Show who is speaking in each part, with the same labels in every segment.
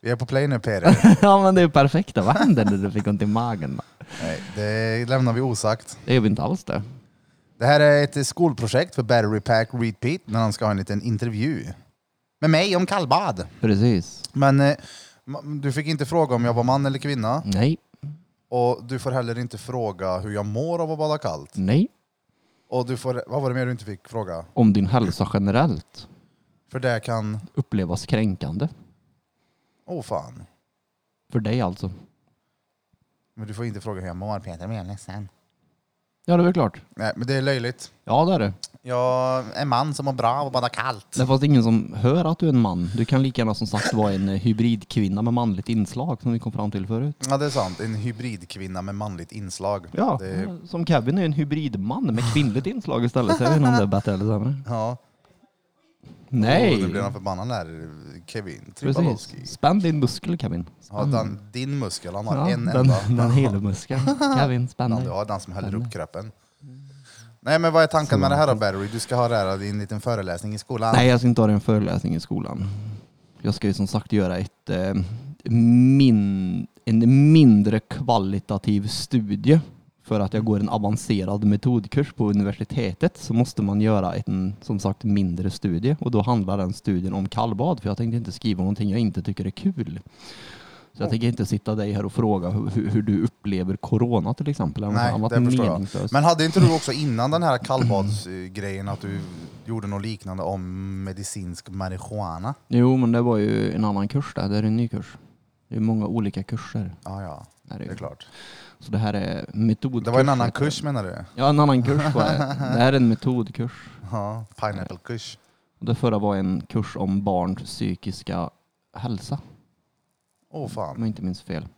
Speaker 1: Vi är på play nu Peter.
Speaker 2: ja men det är ju perfekt. Vad hände när du fick ont i magen? då?
Speaker 1: Nej, det lämnar vi osagt.
Speaker 2: Det gör vi inte alls det.
Speaker 1: Det här är ett skolprojekt för Battery Pack Repeat när han ska ha en liten intervju. Med mig om kallbad.
Speaker 2: Precis.
Speaker 1: Men eh, ma- du fick inte fråga om jag var man eller kvinna.
Speaker 2: Nej,
Speaker 1: Och du får heller inte fråga hur jag mår av att bada kallt.
Speaker 2: nej.
Speaker 1: Och du får, vad var det mer du inte fick fråga?
Speaker 2: Om din hälsa generellt
Speaker 1: För det kan...
Speaker 2: upplevas kränkande.
Speaker 1: Åh oh, fan.
Speaker 2: För dig alltså.
Speaker 1: Men du får inte fråga hur jag mår Peter, men jag är ledsen.
Speaker 2: Ja det är väl klart.
Speaker 1: Nej, men det är löjligt.
Speaker 2: Ja det är det.
Speaker 1: Jag är en man som mår bra av att bada kallt.
Speaker 2: Det är fast ingen som hör att du är en man. Du kan lika gärna som sagt vara en eh, hybridkvinna med manligt inslag som vi kom fram till förut.
Speaker 1: Ja, det är sant. En hybridkvinna med manligt inslag.
Speaker 2: Ja,
Speaker 1: Det är,
Speaker 2: som Kevin är en hybridman med kvinnligt inslag istället. Så jag vet inte om det är bättre eller sämre.
Speaker 1: ja.
Speaker 2: Nej!
Speaker 1: Och då blir han förbannad där, Kevin Tripalowski.
Speaker 2: Precis. Spänn din muskel Kevin. Spänn
Speaker 1: Ja, den, din muskel, han har
Speaker 2: Ja,
Speaker 1: en
Speaker 2: den,
Speaker 1: enda.
Speaker 2: den hela muskeln. Kevin, spänn
Speaker 1: Ja,
Speaker 2: dig.
Speaker 1: du har den som häller upp kroppen. Nej men vad är tanken med det här då Barry? Du ska ha det här i en liten föreläsning i skolan.
Speaker 2: Nej, jag ska inte ha en föreläsning i skolan. Jag ska ju som sagt göra ett, eh, min, en mindre kvalitativ studie. För att jag går en avancerad metodkurs på universitetet så måste man göra en som sagt mindre studie och då handlar den studien om kallbad för jag tänkte inte skriva någonting jag inte tycker är kul. Så jag tänker inte sitta dig här och fråga hur, hur- hur du upplever corona till exempel. eller något
Speaker 1: Nej,
Speaker 2: annat
Speaker 1: det förstår jag.
Speaker 2: meningslöst.
Speaker 1: Men hade inte du också innan den här kallbadsgrejen att du gjorde något liknande om medicinsk marijuana?
Speaker 2: Jo, men det var ju en annan kurs där. Det är en ny kurs. Det är många olika kurser.
Speaker 1: Ja, ja,
Speaker 2: Är det
Speaker 1: det
Speaker 2: ju.
Speaker 1: är klart.
Speaker 2: Så det här är metodkurs.
Speaker 1: Det var en annan
Speaker 2: heter det.
Speaker 1: kurs menar du?
Speaker 2: Ja, en annan kurs var det. Det här är en metodkurs.
Speaker 1: Ja, pineapple-kurs.
Speaker 2: Och det förra var en kurs om barns psykiska hälsa,
Speaker 1: Åh fan.
Speaker 2: om jag inte minns fel.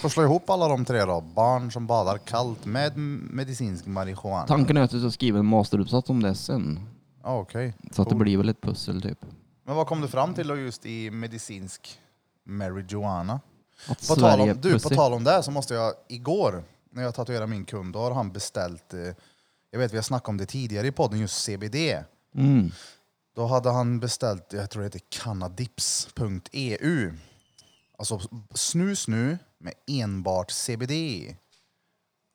Speaker 1: Får slå ihop alla de tre då. Barn som badar kallt med m- medicinsk marijuana.
Speaker 2: Tanken är att jag ska skriva en masteruppsats om det sen.
Speaker 1: ah, Okej.
Speaker 2: Så att det
Speaker 1: Cool.
Speaker 2: blir väl ett pussel typ.
Speaker 1: Men vad kom du fram till då just i medicinsk marijuana?
Speaker 2: Att
Speaker 1: På tal, om,
Speaker 2: Sverige
Speaker 1: du, på
Speaker 2: pussel-
Speaker 1: tal om det här så måste jag igår, när jag tatuerade min kund, då har han beställt, eh, jag vet vi har snackat om det tidigare i podden, just CBD.
Speaker 2: Mm.
Speaker 1: Då hade han beställt, jag tror det heter cannadips.eu. Alltså snus nu med enbart CBD i.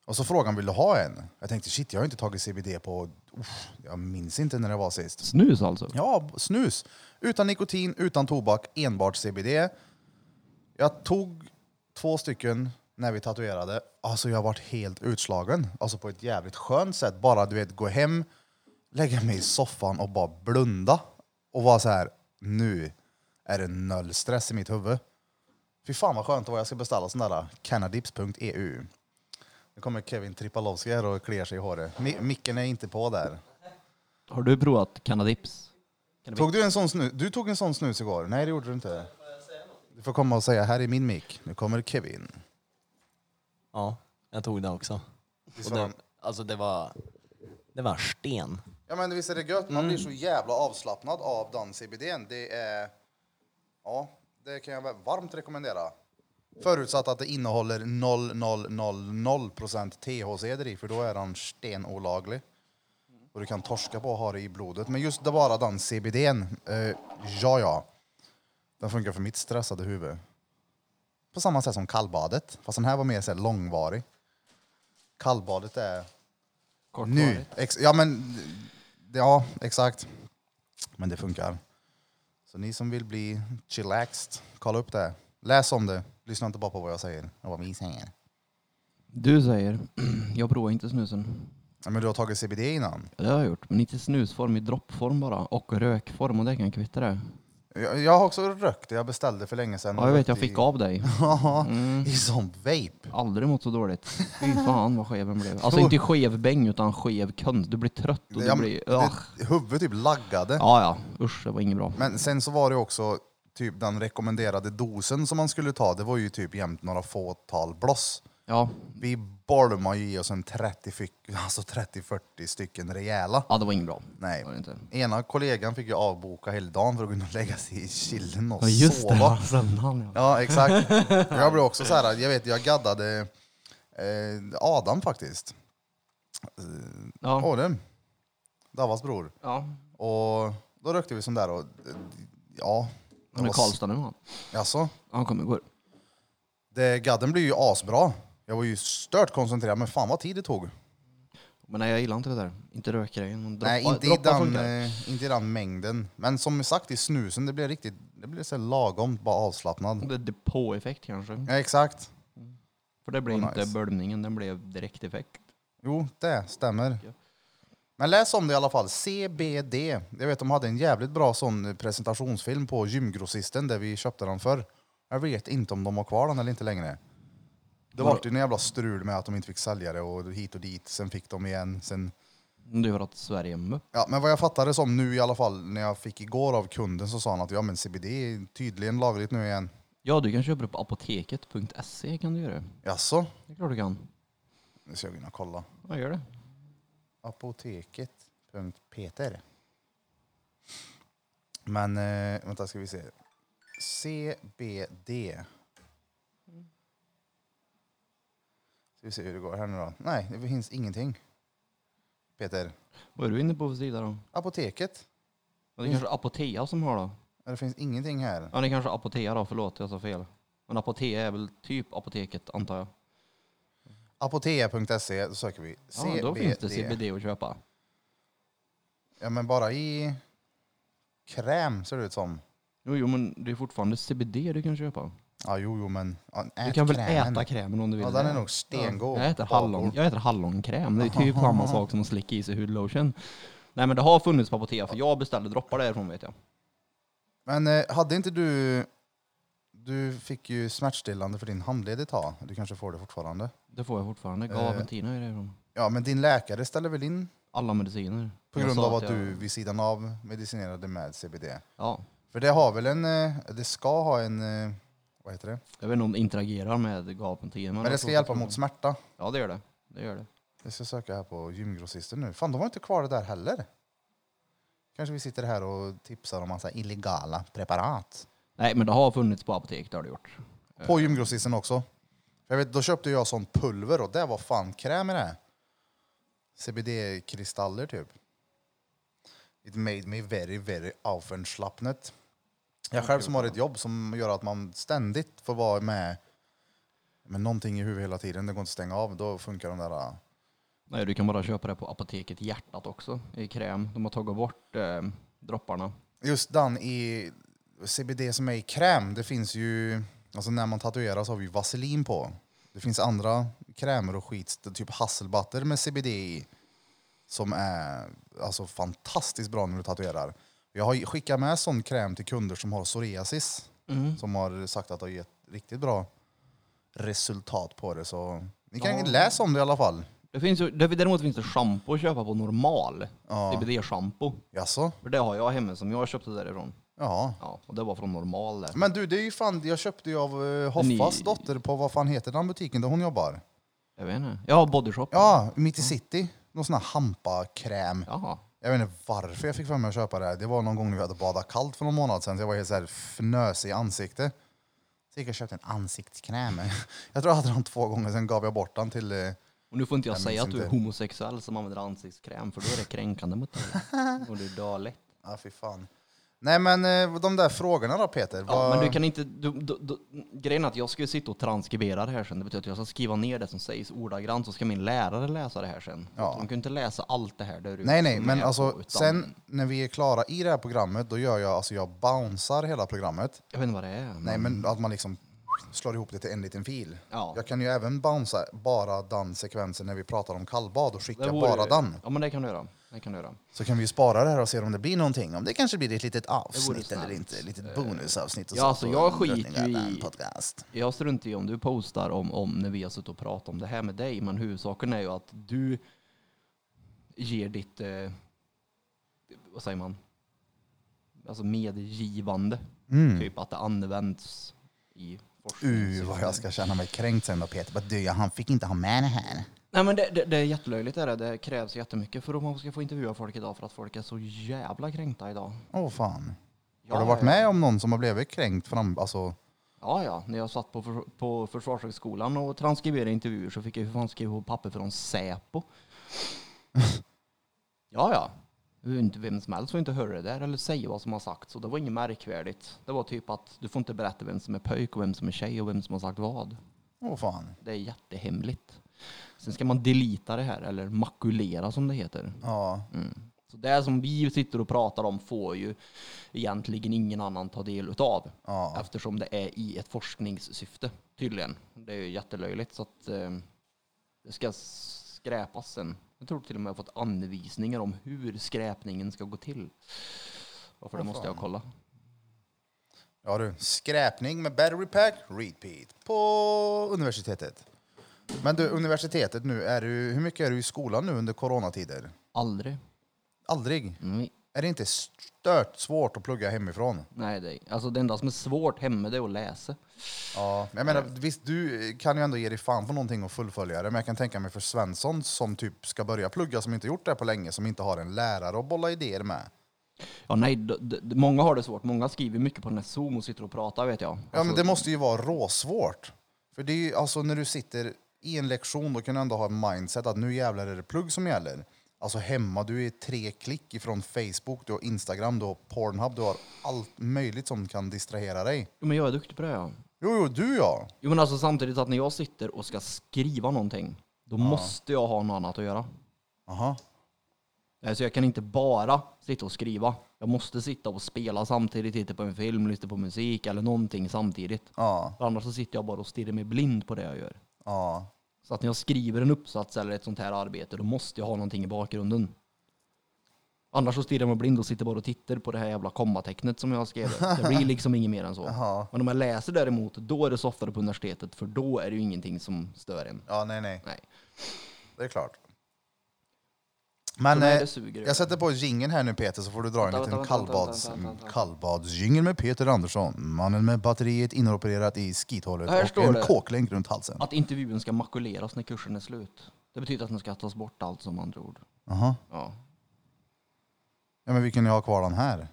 Speaker 1: Och så frågade han, vill du ha en? Jag tänkte, shit jag har inte tagit CBD på, uff, jag minns inte när det var sist.
Speaker 2: Snus alltså?
Speaker 1: Ja, snus. Utan nikotin, utan tobak, enbart CBD. Jag tog två stycken när vi tatuerade. Alltså jag varit helt utslagen. Alltså på ett jävligt skönt sätt. Bara du vet, gå hem, lägga mig i soffan och bara blunda. Och vara så här, nu är det noll stress i mitt huvud. Fy fan vad skönt det var. Jag ska beställa sån där cannadips.eu. Nu kommer Kevin Tripalowski här och kliar sig i håret. Mi- micken är inte på där.
Speaker 2: Har du provat cannadips?
Speaker 1: Tog du en sån snus? Du tog en sån snus igår? Nej, det gjorde du inte. Du får komma och säga, här är min mick. Nu kommer Kevin.
Speaker 3: Ja, jag tog det också.
Speaker 1: Visst
Speaker 3: Och
Speaker 1: var
Speaker 3: det,
Speaker 1: den-
Speaker 3: alltså det var, det var sten.
Speaker 1: Ja men visst är det gött, man blir så jävla avslappnad av den CBDn. Det är... Ja, det kan jag väl varmt rekommendera. Förutsatt att det innehåller 0000% THC i, för då är den stenolaglig. Och du kan torska på att ha det i blodet. Men just det bara den CBDn, eh, ja ja. Den funkar för mitt stressade huvud. På samma sätt som kallbadet, fast den här var mer så här långvarig. Kallbadet är nu. Ex- ja, men, ja, exakt. Men det funkar. Så ni som vill bli chillaxed, kolla upp det. Läs om det. Lyssna inte bara på vad jag säger och vad vi säger.
Speaker 2: Du säger, jag provar inte snusen.
Speaker 1: Ja, men du har tagit CBD innan?
Speaker 2: Ja, Det har jag gjort, men inte i snusform, i droppform bara. Och rökform, och det kan jag kvitta
Speaker 1: Mm.
Speaker 2: det.
Speaker 1: Jag, jag har också rökt det. Jag beställde för länge sedan.
Speaker 2: Ja, jag vet, jag fick av dig.
Speaker 1: Ja,
Speaker 2: Mm.
Speaker 1: i sån vape.
Speaker 2: Aldrig mått så dåligt. Fy fan vad skev den blev. Alltså inte skev bäng, utan skev kund. Du blir trött och du
Speaker 1: Ja,
Speaker 2: blir...
Speaker 1: det,
Speaker 2: Ugh.
Speaker 1: huvudet typ laggade.
Speaker 2: Ja, ja. Usch, det var inget bra.
Speaker 1: Men sen så var det också typ den rekommenderade dosen som man skulle ta. Det var ju typ jämt några fåtal bloss.
Speaker 2: Ja,
Speaker 1: Vi bolmar ju i oss en 30 fick- alltså 30-40 stycken rejäla.
Speaker 2: ja det var inget bra.
Speaker 1: Nej.
Speaker 2: Var det inte.
Speaker 1: Ena kollegan fick ju avboka hela dagen för att gå in och lägga sig i chillen och
Speaker 2: Ja, just det.
Speaker 1: sova.
Speaker 2: Ja, söndagen, ja.
Speaker 1: Ja, exakt. Jag blev också så här, jag vet, jag gaddade eh, Adam faktiskt.
Speaker 2: Ja,
Speaker 1: Adam. Davas bror.
Speaker 2: ja.
Speaker 1: Och då rökte vi sån där och eh, ja,
Speaker 2: Han är i
Speaker 1: var-
Speaker 2: Karlstad nu han.
Speaker 1: Alltså,
Speaker 2: Han kom igår.
Speaker 1: det, gadden blir ju asbra. Jag var ju stört koncentrerad, men fan vad tid det tog.
Speaker 2: Men nej, jag gillar inte det där. Inte rökgrejen. men Droppa,
Speaker 1: Nej, inte i,
Speaker 2: droppa
Speaker 1: den,
Speaker 2: funkar.
Speaker 1: eh, inte i den mängden. Men som sagt, i snusen, det blir riktigt, det blir så här lagom, bara avslappnad.
Speaker 2: Det är depåeffekt kanske.
Speaker 1: Ja, exakt.
Speaker 2: För det blev
Speaker 1: Vad
Speaker 2: inte
Speaker 1: nice.
Speaker 2: bölmningen, den blev direkteffekt.
Speaker 1: Jo, det stämmer. Men läs om det i alla fall. CBD. Jag vet de hade en jävligt bra sån presentationsfilm på gymgrossisten där vi köpte den för. Jag vet inte om de har kvar den eller inte längre. Det var ju en jävla strul med att de inte fick sälja det och hit och dit. Sen fick de igen. Sen...
Speaker 2: Du har att Sverige är mupp.
Speaker 1: Ja, men vad jag fattade som nu i alla fall när jag fick igår av kunden så sa han att ja men CBD är tydligen lagligt nu igen.
Speaker 2: Ja, du kan köpa det på apoteket.se kan du göra.
Speaker 1: Jaså?
Speaker 2: Det är klart du kan.
Speaker 1: Nu ska jag gå in och kolla.
Speaker 2: Ja, gör det.
Speaker 1: Apoteket.peter. Men eh, vänta ska vi se. CBD. Ska vi se hur det går här nu då. Nej, det finns ingenting. Peter.
Speaker 2: Vad är du inne på för sida då?
Speaker 1: Apoteket.
Speaker 2: Ja, Det är kanske Apotea som har då?
Speaker 1: Det finns ingenting här.
Speaker 2: Ja, det är kanske Apotea då. Förlåt, jag sa fel. Men Apotea är väl typ apoteket, antar jag.
Speaker 1: Apotea.se, E, då söker vi.
Speaker 2: Ja, då finns det CBD att köpa.
Speaker 1: Ja, men bara i kräm ser det ut som.
Speaker 2: Jo, jo, men det är fortfarande CBD du kan köpa.
Speaker 1: Ja, jo, jo, men ja,
Speaker 2: Du
Speaker 1: ät
Speaker 2: kan väl
Speaker 1: krämen.
Speaker 2: äta krämen om du vill.
Speaker 1: Ja, den är nog stengod.
Speaker 2: Jag äter, hallon, jag äter hallonkräm. Det är typ samma sak som att slicka i sig hudlotion. Nej, men det har funnits på Apotea, för jag beställde droppar därifrån vet jag.
Speaker 1: Men eh, hade inte du... Du fick ju smärtstillande för din handled ett tag. Du kanske får det fortfarande.
Speaker 2: Det får jag
Speaker 1: Eh.
Speaker 2: fortfarande. Gaventina är därifrån.
Speaker 1: Ja, men din läkare ställer väl in
Speaker 2: Alla mediciner.
Speaker 1: på
Speaker 2: Jag
Speaker 1: grund
Speaker 2: sa
Speaker 1: av att
Speaker 2: jag-
Speaker 1: du vid sidan av medicinerade med CBD.
Speaker 2: Ja,
Speaker 1: För det har väl en... eh, Det ska ha en... eh, Vad heter det?
Speaker 2: jag vet inte om det interagerar med gaventina.
Speaker 1: Men det
Speaker 2: jag
Speaker 1: ska
Speaker 2: tror-
Speaker 1: hjälpa mot smärta.
Speaker 2: Ja, det gör det. Det gör det.
Speaker 1: Jag ska söka här på gymgrossisten nu. Fan, de har inte kvar det där heller. Kanske vi sitter här och tipsar om massa illegala preparat.
Speaker 2: Nej, men det har funnits på apotek, det har det gjort.
Speaker 1: På gymgrossisten också. Jag vet, då köpte jag sån pulver och det var fan kräm i det. CBD-kristaller typ. It made me very, very avundsslappnet. Jag själv som har ett jobb som gör att man ständigt får vara med med någonting i huvudet hela tiden, det går inte att stänga av, då funkar de där... äh,
Speaker 2: Nej, du kan bara köpa det på apoteket Hjärtat också, i kräm. De har tagit bort eh, dropparna.
Speaker 1: Just den i CBD som är i kräm, det finns ju... Alltså när man tatuerar så har vi ju vaselin på. Det finns andra krämer och skit, typ hasselbatter med CBD i. Som är alltså fantastiskt bra när du tatuerar. Jag har ju- skickat med sån kräm till kunder som har psoriasis. Som har sagt att det har gett riktigt bra resultat på det. Så ni kan läsa om det i alla fall.
Speaker 2: Det finns ju, det- däremot finns det shampoo att köpa på normal. CBD-shampoo.
Speaker 1: Jaså?
Speaker 2: För det har jag hemma som jag köpte därifrån.
Speaker 1: Ja.
Speaker 2: Ja, och det var från normal där.
Speaker 1: Men du, det är ju fan, jag köpte ju av eh, Hoffas
Speaker 2: Ni-
Speaker 1: dotter på, vad fan heter den butiken där hon jobbar?
Speaker 2: Jag vet inte. Ja, bodyshop.
Speaker 1: Ja, mitt i city. Någon sån här hampakräm.
Speaker 2: Jaha.
Speaker 1: Jag vet inte varför jag fick för mig att köpa det. här. Det var någon gång när vi hade badat kallt för någon månad sedan, så jag var helt så här fnösig i ansiktet. Så gick jag och köpte en ansiktskräm. Jag tror jag hade den två gånger, sen gav jag bort den till... eh,
Speaker 2: Och nu får inte jag,
Speaker 1: Jag minns
Speaker 2: säga att du är
Speaker 1: inte.
Speaker 2: homosexuell som använder ansiktskräm, för då är det kränkande mot dig. och du dör lätt.
Speaker 1: Ja, fy fan. Nej men eh, de där frågorna då Peter?
Speaker 2: Ja,
Speaker 1: vad-
Speaker 2: men du kan inte... Du, du, du, grejen är att jag ska ju sitta och transkribera det här sen. Det betyder att jag ska skriva ner det som sägs ordagrant, så ska min lärare läsa det här sen.
Speaker 1: Ja.
Speaker 2: De kan ju inte läsa allt det här där ute
Speaker 1: Nej nej,
Speaker 2: som
Speaker 1: men
Speaker 2: är på,
Speaker 1: alltså
Speaker 2: utan-
Speaker 1: sen när vi är klara i det här programmet, då gör jag, alltså jag bouncear hela programmet.
Speaker 2: Jag vet inte vad det är. men-
Speaker 1: Nej, men att man liksom slår ihop det till en liten fil.
Speaker 2: Ja.
Speaker 1: Jag kan ju även bouncea bara den sekvensen när vi pratar om kallbad och
Speaker 2: Det
Speaker 1: skicka
Speaker 2: vore-
Speaker 1: bara den.
Speaker 2: Ja, men det kan du göra. Det kan du göra.
Speaker 1: Så kan vi ju spara det här och se om det blir någonting. Om det kanske blir ett litet avsnitt
Speaker 2: snällt.
Speaker 1: eller inte. Ett litet bonusavsnitt. Och
Speaker 2: ja,
Speaker 1: så
Speaker 2: alltså,
Speaker 1: på
Speaker 2: jag skiter ju i-
Speaker 1: Drottninggatan Podcast.
Speaker 2: Jag struntar i om du postar om, om när vi har suttit och pratat om det här med dig, men huvudsaken är ju att du ger ditt, eh, vad säger man, alltså medgivande. Typ att det används i forskning.
Speaker 1: Uh, Mm. vad jag ska känna mig kränkt sen då Peter. Bara, du, ja, han fick inte ha med det här.
Speaker 2: Nej men det, det, det är jättelöjligt är det. Det krävs jättemycket för att man ska få intervjua folk idag för att folk är så jävla kränkta idag.
Speaker 1: Åh fan.
Speaker 2: Ja,
Speaker 1: har du varit
Speaker 2: ja.
Speaker 1: med om någon som har blivit kränkt fram... Alltså,
Speaker 2: Ja, ja. När jag satt på, för, på Försvarshögskolan och transkriberade intervjuer så fick jag ju för fan skriva på papper från Säpo. ja, ja. Det var ju inte vem som helst som inte hörde det där eller säga vad som har sagts. Och det var inget märkvärdigt. Det var typ att du får inte berätta vem som är pöjk och vem som är tjej och vem som har sagt vad.
Speaker 1: Åh fan.
Speaker 2: Det är jättehemligt. Sen ska man delita det här, eller makulera som det heter.
Speaker 1: Ja.
Speaker 2: Mm. Så det som vi sitter och pratar om får ju egentligen ingen annan ta del utav.
Speaker 1: Ja.
Speaker 2: Eftersom det är i ett forskningssyfte tydligen. Det är ju jättelöjligt så att eh, det ska skräpas sen. Jag tror till och med jag fått anvisningar om hur skräpningen ska gå till. Varför det
Speaker 1: Åh,
Speaker 2: måste jag
Speaker 1: fan.
Speaker 2: kolla.
Speaker 1: Ja du, skräpning med battery pack, repeat, på universitetet. Men du, universitetet nu, är du, hur mycket är du i skolan nu under coronatider?
Speaker 2: Aldrig.
Speaker 1: Aldrig.
Speaker 2: Nej.
Speaker 1: Är det inte stört svårt att plugga hemifrån?
Speaker 2: Nej, det, är- alltså det enda som är svårt hemma det är att läsa.
Speaker 1: Ja, jag menar, visst du kan ju ändå ge dig fan på någonting och fullfölja det, men jag kan tänka mig för Svensson som typ ska börja plugga, som inte gjort det här på länge, som inte har en lärare att bolla idéer med.
Speaker 2: Ja, nej, d- d- d- många har det svårt. Många skriver mycket på den här Zoom och sitter och pratar vet jag.
Speaker 1: Ja, men det måste ju vara råsvårt. För det är ju, alltså när du sitter i en lektion, då kan du ändå ha en mindset att nu jävlar är det plugg som gäller. Alltså hemma, du är tre klick ifrån Facebook, du har Instagram, du har Pornhub, du har allt möjligt som kan distrahera dig.
Speaker 2: Jo, men jag är duktig på det. Ja.
Speaker 1: Jo, jo, du ja.
Speaker 2: Jo, men alltså samtidigt att när jag sitter och ska skriva någonting, då måste jag ha något annat att göra.
Speaker 1: Aha.
Speaker 2: Nej, Så jag kan inte bara sitta och skriva. Jag måste sitta och spela samtidigt, titta på en film, lyssna på musik eller någonting samtidigt.
Speaker 1: Ja,
Speaker 2: För annars så sitter jag bara och stirrar mig blind på det jag gör.
Speaker 1: ja.
Speaker 2: Så att när jag skriver en uppsats eller ett sånt här arbete, då måste jag ha någonting i bakgrunden. Annars så stirrar jag mig blind och sitter bara och tittar på det här jävla kommatecknet som jag har skrivit. Det blir liksom inget mer än så.
Speaker 1: Jaha.
Speaker 2: Men om jag läser däremot, då är det softare på universitetet, för då är det ju ingenting som stör en.
Speaker 1: Ja, nej, nej.
Speaker 2: Nej.
Speaker 1: Det är klart. Men
Speaker 2: nej,
Speaker 1: eh,
Speaker 2: det suger ju.
Speaker 1: jag sätter på jingeln här nu Peter så får du dra en
Speaker 4: Vänta,
Speaker 1: liten
Speaker 4: vänta, vänta,
Speaker 1: kallbads,
Speaker 4: vänta, vänta, vänta.
Speaker 1: kallbadsjingel med Peter Andersson. Mannen med batteriet inopererat i skithålet
Speaker 2: Här
Speaker 1: och
Speaker 2: står
Speaker 1: en
Speaker 2: det.
Speaker 1: kåklänk runt halsen.
Speaker 2: Att intervjun ska makuleras när kursen är slut. Det betyder att den ska tas bort allt som andra ord.
Speaker 1: Aha.
Speaker 2: Ja.
Speaker 1: Ja, men vi kan ju ha kvar den här.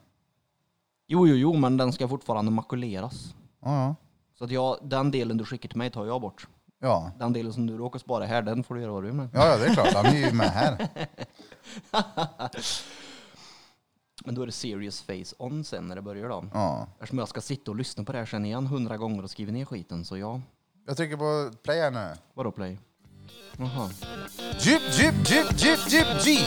Speaker 2: Jo, jo, jo, men den ska fortfarande makuleras.
Speaker 1: Ja, ja.
Speaker 2: Så att jag, den delen du skickar till mig tar jag bort.
Speaker 1: Ja.
Speaker 2: Den delen som du råkar spara här, den får du göra vad du vill med.
Speaker 1: Ja, ja, det är klart. Han är ju med här.
Speaker 2: Men då är det serious face on sen när det börjar då.
Speaker 1: Ja.
Speaker 2: Eftersom jag ska sitta och lyssna på det här sen igen hundra gånger och skriva ner skiten, så ja.
Speaker 1: Jag trycker på play här nu.
Speaker 2: Vadå play? Jaha.
Speaker 1: Jip, jip, jip, jip, jip, G.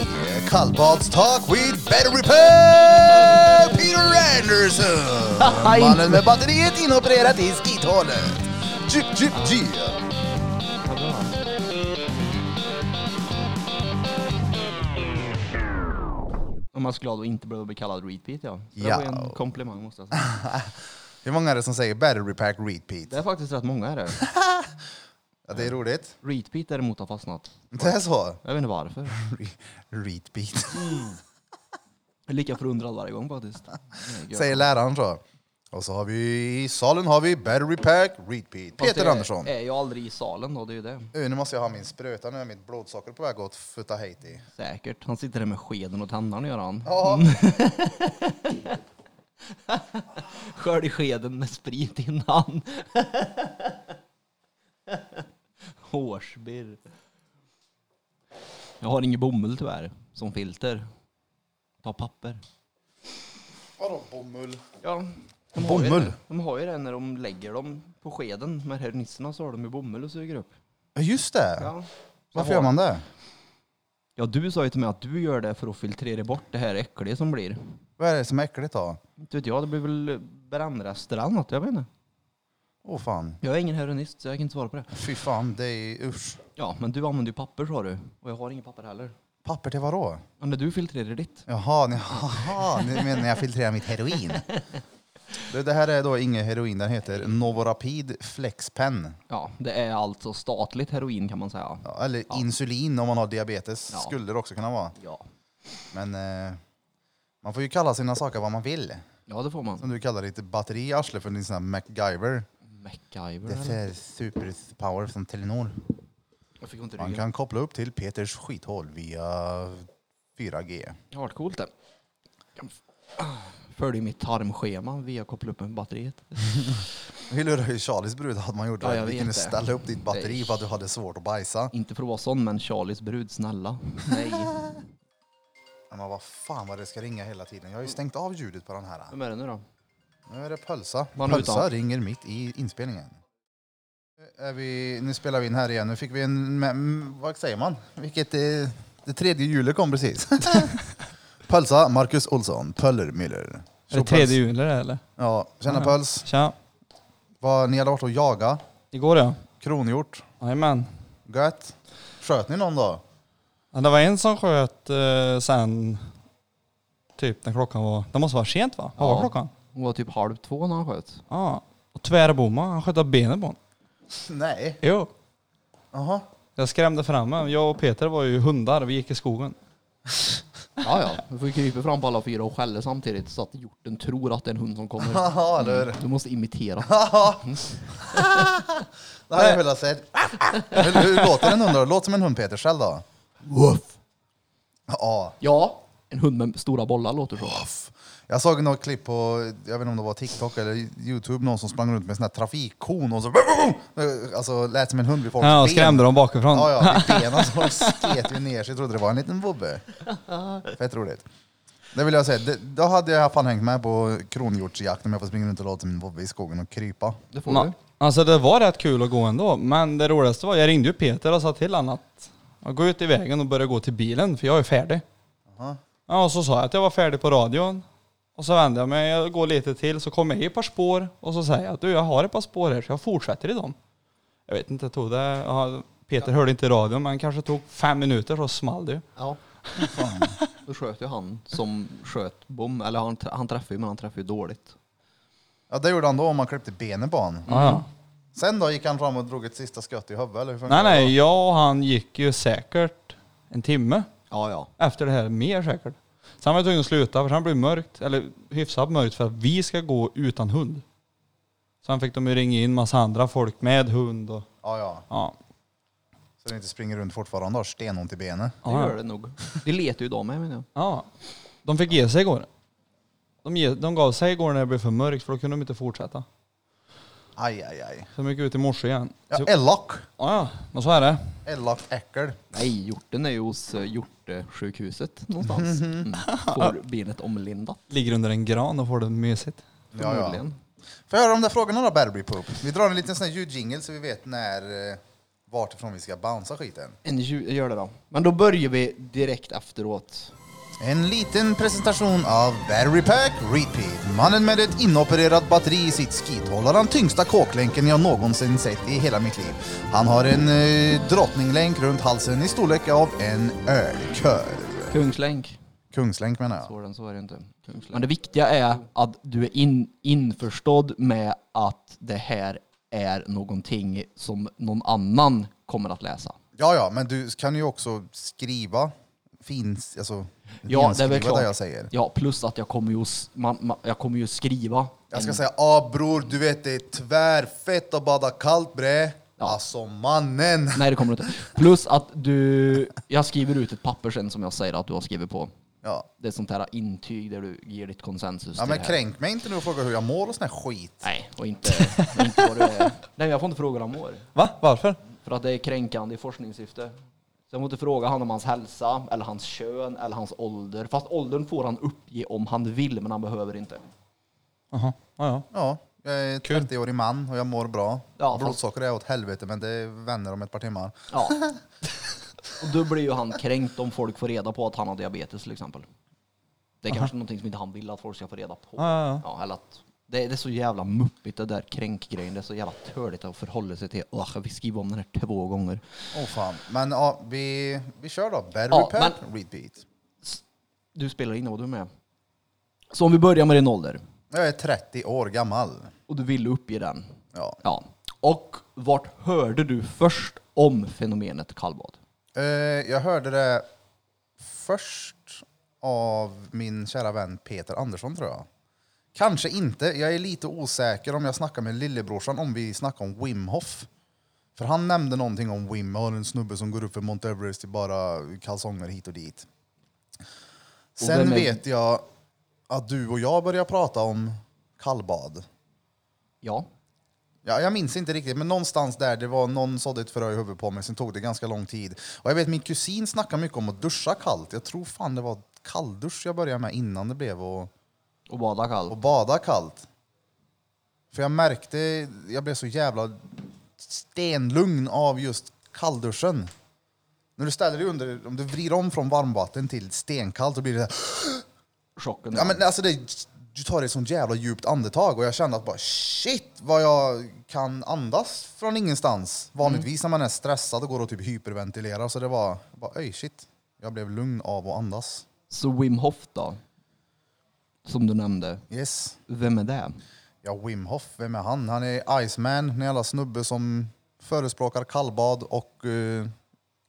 Speaker 1: Kallbads talk with battery pack Peter Anderson.
Speaker 2: Haha,
Speaker 1: Mannen
Speaker 2: inte-
Speaker 1: med batteriet inopererat i skithålet. Jip, jip, G.
Speaker 2: Ja, bra. Om man skulle glad och inte behöva bli kallad repeat ja. Så det
Speaker 1: Ja.
Speaker 2: var ju en komplimang måste jag säga.
Speaker 1: Hur många är det som säger battery pack repeat?
Speaker 2: Det är faktiskt rätt många är det.
Speaker 1: Ja, det är roligt.
Speaker 2: Repeat däremot har fastnat.
Speaker 1: Det är så.
Speaker 2: Jag vet inte varför.
Speaker 1: Re- Repeat.
Speaker 2: Jag är lika förundrad varje gång faktiskt. Nej, gud.
Speaker 1: Säger läraren så. Och så har vi i salen har vi battery pack repeat.
Speaker 2: Fast
Speaker 1: Peter
Speaker 2: jag
Speaker 1: Andersson.
Speaker 2: är eh. ju aldrig i salen då, det är ju det.
Speaker 1: Nu nu måste jag ha min spruta, nu är mitt blodsocker på väg åt futta Haiti.
Speaker 2: Säkert. Han sitter där med skeden och tändarna gör han.
Speaker 1: Ja,
Speaker 2: Skölj i skeden med sprit innan. Hårsbirr. Jag har ingen bomull tyvärr, som filter. Ta papper.
Speaker 1: vadå bomull?
Speaker 2: Ja, de har ju
Speaker 1: Bomull?
Speaker 2: det. De har ju det när de lägger dem på skeden. Med hernissorna så har de ju bomull och suger upp.
Speaker 1: Ja, just det.
Speaker 2: Ja.
Speaker 1: Varför gör man det?
Speaker 2: Ja, du sa ju till mig att du gör det för att filtrera bort det här äckliga som blir.
Speaker 1: Vad är det som är äckligt då?
Speaker 2: Inte vet jag, det blir väl brännrester eller annat, jag vet inte.
Speaker 1: Åh fan.
Speaker 2: Jag är ingen heroinist så jag kan inte svara på det.
Speaker 1: Fy fan, det är usch.
Speaker 2: Ja, men du använder ju papper sa du. Och jag har inget papper heller.
Speaker 1: Papper till vadå?
Speaker 2: Ja, när du filtrerar ditt.
Speaker 1: Jaha, ni, haha, ni menar när jag filtrerar mitt heroin? Det, det här är då ingen heroin, den heter Novorapid Flexpen.
Speaker 2: Ja, det är alltså statligt heroin kan man säga.
Speaker 1: Ja, eller insulin om man har diabetes,
Speaker 2: Ja.
Speaker 1: skulle det också kunna vara.
Speaker 2: Ja,
Speaker 1: Men eh, man får ju kalla sina saker vad man vill.
Speaker 2: ja det får man.
Speaker 1: Som du kallar ditt batteri i arslet för din sån här MacGyver.
Speaker 2: MacGyver.
Speaker 1: Det
Speaker 2: eller?
Speaker 1: är superpower från Telenor.
Speaker 2: Jag fick ont i
Speaker 1: Man
Speaker 2: ryggen.
Speaker 1: kan koppla upp till Peters skithål via 4G.
Speaker 2: Hardcoolt det. Jag Följde mitt tarmschema via att koppla upp med batteriet.
Speaker 1: Vi lurade ju Charlies brud att man gjorde
Speaker 2: Ja,
Speaker 1: det.
Speaker 2: jag
Speaker 1: Vi
Speaker 2: vet
Speaker 1: kunde
Speaker 2: det.
Speaker 1: ställa upp ditt batteri
Speaker 2: Nej.
Speaker 1: för att du hade svårt att bajsa.
Speaker 2: Inte för att vara sån, men Charlies brud, snälla. Nej.
Speaker 1: Men man, vad fan vad det ska ringa hela tiden. Jag har ju stängt av ljudet på den här.
Speaker 2: Vem är det nu då?
Speaker 1: Nu är det Pölsa.
Speaker 2: Man
Speaker 1: Pölsa
Speaker 2: utan.
Speaker 1: ringer mitt i inspelningen. Nu Är vi, nu spelar vi in här igen. Nu fick vi en... men- Vad säger man? Vilket... eh, Det tredje hjulet kom precis. Pölsa, Marcus Olsson, Pöller Müller.
Speaker 4: Är det tredje hjulet det, eller?
Speaker 1: Ja, tjena
Speaker 4: Ja.
Speaker 1: Pöls.
Speaker 4: Tja.
Speaker 1: Vad, ni hade varit och jaga,
Speaker 4: Igår ja.
Speaker 1: kronhjort,
Speaker 4: Jajamän.
Speaker 1: gött. Sköt ni någon då?
Speaker 4: Ja, det var en som sköt eh, sen typ när klockan var... Det måste vara sent va? Vad
Speaker 2: Ja.
Speaker 4: var klockan?
Speaker 2: Hon var typ halv två när han sköt.
Speaker 4: Ja. Och tvärbomma. Han sköt av benen på honom.
Speaker 1: Nej.
Speaker 4: Jo.
Speaker 1: Jaha.
Speaker 4: Jag skrämde fram honom. Jag och Peter var ju hundar. Vi gick i skogen.
Speaker 2: Ja, ja. Du får ju krypa fram på alla fyra och skälla samtidigt så att hjorten tror att det är en hund som kommer.
Speaker 1: Jaha, eller hur?
Speaker 2: Du måste imitera.
Speaker 1: Det har jag velat säga. Hur hur låter en hund då? Låt som en hund Peter själv då.
Speaker 2: Woof.
Speaker 1: Ja.
Speaker 2: Ja, en hund med stora bollar låter så.
Speaker 1: Jag såg något klipp på, jag vet inte om det var TikTok eller YouTube, någon som sprang runt med en sån här trafikkon och så alltså, lät som en hund vid folks
Speaker 4: Ja, och
Speaker 1: ben.
Speaker 4: skrämde dem bakifrån.
Speaker 1: Ja, ja, vid benen så sket vi ner sig. Jag trodde det var en liten vovve. Fett roligt. Det vill jag säga, det, då hade jag fan hängt med på kronhjortsjakt om jag får springa runt och låta som en vovve i skogen och krypa.
Speaker 2: Det får
Speaker 4: Ma-
Speaker 2: du.
Speaker 4: alltså det var rätt kul att gå ändå. Men det roligaste var jag ringde ju Peter och sa till honom att "Ja, gå ut i vägen och börja gå till bilen för jag är färdig.
Speaker 1: Jaha.
Speaker 4: Ja, och så sa jag att jag var färdig på radion. Och så vände jag mig, jag går lite till, så kommer jag i ett par spår och så säger jag att du jag har ett par spår här så jag fortsätter i dem. Jag vet inte, jag tog det, ja, Peter hörde inte radion men kanske tog fem minuter så small det ju.
Speaker 2: Ja. Då sköt ju han som sköt bom. Eller han, tr- han träffade ju, men han träffade ju dåligt.
Speaker 1: Ja, det gjorde han då om man klippte benen på honom.
Speaker 4: Ja, ja.
Speaker 1: Sen då gick han fram och drog ett sista skott i huvudet eller hur funkar
Speaker 4: Nej
Speaker 1: det då?
Speaker 4: nej, jag och han gick ju säkert en timme.
Speaker 2: Ja, ja.
Speaker 4: efter det här mer säkert. Sen var jag tvungen att sluta för sen blev det mörkt, eller hyfsat mörkt för att vi ska gå utan hund. Sen fick de ju ringa in massa andra folk med hund och
Speaker 1: Ja, ja.
Speaker 4: ja.
Speaker 1: Så den inte springer runt fortfarande och har stenont i benen.
Speaker 2: Det
Speaker 4: Ja, ja.
Speaker 2: gör det nog. Det letar ju de med menar jag.
Speaker 4: ja. De fick ge sig igår. De, ge, de gav sig igår när det blev för mörkt för då kunde de inte fortsätta.
Speaker 1: Aj, aj, aj.
Speaker 4: Så de gick ut i morse igen.
Speaker 1: Ja,
Speaker 4: Så,
Speaker 1: elak.
Speaker 4: ja, ja, men så är det.
Speaker 1: Elakt äckel.
Speaker 2: Nej, hjorten är ju hos eh, hjortesjukhuset någonstans. Mm. Får benet omlindat.
Speaker 4: Ligger under en gran och får det mysigt.
Speaker 1: Ja, ja.
Speaker 2: Förmodligen.
Speaker 1: Får jag höra de där frågorna då, Barry Poop? Vi drar en liten sån här ljudjingel så vi vet när, eh, vart ifrån vi ska bouncea skiten.
Speaker 2: En tju- gör det då. Men då börjar vi direkt efteråt.
Speaker 1: En liten presentation av Battery Pack Repeat. Mannen med ett inopererat batteri i sitt skit håller den tyngsta kåklänken jag någonsin sett i hela mitt liv. Han har en eh, drottninglänk runt halsen i storlek av en ölkorv.
Speaker 2: Kungslänk.
Speaker 1: Kungslänk menar jag.
Speaker 2: Så den så är det inte. Kungslänk. Men det viktiga är att du är in, införstådd med att det här är någonting som någon annan kommer att läsa.
Speaker 1: Ja, ja, men du kan ju också skriva finns, alltså
Speaker 2: Ja, det är väl
Speaker 1: finskriva
Speaker 2: klart.
Speaker 1: jag säger.
Speaker 2: Ja, plus att jag kommer ju, s- man, man, jag kommer ju skriva.
Speaker 1: Jag ska
Speaker 2: en-
Speaker 1: säga, ah bror, du vet det är tvärfett att bada kallt bre.
Speaker 2: Ja.
Speaker 1: Alltså mannen!
Speaker 2: Nej, det kommer du inte. Plus att du... Jag skriver ut ett papper sen som jag säger att du har skrivit på.
Speaker 1: Ja.
Speaker 2: Det är sånt här intyg där du ger ditt konsensus.
Speaker 1: Ja
Speaker 2: till
Speaker 1: men
Speaker 2: det här.
Speaker 1: kränk mig inte nu och fråga hur jag mår och sån här skit.
Speaker 2: Nej, och inte, och inte vad du är. Nej, jag får inte fråga om år.
Speaker 4: Va? Varför?
Speaker 2: För att det är kränkande i forskningssyfte. Så jag måste fråga han om hans hälsa, eller hans kön, eller hans ålder. Fast åldern får han uppge om han vill, men han behöver inte.
Speaker 4: Jaha, ja, ja.
Speaker 1: Ja, jag är
Speaker 4: Kul.
Speaker 1: 30-årig man och jag mår bra.
Speaker 2: Ja, fast-
Speaker 1: Blodsocker är åt helvete men det vänder om ett par timmar.
Speaker 2: Ja. Och då blir ju han kränkt om folk får reda på att han har diabetes till exempel. Det är kanske någonting som inte han vill att folk ska få reda på.
Speaker 4: Ja, ja,
Speaker 2: eller att det, det är så jävla muppigt det där kränkgrejen. Det är så jävla töligt att förhålla sig till. Åh, vi skriver om den här två gånger.
Speaker 1: Åh fan. Men ja, vi, vi kör då. Battery
Speaker 2: Ja,
Speaker 1: pack, repeat.
Speaker 2: Du spelar in och du är med. Så om vi börjar med din ålder.
Speaker 1: Jag är 30 år gammal.
Speaker 2: Och du vill uppge den.
Speaker 1: Ja.
Speaker 2: Ja. Och vart hörde du först om fenomenet kallbad?
Speaker 1: Eh, jag hörde det först av min kära vän Peter Andersson tror jag. Kanske inte. Jag är lite osäker om jag snackar med lillebrorsan om vi snackar om Wim Hof. För han nämnde någonting om Wim, har en snubbe som går upp för Mount Everest i bara kalsonger hit och dit. Sen
Speaker 2: vem är-
Speaker 1: vet jag att du och jag började prata om kallbad.
Speaker 2: Ja.
Speaker 1: Ja, jag minns inte riktigt, men någonstans där det var någon sådde ett frö i huvudet på mig, sen tog det ganska lång tid. Och jag vet min kusin snackade mycket om att duscha kallt. Jag tror fan det var kalldusch jag började med innan det blev och,
Speaker 2: Och bada
Speaker 1: och
Speaker 2: kallt.
Speaker 1: bada kallt. För jag märkte, jag blev så jävla stenlugn av just kallduschen. När du ställer dig under, om du vrider om från varmvatten till stenkallt, då blir det så här,
Speaker 2: Chocken.
Speaker 1: Ja, men alltså det, du tar ett sånt jävla djupt andetag och jag kände att bara shit vad jag kan andas från ingenstans. Vanligtvis när man är stressad och går och typ hyperventilerar så det var bara öj shit. Jag blev lugn av att andas.
Speaker 2: Så Wim Hof då? Som du nämnde.
Speaker 1: Yes.
Speaker 2: Vem är det?
Speaker 1: Ja, Wim Hof, vem är han? Han är Iceman, en jävla snubbe som förespråkar kallbad och eh,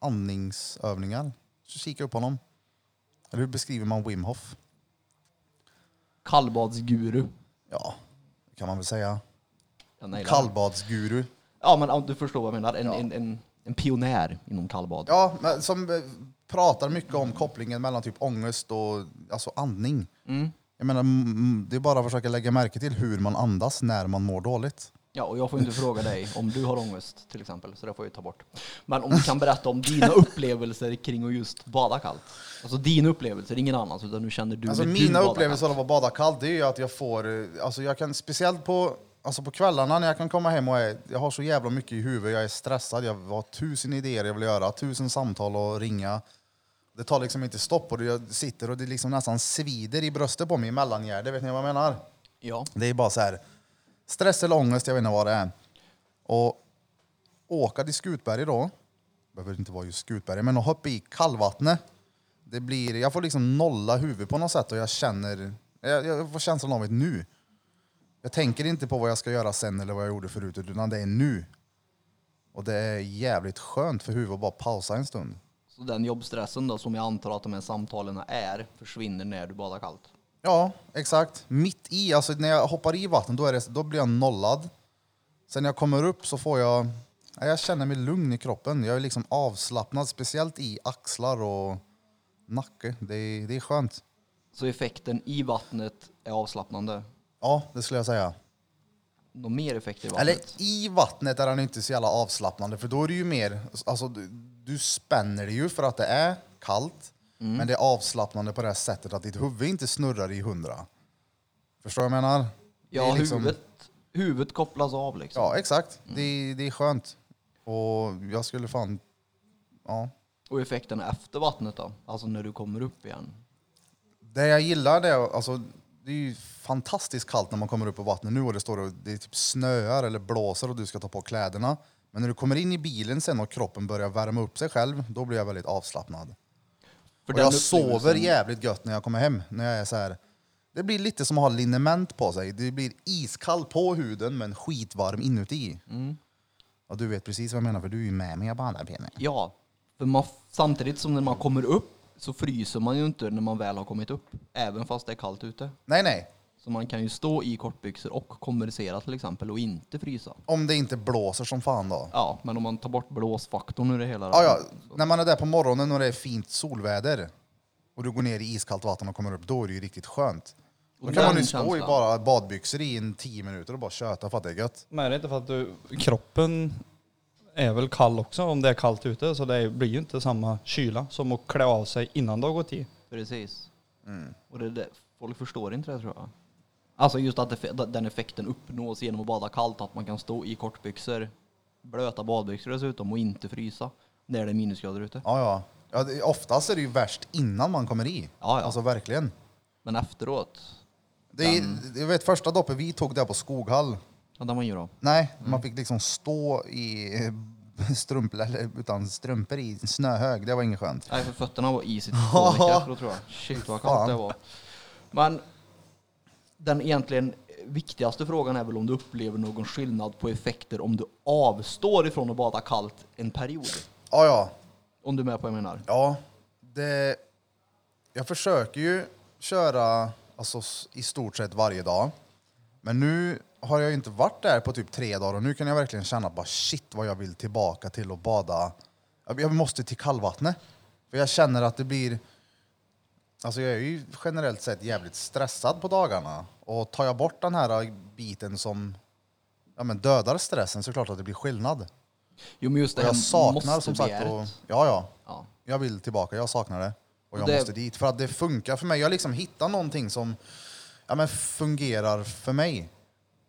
Speaker 1: andningsövningar. Så kika upp honom. Eller hur beskriver man Wim Hof?
Speaker 2: Kallbadsguru.
Speaker 1: Ja, det kan man väl säga.
Speaker 2: Jag nailar.
Speaker 1: Kallbadsguru.
Speaker 2: Ja men ja, du förstår vad jag menar. En, en, en, en pionjär inom kallbad.
Speaker 1: Ja, men som eh, pratar mycket om kopplingen mellan typ ångest och alltså andning. Jag menar, mm, mm, det är bara att försöka lägga märke till hur man andas när man mår dåligt.
Speaker 2: Ja, och jag får inte fråga dig om du har ångest till exempel, så det får jag ju ta bort. Men om du kan berätta om dina upplevelser kring att just bada kallt. Alltså dina upplevelser, ingen annans, utan hur känner du
Speaker 1: Alltså
Speaker 2: när du
Speaker 1: mina
Speaker 2: badar
Speaker 1: upplevelser
Speaker 2: kallt?
Speaker 1: av att bada kallt, det är ju att jag får, eh, alltså jag kan speciellt på, alltså på kvällarna när jag kan komma hem och är, jag har så jävla mycket i huvudet, jag är stressad, jag har tusen idéer jag vill göra, tusen samtal och ringa. Det tar liksom inte stopp och det- jag sitter och det liksom nästan svider i bröstet på mig i mellangärdet, vet ni vad jag menar?
Speaker 2: Ja.
Speaker 1: Det är bara så här, stress eller ångest, jag vet inte vad det är. Och åka till Skutberget då, behöver inte vara just Skutberget, men att hoppa i kallvattnet. Det blir, jag får liksom nolla huvudet på något sätt och jag känner, jag, jag får känslan av ett nu. Jag tänker inte på vad jag ska göra sen eller vad jag gjorde förut, utan det är nu. Och det är jävligt skönt för huvudet att bara pausa en stund.
Speaker 2: Så den jobbstressen då, som jag antar att de här samtalen är, försvinner när du badar kallt.
Speaker 1: Ja, exakt. Mitt i, alltså när jag hoppar i vattnet då, är det, då blir jag nollad. Sen när jag kommer upp så får jag, ja, jag känner mig lugn i kroppen. Jag är liksom avslappnad, speciellt i axlar och nacke. Det är, det är skönt.
Speaker 2: Så effekten i vattnet är avslappnande.
Speaker 1: Ja, det skulle jag säga.
Speaker 2: Någon mer effekt i
Speaker 1: Eller
Speaker 2: vattnet?
Speaker 1: i vattnet är den inte så jävla avslappnande för då är det ju mer, alltså du, du spänner det ju för att det är kallt.
Speaker 2: Mm.
Speaker 1: Men det är avslappnande på det här sättet att ditt huvud inte snurrar i hundra. Förstår du vad jag menar? Det
Speaker 2: ja,
Speaker 1: är liksom-
Speaker 2: huvudet, huvudet kopplas av liksom.
Speaker 1: Ja, exakt. Det, det är skönt. Och jag skulle fan... Ja.
Speaker 2: Och effekten efter vattnet då? Alltså när du kommer upp igen.
Speaker 1: Det jag gillar det är, alltså, det är ju fantastiskt kallt när man kommer upp på vattnet nu och det står och det är typ snöar eller blåser och du ska ta på kläderna. Men när du kommer in i bilen sen och kroppen börjar värma upp sig själv, då blir jag väldigt avslappnad.
Speaker 2: För
Speaker 1: och
Speaker 2: den
Speaker 1: jag sover
Speaker 2: upplevelsen-
Speaker 1: jävligt gött när jag kommer hem. När jag är så här, det blir lite som att ha liniment på sig. Det blir iskall på huden men skitvarm inuti.
Speaker 2: Mm.
Speaker 1: Ja, du vet precis vad jag menar för du är ju med mig på andra pinnen.
Speaker 2: Ja, för man, samtidigt som när man kommer upp så fryser man ju inte när man väl har kommit upp, även fast det är kallt ute.
Speaker 1: Nej, nej.
Speaker 2: Så man kan ju stå i kortbyxor och konversera till exempel och inte frysa.
Speaker 1: Om det inte blåser som fan då.
Speaker 2: Ja, men om man tar bort blåsfaktorn ur det hela.
Speaker 1: Ja, ja. När man är där på morgonen och det är fint solväder och du går ner i iskallt vatten och kommer upp, då är det ju riktigt skönt. Då
Speaker 2: Och
Speaker 1: kan man
Speaker 2: den
Speaker 1: ju stå i
Speaker 2: känslan.
Speaker 1: bara badbyxor i en tio minuter och bara köta för att det är gött.
Speaker 4: Men är det inte för att du, kroppen är väl kall också om det är kallt ute så det blir ju inte samma kyla som att klä av sig innan det har gått i.
Speaker 2: Precis.
Speaker 1: Mm.
Speaker 2: Och det, är det, folk förstår inte det tror jag. Alltså just att eff- den effekten uppnås genom att bada kallt, att man kan stå i kortbyxor, blöta badbyxor dessutom och inte frysa när det är minusgrader ute.
Speaker 1: Ja, ja. ja det, oftast är det ju värst innan man kommer i.
Speaker 2: Ja, ja.
Speaker 1: Alltså verkligen.
Speaker 2: Men efteråt,
Speaker 1: Det är, Jag vet första doppet vi tog där på Skoghall.
Speaker 2: ja det man ju då.
Speaker 1: Nej, man fick liksom stå i eh, strumpor, eller utan strumpor i en snöhög. Det var inget skönt.
Speaker 2: Nej, för fötterna var is i två veckor efteråt, tror jag. Shit vad kallt
Speaker 1: Fan.
Speaker 2: det var. Men den egentligen viktigaste frågan är väl om du upplever någon skillnad på effekter om du avstår ifrån att bada kallt en period.
Speaker 1: Ja, ja.
Speaker 2: Om du är med på vad jag menar.
Speaker 1: Ja, det, jag försöker ju köra alltså, s- i stort sett varje dag. Men nu har jag ju inte varit där på typ tre dagar och nu kan jag verkligen känna bara shit vad jag vill tillbaka till att bada. Jag jag måste till kallvattnet. För jag känner att det blir... Alltså jag är ju generellt sett jävligt stressad på dagarna. Och tar jag bort den här biten som ja, men dödar stressen så är det klart att det blir skillnad.
Speaker 2: Jo men just det
Speaker 1: Och jag
Speaker 2: här
Speaker 1: saknar som sagt...
Speaker 2: måste-begäret.
Speaker 1: Och, ja, ja.
Speaker 2: Ja.
Speaker 1: Jag vill tillbaka, jag saknar det. Och och jag
Speaker 2: Det-
Speaker 1: måste dit. För att det funkar för mig. Jag har liksom hittat någonting som ja, men fungerar för mig.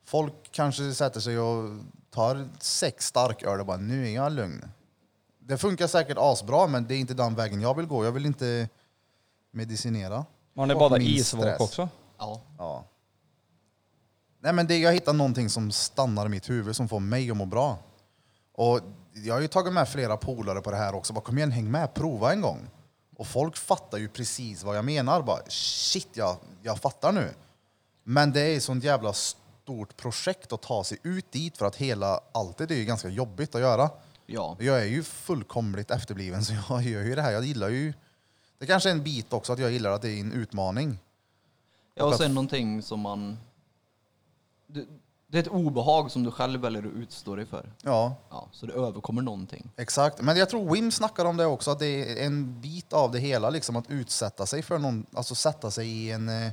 Speaker 1: Folk kanske sätter sig och tar sex starköl och bara nu är jag lugn. Det funkar säkert asbra men det är inte den vägen jag vill gå. Jag vill inte medicinera.
Speaker 4: Man har ni badat
Speaker 1: min
Speaker 4: isvak
Speaker 1: stress.
Speaker 4: också?
Speaker 2: Ja.
Speaker 1: Ja. Nej, men det, jag hittar någonting som stannar i mitt huvud, som får mig att må bra. Och jag har ju tagit med flera polare på det här också. Bara, Kom igen, häng med, prova en gång. Och folk fattar ju precis vad jag menar. Bara, Shit, jag, jag fattar nu. Men det är ett sånt jävla stort projekt att ta sig ut dit för att hela alltid är ju ganska jobbigt att göra.
Speaker 2: Ja.
Speaker 1: Jag är ju fullkomligt efterbliven så jag gör ju det här. Jag gillar ju... Det kanske är en bit också att jag gillar att det är en utmaning.
Speaker 2: ja och sen någonting som man... Det, det är ett obehag som du själv väljer att utstå dig för.
Speaker 1: Ja,
Speaker 2: Ja, så det överkommer någonting.
Speaker 1: Exakt, men jag tror Wim snackar om det också, att det är en bit av det hela, liksom att utsätta sig för någon, alltså sätta sig i en, eh,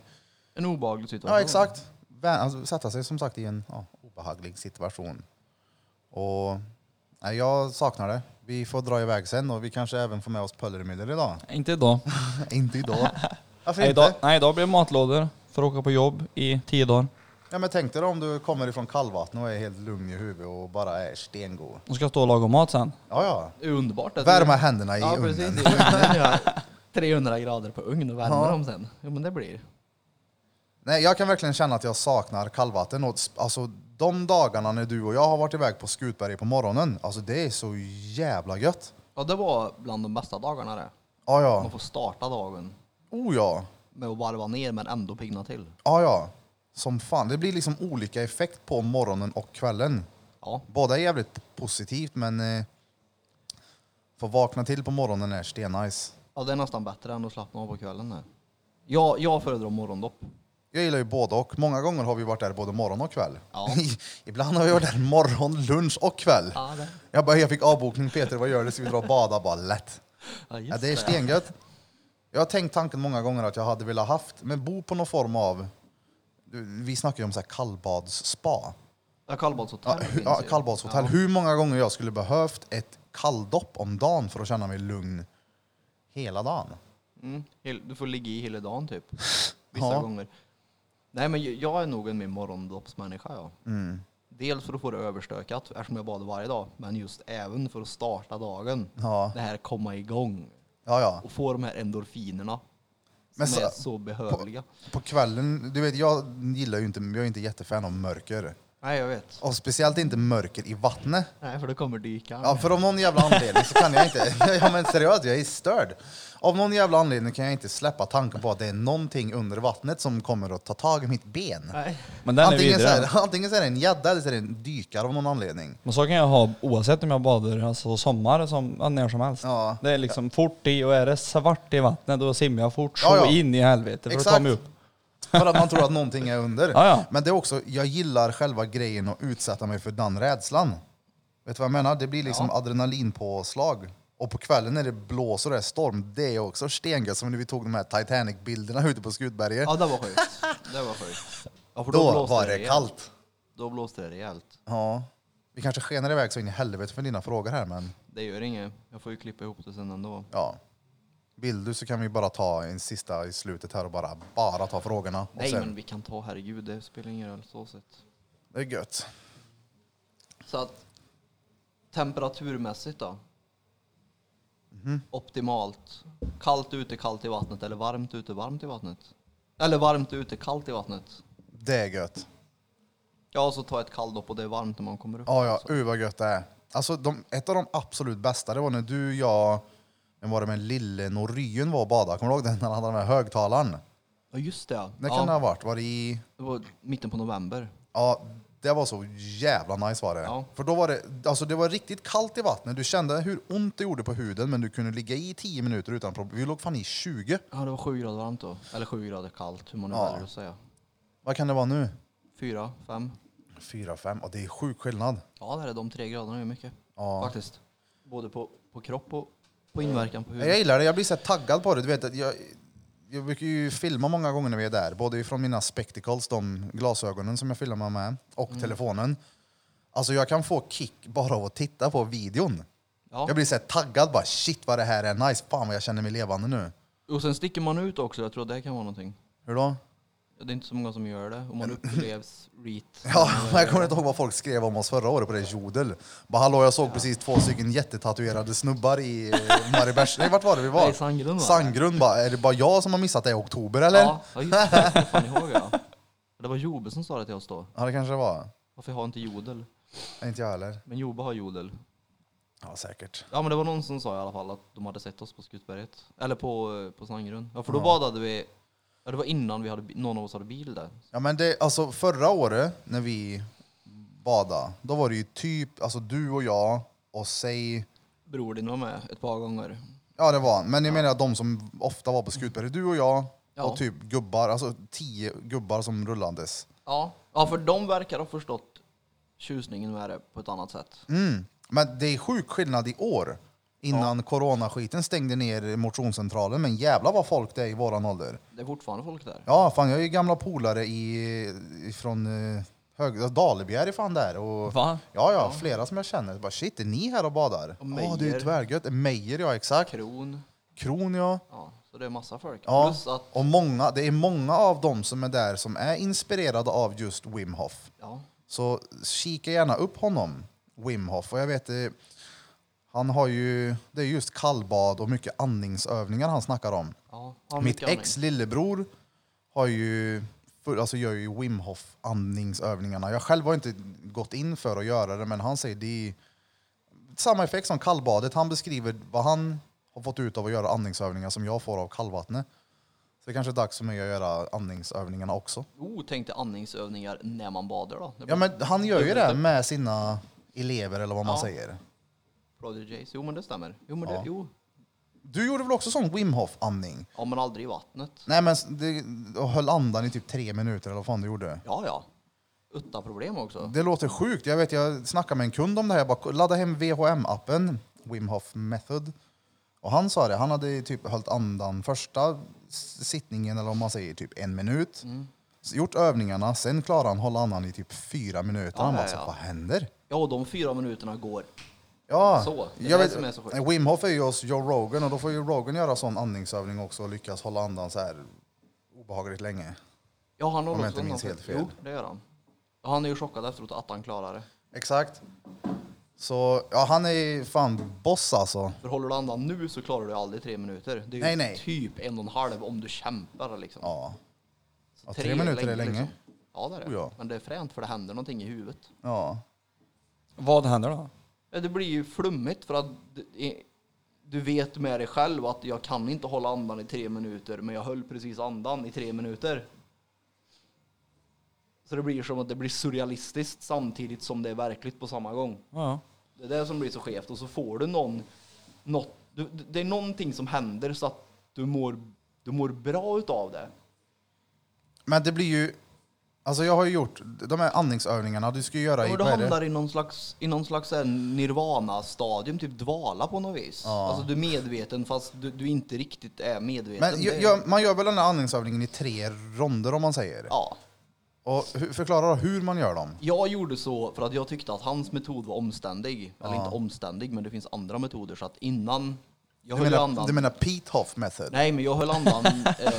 Speaker 2: En obehaglig situation.
Speaker 1: ja exakt, Vä- alltså, sätta sig som sagt i en ja, obehaglig situation. Och nej, jag saknar det. Vi får dra iväg sen och vi kanske även får med oss Pöllermüller idag.
Speaker 4: Inte idag.
Speaker 1: inte idag. Varför
Speaker 4: Nej, idag.
Speaker 1: inte?
Speaker 4: Nej, idag blir det matlådor för att åka på jobb i tio dagar.
Speaker 1: Ja, men tänk dig då om du kommer ifrån kallvatten och är helt lugn i huvudet och bara är stengod.
Speaker 4: De ska stå och laga mat sen.
Speaker 1: Ja, ja.
Speaker 2: Det är underbart. att-
Speaker 1: Värma händerna i
Speaker 2: Ja,
Speaker 1: ugnen.
Speaker 2: precis. I ugnen, ja. 300 grader på ugn och värma
Speaker 1: Ja.
Speaker 2: dem sen. Jo, men det blir.
Speaker 1: Nej, jag kan verkligen känna att jag saknar kallvatten. Och, sp- alltså, de dagarna när du och jag har varit iväg på Skutberget på morgonen, alltså det är så jävla gött.
Speaker 2: Ja, det var bland de bästa dagarna det.
Speaker 1: Ja,
Speaker 2: Man
Speaker 1: ja.
Speaker 2: får starta dagen
Speaker 1: Oh ja.
Speaker 2: med att varva ner men ändå pigna till.
Speaker 1: Ja, ja. Som fan. Det blir liksom olika effekt på morgonen och kvällen.
Speaker 2: Ja,
Speaker 1: Båda är jävligt positivt, men eh, få vakna till på morgonen är stennice.
Speaker 2: ja det är nästan bättre än att slappna av på kvällen. Här. Jag, jag föredrar morgondopp.
Speaker 1: Jag gillar ju både och. Många gånger har vi varit där både morgon och kväll.
Speaker 2: Ja.
Speaker 1: Ibland har vi varit där morgon, lunch och kväll.
Speaker 2: Ja, det.
Speaker 1: Jag bara, jag fick avbokning. Peter, vad gör du? Ska vi dra och bada? Bara lätt.
Speaker 2: Ja, just
Speaker 1: Ja, det är stengött. Jag har tänkt tanken många gånger att jag hade velat haft, men bo på någon form av, du, vi snackar ju om så här kallbadsspa.
Speaker 2: Ja, kallbadshotell
Speaker 1: Ja,
Speaker 2: finns
Speaker 1: ja,
Speaker 2: ju.
Speaker 1: kallbadshotell.
Speaker 2: Ja.
Speaker 1: Hur många gånger jag skulle behövt ett kalldopp om dagen för att känna mig lugn hela dagen.
Speaker 2: Mm. hel- Du får ligga i hela dagen typ. Vissa
Speaker 1: Ja.
Speaker 2: gånger. Nej men jag- jag är nog en mer morgondoppsmänniska ja.
Speaker 1: Mm.
Speaker 2: Dels för att få det överstökat eftersom jag badar varje dag. Men just även för att starta dagen.
Speaker 1: Ja,
Speaker 2: Det här komma igång.
Speaker 1: ja, ja.
Speaker 2: Och få de här endorfinerna.
Speaker 1: Men
Speaker 2: som
Speaker 1: så-
Speaker 2: är så behövliga.
Speaker 1: På kvällen, du vet jag gillar ju inte, jag är inte jättefan av mörker.
Speaker 2: Nej jag vet.
Speaker 1: Och speciellt inte mörker i vattnet.
Speaker 2: Nej för då kommer dykaren.
Speaker 1: Ja, för av någon jävla anledning så kan jag inte. Ja, men seriöst, jag är störd. Av någon jävla anledning kan jag inte släppa tanken på att det är någonting under vattnet som kommer att ta tag i mitt ben.
Speaker 2: Nej.
Speaker 4: Men den är
Speaker 1: Antingen så,
Speaker 4: vidare.
Speaker 1: är det, antingen så är det en gädda eller så är det en dykare av någon anledning.
Speaker 4: Men så kan jag ha oavsett om jag badar alltså sommar som ja, när som helst.
Speaker 1: Ja.
Speaker 4: Det är liksom fort i och är det svart i vattnet då simmar jag fort så
Speaker 1: Ja, ja.
Speaker 4: in i helvete för att
Speaker 1: Exakt.
Speaker 4: ta mig upp.
Speaker 1: För att man tror att någonting är under.
Speaker 4: Ja, ja.
Speaker 1: Men det är också, jag gillar själva grejen att utsätta mig för den rädslan. Vet du vad jag menar? Det blir liksom adrenalinpåslag. Och på kvällen när det blåser och det är storm, det är också stengött. Som när vi tog de här Titanic-bilderna ute på Skutberget.
Speaker 2: Ja det var sjukt. Det var sjukt. Ja, för
Speaker 1: då
Speaker 2: blåste
Speaker 1: var det
Speaker 2: rejält.
Speaker 1: kallt.
Speaker 2: Då blåste det rejält.
Speaker 1: Ja. Vi kanske skenar iväg så in i helvete för dina frågor här, men
Speaker 2: Det gör inget. Jag får ju klippa ihop det sen ändå.
Speaker 1: ja. Vill du så kan vi bara ta en sista i slutet här och bara, bara ta frågorna. Och
Speaker 2: Nej
Speaker 1: sen,
Speaker 2: men vi kan ta herregud, det spelar ingen roll så sett.
Speaker 1: Det är gött.
Speaker 2: Så att temperaturmässigt då?
Speaker 1: Mhm.
Speaker 2: Optimalt. Kallt ute, kallt i vattnet eller varmt ute, varmt i vattnet? Eller varmt ute, kallt i vattnet?
Speaker 1: Det är gött.
Speaker 2: Ja, och så ta ett kalldopp och det är varmt när man kommer upp.
Speaker 1: Ja, ja.
Speaker 2: Så.
Speaker 1: Uh, vad gött det är. Alltså, de, ett av de absolut bästa det var när du, jag, vem var det med lille Norryn var och badade? Kommer du ihåg den? När han hade den här högtalaren.
Speaker 2: Ja, just det.
Speaker 1: När
Speaker 2: ja.
Speaker 1: kan det ha varit? Var det i...
Speaker 2: Det var mitten på november.
Speaker 1: Ja, det var så jävla nice var det.
Speaker 2: Ja.
Speaker 1: För då var det, alltså det var riktigt kallt i vattnet. Du kände hur ont det gjorde på huden men du kunde ligga i 10 minuter utan problem. Vi låg fan i 20.
Speaker 2: Ja, det var sju grader varmt då. Eller sju grader kallt, hur man nu
Speaker 1: Ja.
Speaker 2: väljer att säga.
Speaker 1: Vad kan det vara nu?
Speaker 2: Fyra, fem.
Speaker 1: 4, 5. Och det är sjuk skillnad.
Speaker 2: Ja, det är de tre graderna är mycket.
Speaker 1: Ja.
Speaker 2: Faktiskt. Både på, på kropp och på inverkan på
Speaker 1: Jag
Speaker 2: huvudet.
Speaker 1: gillar det. Jag blir så här taggad på det. Du vet att jag, jag brukar ju filma många gånger när vi är där. Både från mina spectacles, de glasögonen som jag filmar med, och
Speaker 2: Mm.
Speaker 1: telefonen. Alltså jag kan få kick bara av att titta på videon.
Speaker 2: Ja.
Speaker 1: Jag blir så här taggad bara shit vad det här är nice. Fan vad jag känner mig levande nu.
Speaker 2: Och sen sticker man ut också, jag tror att det kan vara någonting.
Speaker 1: Hur då?
Speaker 2: Det är inte så många som gör det. Om man upplevs reet.
Speaker 1: Ja, men jag kommer inte ihåg vad folk skrev om oss förra året på det jodel. Bara hallå, jag såg precis två stycken jättetatuerade snubbar i eh, Maribärs... Nej, vart var det vi var?
Speaker 2: Nej, Sandgrund, va?
Speaker 1: Sandgrund bara. Är det bara jag som har missat det i oktober eller? Ja,
Speaker 2: Ja, ja, just det. Jag kommer fan ihåg ja. Det var Jobe som sa det till oss då.
Speaker 1: det kanske det var.
Speaker 2: Varför har inte jodel?
Speaker 1: Nej, Inte jag heller.
Speaker 2: Men Jobe har jodel.
Speaker 1: Ja, säkert.
Speaker 2: Ja men det var någon som sa i alla fall att de hade sett oss på Skutberget. Eller på, eh, på Sandgrund. Ja för då badade vi, ja, det var innan vi hade, bi- någon av oss hade bil där.
Speaker 1: Ja, men det, alltså förra året när vi badade, då var det ju typ, alltså du och jag och säg,
Speaker 2: Bror din var med ett par gånger.
Speaker 1: ja det var men jag menar att de som ofta var på Skutberget, du och jag
Speaker 2: Ja.
Speaker 1: och typ gubbar, alltså tio gubbar som rullades.
Speaker 2: Ja, ja för de verkar ha förstått tjusningen med det på ett annat sätt.
Speaker 1: Mm. Men det är sjuk skillnad i år. Innan coronaskiten stängde ner motionscentralen. Men jävla vad folk det är i våran ålder.
Speaker 2: Det är fortfarande folk där.
Speaker 1: Ja, fan jag är ju gamla polare i, från eh, hög, Dalebjer är fan där. Och,
Speaker 4: Va?
Speaker 1: Ja, ja, flera som jag känner. Bara, shit, är ni här och badar?
Speaker 2: Och
Speaker 1: Ja, det är ju
Speaker 2: Meijer.
Speaker 1: tvärgött. Meijer, ja exakt.
Speaker 2: Kron.
Speaker 1: Kron, ja.
Speaker 2: Ja, så det är massa folk.
Speaker 1: ja.
Speaker 2: Plus att,
Speaker 1: Och många, det är många av dem som är där som är inspirerade av just Wim Hof.
Speaker 2: ja,
Speaker 1: Så kika gärna upp honom, Wim Hof. Och jag vet, eh, han har ju, det är just kallbad och mycket andningsövningar han snackar om.
Speaker 2: ja. har
Speaker 1: Mitt
Speaker 2: mycket
Speaker 1: ex lillebror har ju, full- alltså gör ju Wim Hof andningsövningarna. Jag själv har inte gått in för att göra det, men han säger det är samma effekt som kallbadet. Han beskriver vad han har fått ut av att göra andningsövningar som jag får av kallvattnet. Så det kanske är dags för mig att göra andningsövningarna också.
Speaker 2: Oh, tänk dig andningsövningar när man badar då. Det
Speaker 1: Ja
Speaker 2: blir
Speaker 1: men han gör ju det med sina elever eller vad man
Speaker 2: Ja.
Speaker 1: säger.
Speaker 2: Prodigies. Jo men det stämmer. Jo men
Speaker 1: Ja.
Speaker 2: det, jo.
Speaker 1: Du gjorde väl också sån Wim Hof andning?
Speaker 2: Ja men aldrig i vattnet.
Speaker 1: Nej men det, och höll andan i typ tre minuter eller vad fan du gjorde.
Speaker 2: Ja ja. Utta problem också.
Speaker 1: Det låter sjukt. Jag vet, jag snackade med en kund om det här. Jag bara laddade hem VHM-appen, Wim Hof method. Och han sa det, han hade ju typ hållit andan första s- sittningen eller om man säger typ en minut.
Speaker 2: Mm.
Speaker 1: S- Gjort övningarna, sen klarade han hålla andan i typ fyra minuter.
Speaker 2: Ja,
Speaker 1: han bara,
Speaker 2: ja,
Speaker 1: så,
Speaker 2: ja.
Speaker 1: vad händer?
Speaker 2: Ja och de fyra minuterna går.
Speaker 1: Ja,
Speaker 2: Så, det är
Speaker 1: jag
Speaker 2: det
Speaker 1: vet,
Speaker 2: som är så sjukt.
Speaker 1: Wim Hof är ju hos Joe Rogan och då får ju Rogan göra sån andningsövning också och lyckas hålla andan så här obehagligt länge.
Speaker 2: Ja han
Speaker 1: Om jag
Speaker 2: håller
Speaker 1: inte
Speaker 2: också
Speaker 1: minns
Speaker 2: andan.
Speaker 1: helt fel.
Speaker 2: Jo det gör han. Ja, Han är ju chockad efteråt att han klarar det.
Speaker 1: Exakt. Så ja, han är ju fan boss alltså.
Speaker 2: För håller du andan nu så klarar du aldrig tre minuter. Det är ju
Speaker 1: Nej, nej.
Speaker 2: typ en och en halv om du kämpar liksom.
Speaker 1: Ja.
Speaker 2: Så
Speaker 1: Ja, tre minuter är länge.
Speaker 2: Liksom. Ja det är det.
Speaker 1: Oh, ja.
Speaker 2: Men det är fränt för det händer någonting i huvudet.
Speaker 1: ja.
Speaker 4: Vad händer då?
Speaker 2: Ja, det blir ju flummigt för att du, du vet med dig själv att jag kan inte hålla andan i tre minuter men jag höll precis andan i tre minuter. Så det blir som att det blir surrealistiskt samtidigt som det är verkligt på samma gång.
Speaker 4: Ja.
Speaker 2: Det är det som blir så skevt och så får du någon, något, du, det är någonting som händer så att du mår, du mår bra utav det.
Speaker 1: Men det blir ju... Alltså jag har ju gjort de här andningsövningarna du ska ju göra i...
Speaker 2: Och du
Speaker 1: vad är det?
Speaker 2: hamnar i någon slags, i någon slags så här nirvana-stadium, typ dvala på något vis.
Speaker 1: Ja.
Speaker 2: Alltså du är medveten fast du, du inte riktigt är medveten.
Speaker 1: Men
Speaker 2: Det
Speaker 1: ju-
Speaker 2: är-
Speaker 1: gör- man gör väl den här andningsövningen i tre ronder om man säger?
Speaker 2: Ja.
Speaker 1: Och hu- förklara då hur man gör dem.
Speaker 2: Jag gjorde så för att jag tyckte att hans metod var omständig. Eller
Speaker 1: Ja.
Speaker 2: inte omständig, men det finns andra metoder. Så att innan... Jag
Speaker 1: Du
Speaker 2: höll ju
Speaker 1: menar, du
Speaker 2: andan.
Speaker 1: menar Pete Hoff method?
Speaker 2: Nej, men jag höll andan. eh,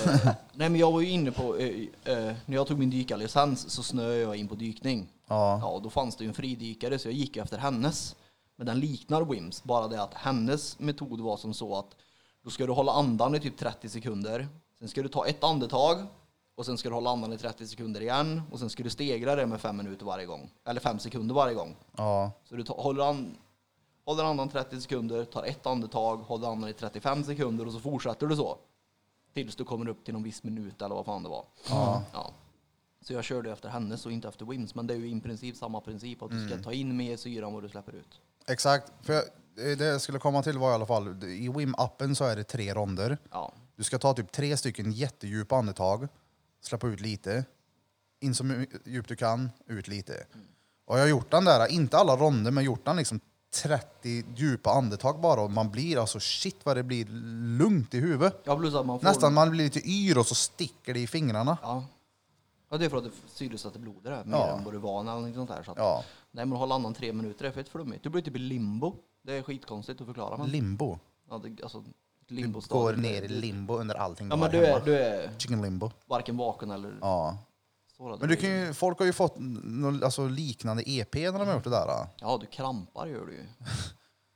Speaker 2: nej, men jag var ju inne på... Eh, eh, när jag tog min dykarlicens så snöade jag in på dykning.
Speaker 1: Ja.
Speaker 2: Ja, och då fanns det ju en fridykare så jag gick efter hennes. Men den liknar Wims, bara det att hennes metod var som så att då ska du hålla andan i typ 30 sekunder. Sen ska du ta ett andetag och sen ska du hålla andan i 30 sekunder igen och sen ska du stegra det med fem minuter varje gång. Eller fem sekunder varje gång.
Speaker 1: Ja.
Speaker 2: Så du ta, håller, an, håller andan 30 sekunder, tar ett andetag, håller andan i 35 sekunder och så fortsätter du så. Tills du kommer upp till någon viss minut eller vad fan det var.
Speaker 1: Ja.
Speaker 2: Ja. Så jag körde efter hennes och inte efter Wims, men det är ju i princip samma princip att
Speaker 1: Mm.
Speaker 2: du ska ta in mer syra än vad du släpper ut.
Speaker 1: Exakt. För jag, det jag skulle komma till var i alla fall, i Wim-appen så är det tre ronder.
Speaker 2: Ja.
Speaker 1: Du ska ta typ tre stycken jättedjupa andetag, släppa ut lite, in så my- djupt du kan, ut lite.
Speaker 2: Mm.
Speaker 1: Och jag har gjort den där, inte alla ronder, men gjort den liksom 30 djupa andetag bara och man blir alltså shit vad det blir lugnt i huvudet.
Speaker 2: Ja, plus att man får...
Speaker 1: Nästan man blir lite yr och så sticker det i fingrarna.
Speaker 2: Ja. ja, det är för att det syresätter blodet där, mer
Speaker 1: Ja.
Speaker 2: än vad du är van eller något sånt där. Så att,
Speaker 1: Ja,
Speaker 2: Nej, men hålla andan tre minuter är fett flummigt. Du blir typ i limbo. Det är skitkonstigt att förklara. Men,
Speaker 1: limbo.
Speaker 2: ja, det, alltså, Limbostad.
Speaker 1: Går ner i limbo under allting
Speaker 2: Ja
Speaker 1: du
Speaker 2: men
Speaker 1: har
Speaker 2: du är,
Speaker 1: hemma.
Speaker 2: du är
Speaker 1: Chicken limbo.
Speaker 2: varken vaken eller
Speaker 1: Ja.
Speaker 2: sårad.
Speaker 1: Men du kan ju, folk har ju fått någon, alltså, liknande EP när de har gjort det där. då.
Speaker 2: Ja, du krampar gör du ju.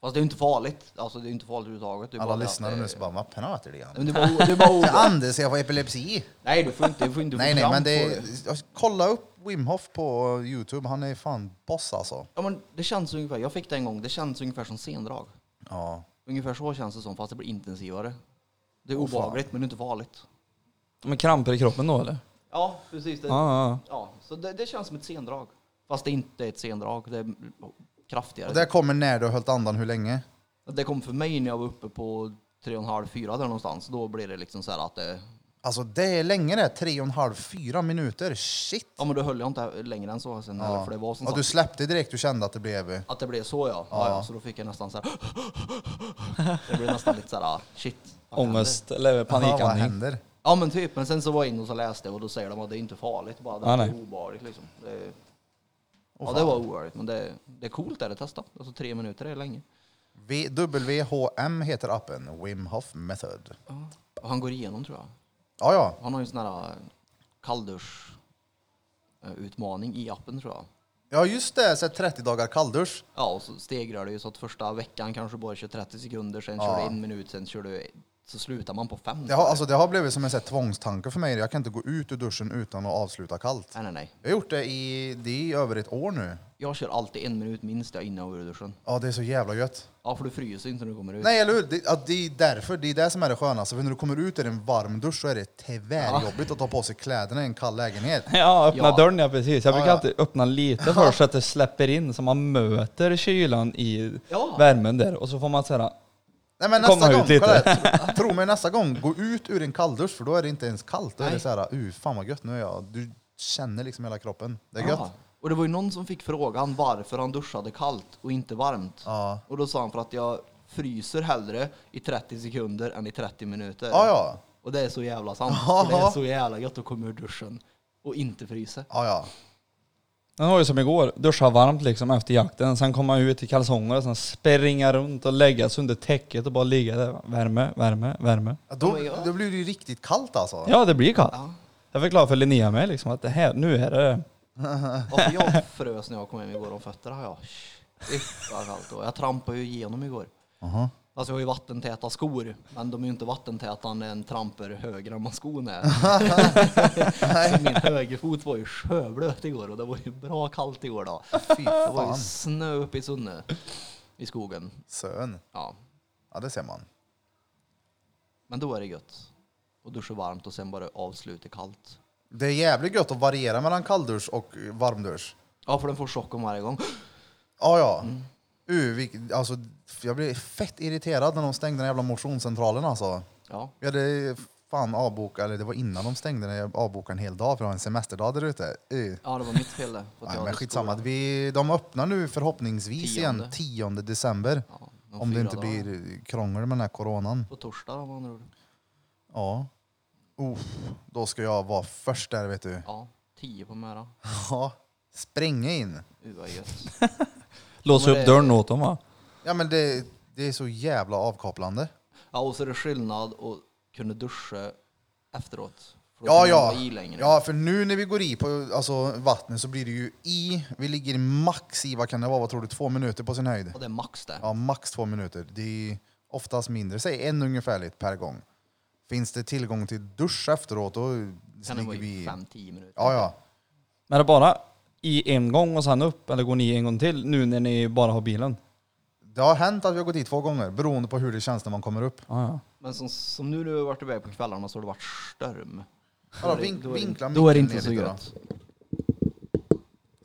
Speaker 2: Fast det är ju inte farligt. Alltså det är ju inte farligt överhuvudtaget. Det är
Speaker 1: Alla
Speaker 2: bara det att
Speaker 1: lyssnare
Speaker 2: det-
Speaker 1: nu så bara, vad pratar du om?
Speaker 2: Men du bara, o- du bara
Speaker 1: Jag
Speaker 2: oroar
Speaker 1: andas, jag får epilepsi.
Speaker 2: Nej, du får inte, du får inte du får
Speaker 1: Nej, nej,
Speaker 2: kramp
Speaker 1: men det
Speaker 2: på
Speaker 1: är, alltså, kolla upp Wim Hof på Youtube. Han är fan boss alltså.
Speaker 2: Ja, men det känns ungefär, jag fick det en gång, det känns ungefär som sendrag.
Speaker 1: Ja.
Speaker 2: Ungefär så känns det som, fast det blir intensivare. Det är
Speaker 1: Åh, fan.
Speaker 2: obehagligt, men det är inte farligt.
Speaker 4: Men kramper i kroppen då eller?
Speaker 2: Ja, precis. Det, ja.
Speaker 4: Ja, ja.
Speaker 2: så det, det känns som ett sendrag. Fast det inte är ett sendrag, det är kraftigare.
Speaker 1: Och där kommer när du har hållit andan hur länge?
Speaker 2: Det kom för mig när jag var uppe på 3,5-4 där någonstans. Då blir det liksom så här att det,
Speaker 1: Alltså det är länge det, tre och en halv, fyra minuter. Shit!
Speaker 2: Ja men då höll jag inte längre än så sen
Speaker 1: Ja.
Speaker 2: heller, för det var som
Speaker 1: Ja, du
Speaker 2: sagt
Speaker 1: släppte direkt, du kände att det blev...
Speaker 2: att det blev så ja. Ja, ja.
Speaker 1: Ja.
Speaker 2: Så då fick jag nästan så här. Det blev nästan lite så här, ah, shit. vad hände?
Speaker 4: Ångest eller
Speaker 1: Aha, vad
Speaker 4: panikandning.
Speaker 1: händer?
Speaker 2: Ja men typ, men sen så var jag inne och så läste jag och då säger de att det är inte farligt, bara det
Speaker 4: Ja,
Speaker 2: är
Speaker 4: nej.
Speaker 2: obehagligt liksom. Det, är-
Speaker 1: Åh,
Speaker 2: ja
Speaker 1: fan.
Speaker 2: det var obehagligt, men det, det är coolt är det att testa. Alltså tre minuter är länge.
Speaker 1: V- WHM heter appen, Wim Hof Method.
Speaker 2: Och han går igenom tror jag.
Speaker 1: Ja, ja.
Speaker 2: Han har ju en sån här eh, kalldusch eh, utmaning i appen tror jag.
Speaker 1: Ja, just det. Så här 30 dagar kalldusch.
Speaker 2: Ja, och så stegrar det ju så att första veckan kanske bara kör 30 sekunder, sen kör
Speaker 1: Ja.
Speaker 2: du en minut, sen kör du, så slutar man på fem.
Speaker 1: Det har, alltså, det har blivit som en så här, tvångstanke för mig. Jag kan inte gå ut ur duschen utan att avsluta kallt.
Speaker 2: Nej, nej, nej.
Speaker 1: Jag har gjort det i, det är i över ett år nu.
Speaker 2: Jag kör alltid en minut minst jag innan jag går ur duschen.
Speaker 1: Ja, det är så jävla gött.
Speaker 2: Ja, för du fryser inte när du kommer ut.
Speaker 1: Nej, eller hur? Det, ja, det är därför. Det är det som är det skönaste. För när du kommer ut i en varm dusch så är det tvärjobbigt att ta på sig kläderna i en kall lägenhet.
Speaker 4: Ja, öppna
Speaker 2: Ja.
Speaker 4: dörren ja precis. Jag
Speaker 1: Ja,
Speaker 4: brukar
Speaker 1: ja.
Speaker 4: alltid öppna lite först så att det släpper in så man möter kylan i
Speaker 2: Ja.
Speaker 4: värmen där och så får man säga
Speaker 1: Nej, men
Speaker 4: Komma
Speaker 1: nästa
Speaker 4: ut
Speaker 1: gång,
Speaker 4: lite.
Speaker 1: kolla, tro mig nästa gång, gå ut ur en kalldusch för då är det inte ens kallt. Då är det
Speaker 2: Nej.
Speaker 1: så här, uh, fan vad gött, nu är jag, du känner liksom hela kroppen. Det är gött.
Speaker 2: Ja. Och det var ju någon som fick frågan varför han duschade kallt och inte varmt.
Speaker 1: Ja.
Speaker 2: Och då sa han för att jag fryser hellre i 30 sekunder än i 30 minuter.
Speaker 1: Ja, ja.
Speaker 2: Och det är så jävla sant.
Speaker 1: Ja.
Speaker 2: Och det är så jävla gött att komma ur duschen och inte frysa.
Speaker 1: Ja, ja.
Speaker 4: Den var ju som igår, duscha varmt liksom efter jakten, sen komma ut i kalsonger och sen springa runt och lägga sig under täcket och bara ligga där. Värme, värme, värme.
Speaker 1: Ja, Då,
Speaker 2: Ja, ja.
Speaker 1: då blir det ju riktigt kallt alltså.
Speaker 4: Ja det blir kallt.
Speaker 2: Ja.
Speaker 4: Jag förklarade för Linnea med liksom att det här, nu är det...
Speaker 2: Ja, för jag frös när jag kom hem igår om fötterna. Ja. Shit vad kallt det var. Jag trampade ju igenom igår.
Speaker 1: Aha.
Speaker 2: Alltså jag har ju vattentäta skor, men de är ju inte vattentäta när en tramper högre än vad skon är. Så min högerfot var ju sjöblöt igår och det var ju bra kallt igår då.
Speaker 1: Fy
Speaker 2: Det var ju
Speaker 1: fan.
Speaker 2: snö uppe i Sunne, i skogen.
Speaker 1: Sön.
Speaker 2: Ja,
Speaker 1: Ja, det ser man.
Speaker 2: men då är det gött. Och duscha varmt och sen bara avsluta kallt.
Speaker 1: Det är jävligt gött att variera mellan kalldusch och eh, varmdusch.
Speaker 2: Ja, för den får chocken varje gång.
Speaker 1: Ja, ja.
Speaker 2: Mm.
Speaker 1: Uh, vilk- alltså, jag blev fett irriterad när de stängde den jävla motionscentralen alltså.
Speaker 2: Ja,
Speaker 1: Vi hade fan avbokat, eller det var innan de stängde när jag avbokade en hel dag för jag har en semesterdag där ute. Uh.
Speaker 2: ja det var mitt fel det. för att jag
Speaker 1: Nej, men
Speaker 2: hade
Speaker 1: skitsamma.
Speaker 2: skor.
Speaker 1: Vi, de öppnar nu förhoppningsvis igen
Speaker 2: Tionde.
Speaker 1: 10 december.
Speaker 2: Ja, de
Speaker 1: Om det
Speaker 2: fyra
Speaker 1: inte
Speaker 2: dagarna.
Speaker 1: blir krångel med den här coronan.
Speaker 2: På torsdag då, med andra ord.
Speaker 1: Ja. Uff, då ska jag vara först där vet du.
Speaker 2: Ja, tio på Möra.
Speaker 1: Ja. Springa in.
Speaker 2: Uh, vad gött.
Speaker 4: Låsa
Speaker 2: Men det-
Speaker 4: upp dörren åt dem va?
Speaker 1: Ja men det, det är så jävla avkopplande.
Speaker 2: Ja, och så är det skillnad att kunna duscha efteråt. För då
Speaker 1: Ja
Speaker 2: kan man
Speaker 1: ja.
Speaker 2: vara I längre.
Speaker 1: ja för nu när vi går i på alltså, vattnet så blir det ju i. Vi ligger max i, vad kan det vara, vad tror du, två minuter på sin höjd?
Speaker 2: Och det är max det.
Speaker 1: Ja, max två minuter. Det är oftast mindre, säg en ungefärligt per gång. Finns det tillgång till dusch efteråt då
Speaker 2: kan det
Speaker 1: ligger
Speaker 2: vara
Speaker 1: vi...
Speaker 2: i
Speaker 1: Ja,
Speaker 2: 5-10 minuter.
Speaker 1: ja.
Speaker 4: Men det är bara i en gång och sen upp, eller går ni en gång till nu när ni bara har bilen?
Speaker 1: Det har hänt att vi har gått i två gånger beroende på hur det känns när man kommer upp.
Speaker 4: Ja, ja.
Speaker 2: Men som, som nu när vi har varit iväg på kvällarna så har det varit storm.
Speaker 1: Ja,
Speaker 2: det-
Speaker 1: vink,
Speaker 2: då är det-
Speaker 1: vinkla
Speaker 2: Då är det
Speaker 1: micken
Speaker 2: inte så
Speaker 1: ner lite
Speaker 2: gött.
Speaker 1: Då.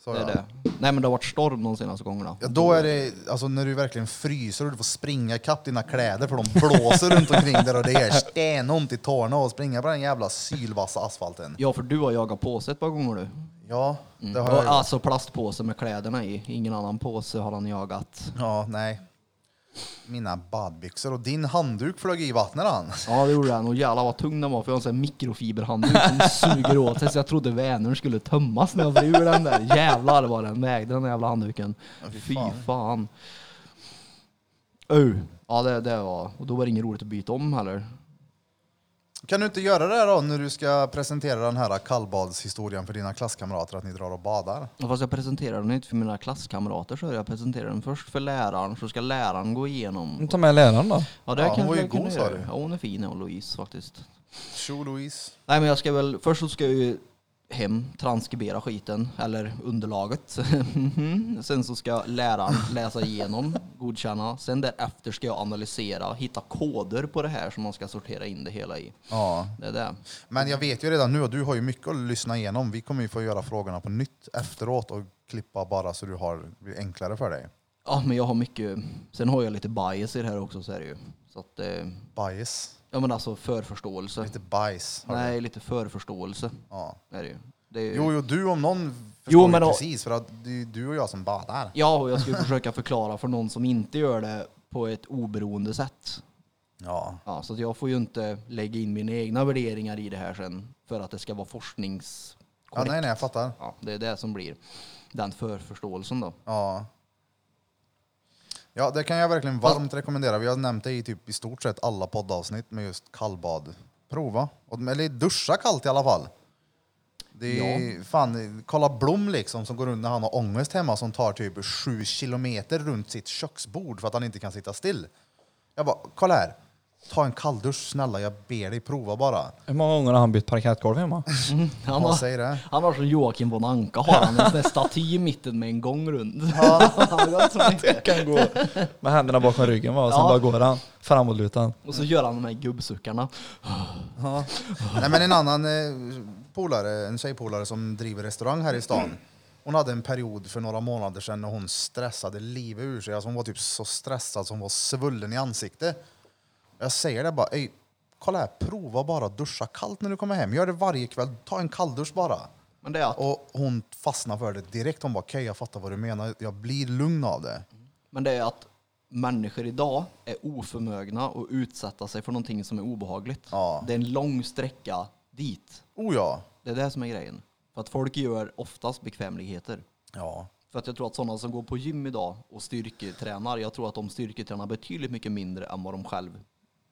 Speaker 1: Så,
Speaker 2: Det
Speaker 1: ja.
Speaker 2: är det. Nej men det har varit storm de senaste gångerna.
Speaker 1: Ja, då är det alltså när du verkligen fryser och du får springa ikapp dina kläder för de blåser runt omkring där och det är stenont i tårna och springa på den jävla sylvassa asfalten.
Speaker 2: Ja för du har jagat påse ett par gånger du.
Speaker 1: Ja, det har
Speaker 2: Och,
Speaker 1: jag gjort.
Speaker 2: alltså plastpåse med kläderna i. Ingen annan påse har han jagat.
Speaker 1: Ja, nej. Mina badbyxor och din handduk flög i vattnet han.
Speaker 2: Ja det gjorde han och jävlar vad tung den var för jag har en sån här mikrofiberhandduk som suger åt sig så jag trodde Vänern skulle tömmas när jag vred ur den där. Jävlar vad den vägde den där jävla handduken.
Speaker 1: Ja, fy
Speaker 2: Fy
Speaker 1: fan.
Speaker 2: fan. Oh. Ja, det, det var... Och då var det inget roligt att byta om heller.
Speaker 1: Kan du inte göra det här då när du ska presentera den här kallbadshistorien för dina klasskamrater att ni drar och badar?
Speaker 2: Ja, Fast jag presenterar den inte för mina klasskamrater så jag presenterar den först för läraren så ska läraren gå igenom.
Speaker 4: Ta med läraren då.
Speaker 2: Ja, det
Speaker 1: Mm. Ja,
Speaker 2: kanske
Speaker 1: hon var ju
Speaker 2: jag kunde
Speaker 1: god, sa
Speaker 2: göra.
Speaker 1: du.
Speaker 2: Ja, hon är fin hon Louise faktiskt.
Speaker 1: Tjo Louise.
Speaker 2: Nej men jag ska väl, först så ska jag ju hem, transkribera skiten, eller underlaget. Mhm. Sen så ska läraren läsa igenom, godkänna. Sen därefter ska jag analysera, hitta koder på det här som man ska sortera in det hela i.
Speaker 1: Ja.
Speaker 2: Det är det.
Speaker 1: Men
Speaker 2: Mm.
Speaker 1: jag vet ju redan nu att du har ju mycket att lyssna igenom. Vi kommer ju få göra frågorna på nytt efteråt och klippa bara så du har det blir enklare för dig.
Speaker 2: Ja men jag har mycket, sen har jag lite bias i det här också så är det ju. Så att, eh,
Speaker 1: Bias.
Speaker 2: ja men alltså förförståelse.
Speaker 1: Lite bajs. har du.
Speaker 2: Nej, lite förförståelse
Speaker 1: Ja.
Speaker 2: är det ju. Det är ju...
Speaker 1: Jo, jo, du om någon förstår
Speaker 2: Jo,
Speaker 1: ju
Speaker 2: men då-
Speaker 1: precis för att det är ju du och jag som badar.
Speaker 2: Ja, och jag ska ju försöka förklara för någon som inte gör det på ett oberoende sätt.
Speaker 1: Ja.
Speaker 2: Ja, så att jag får ju inte lägga in mina egna värderingar i det här sen för att det ska vara forsknings...
Speaker 1: ja nej, nej, jag fattar.
Speaker 2: Ja, det är det som blir den förförståelsen då.
Speaker 1: Ja. Ja, det kan jag verkligen varmt rekommendera. Vi har nämnt det i typ i stort sett alla poddavsnitt med just kallbad. Prova. Och- Eller duscha kallt i alla fall. Det är fan, kolla Blom liksom som går runt när han har ångest hemma som tar typ sju kilometer runt sitt köksbord för att han inte kan sitta still. Jag bara, kolla här. Ta en kalldusch snälla, jag ber dig prova bara.
Speaker 4: Hur många gånger har han bytt parkettgolv hemma?
Speaker 2: Han
Speaker 1: Ja,
Speaker 2: har,
Speaker 1: säg det.
Speaker 2: han har som Joakim von Anka, har han en sån där staty i mitten med en gång runt. Jag tror inte.
Speaker 4: kan gå med händerna bakom ryggen va? och sen
Speaker 2: Ja.
Speaker 4: bara går han framåtlutad.
Speaker 2: och så gör han de här gubbsuckarna.
Speaker 1: Nej men en annan eh, polare, en tjejpolare som driver restaurang här i stan. Hon hade en period för några månader sedan när hon stressade livet ur sig. Alltså hon var typ så stressad som hon var svullen i ansiktet. Jag säger det bara, "Ey, kolla här, prova bara att duscha kallt när du kommer hem. Gör det varje kväll, ta en kalldusch bara.
Speaker 2: Men det är att
Speaker 1: Och hon fastnade för det direkt. Hon bara, okej jag fattar vad du menar, jag blir lugn av det.
Speaker 2: Men det är att människor idag är oförmögna att utsätta sig för någonting som är obehagligt.
Speaker 1: Ja.
Speaker 2: Det är en lång sträcka dit.
Speaker 1: Oh ja.
Speaker 2: Det är det som är grejen. För att folk gör oftast bekvämligheter.
Speaker 1: Ja.
Speaker 2: För att jag tror att sådana som går på gym idag och styrketränar, jag tror att de styrketränar betydligt mycket mindre än vad de själv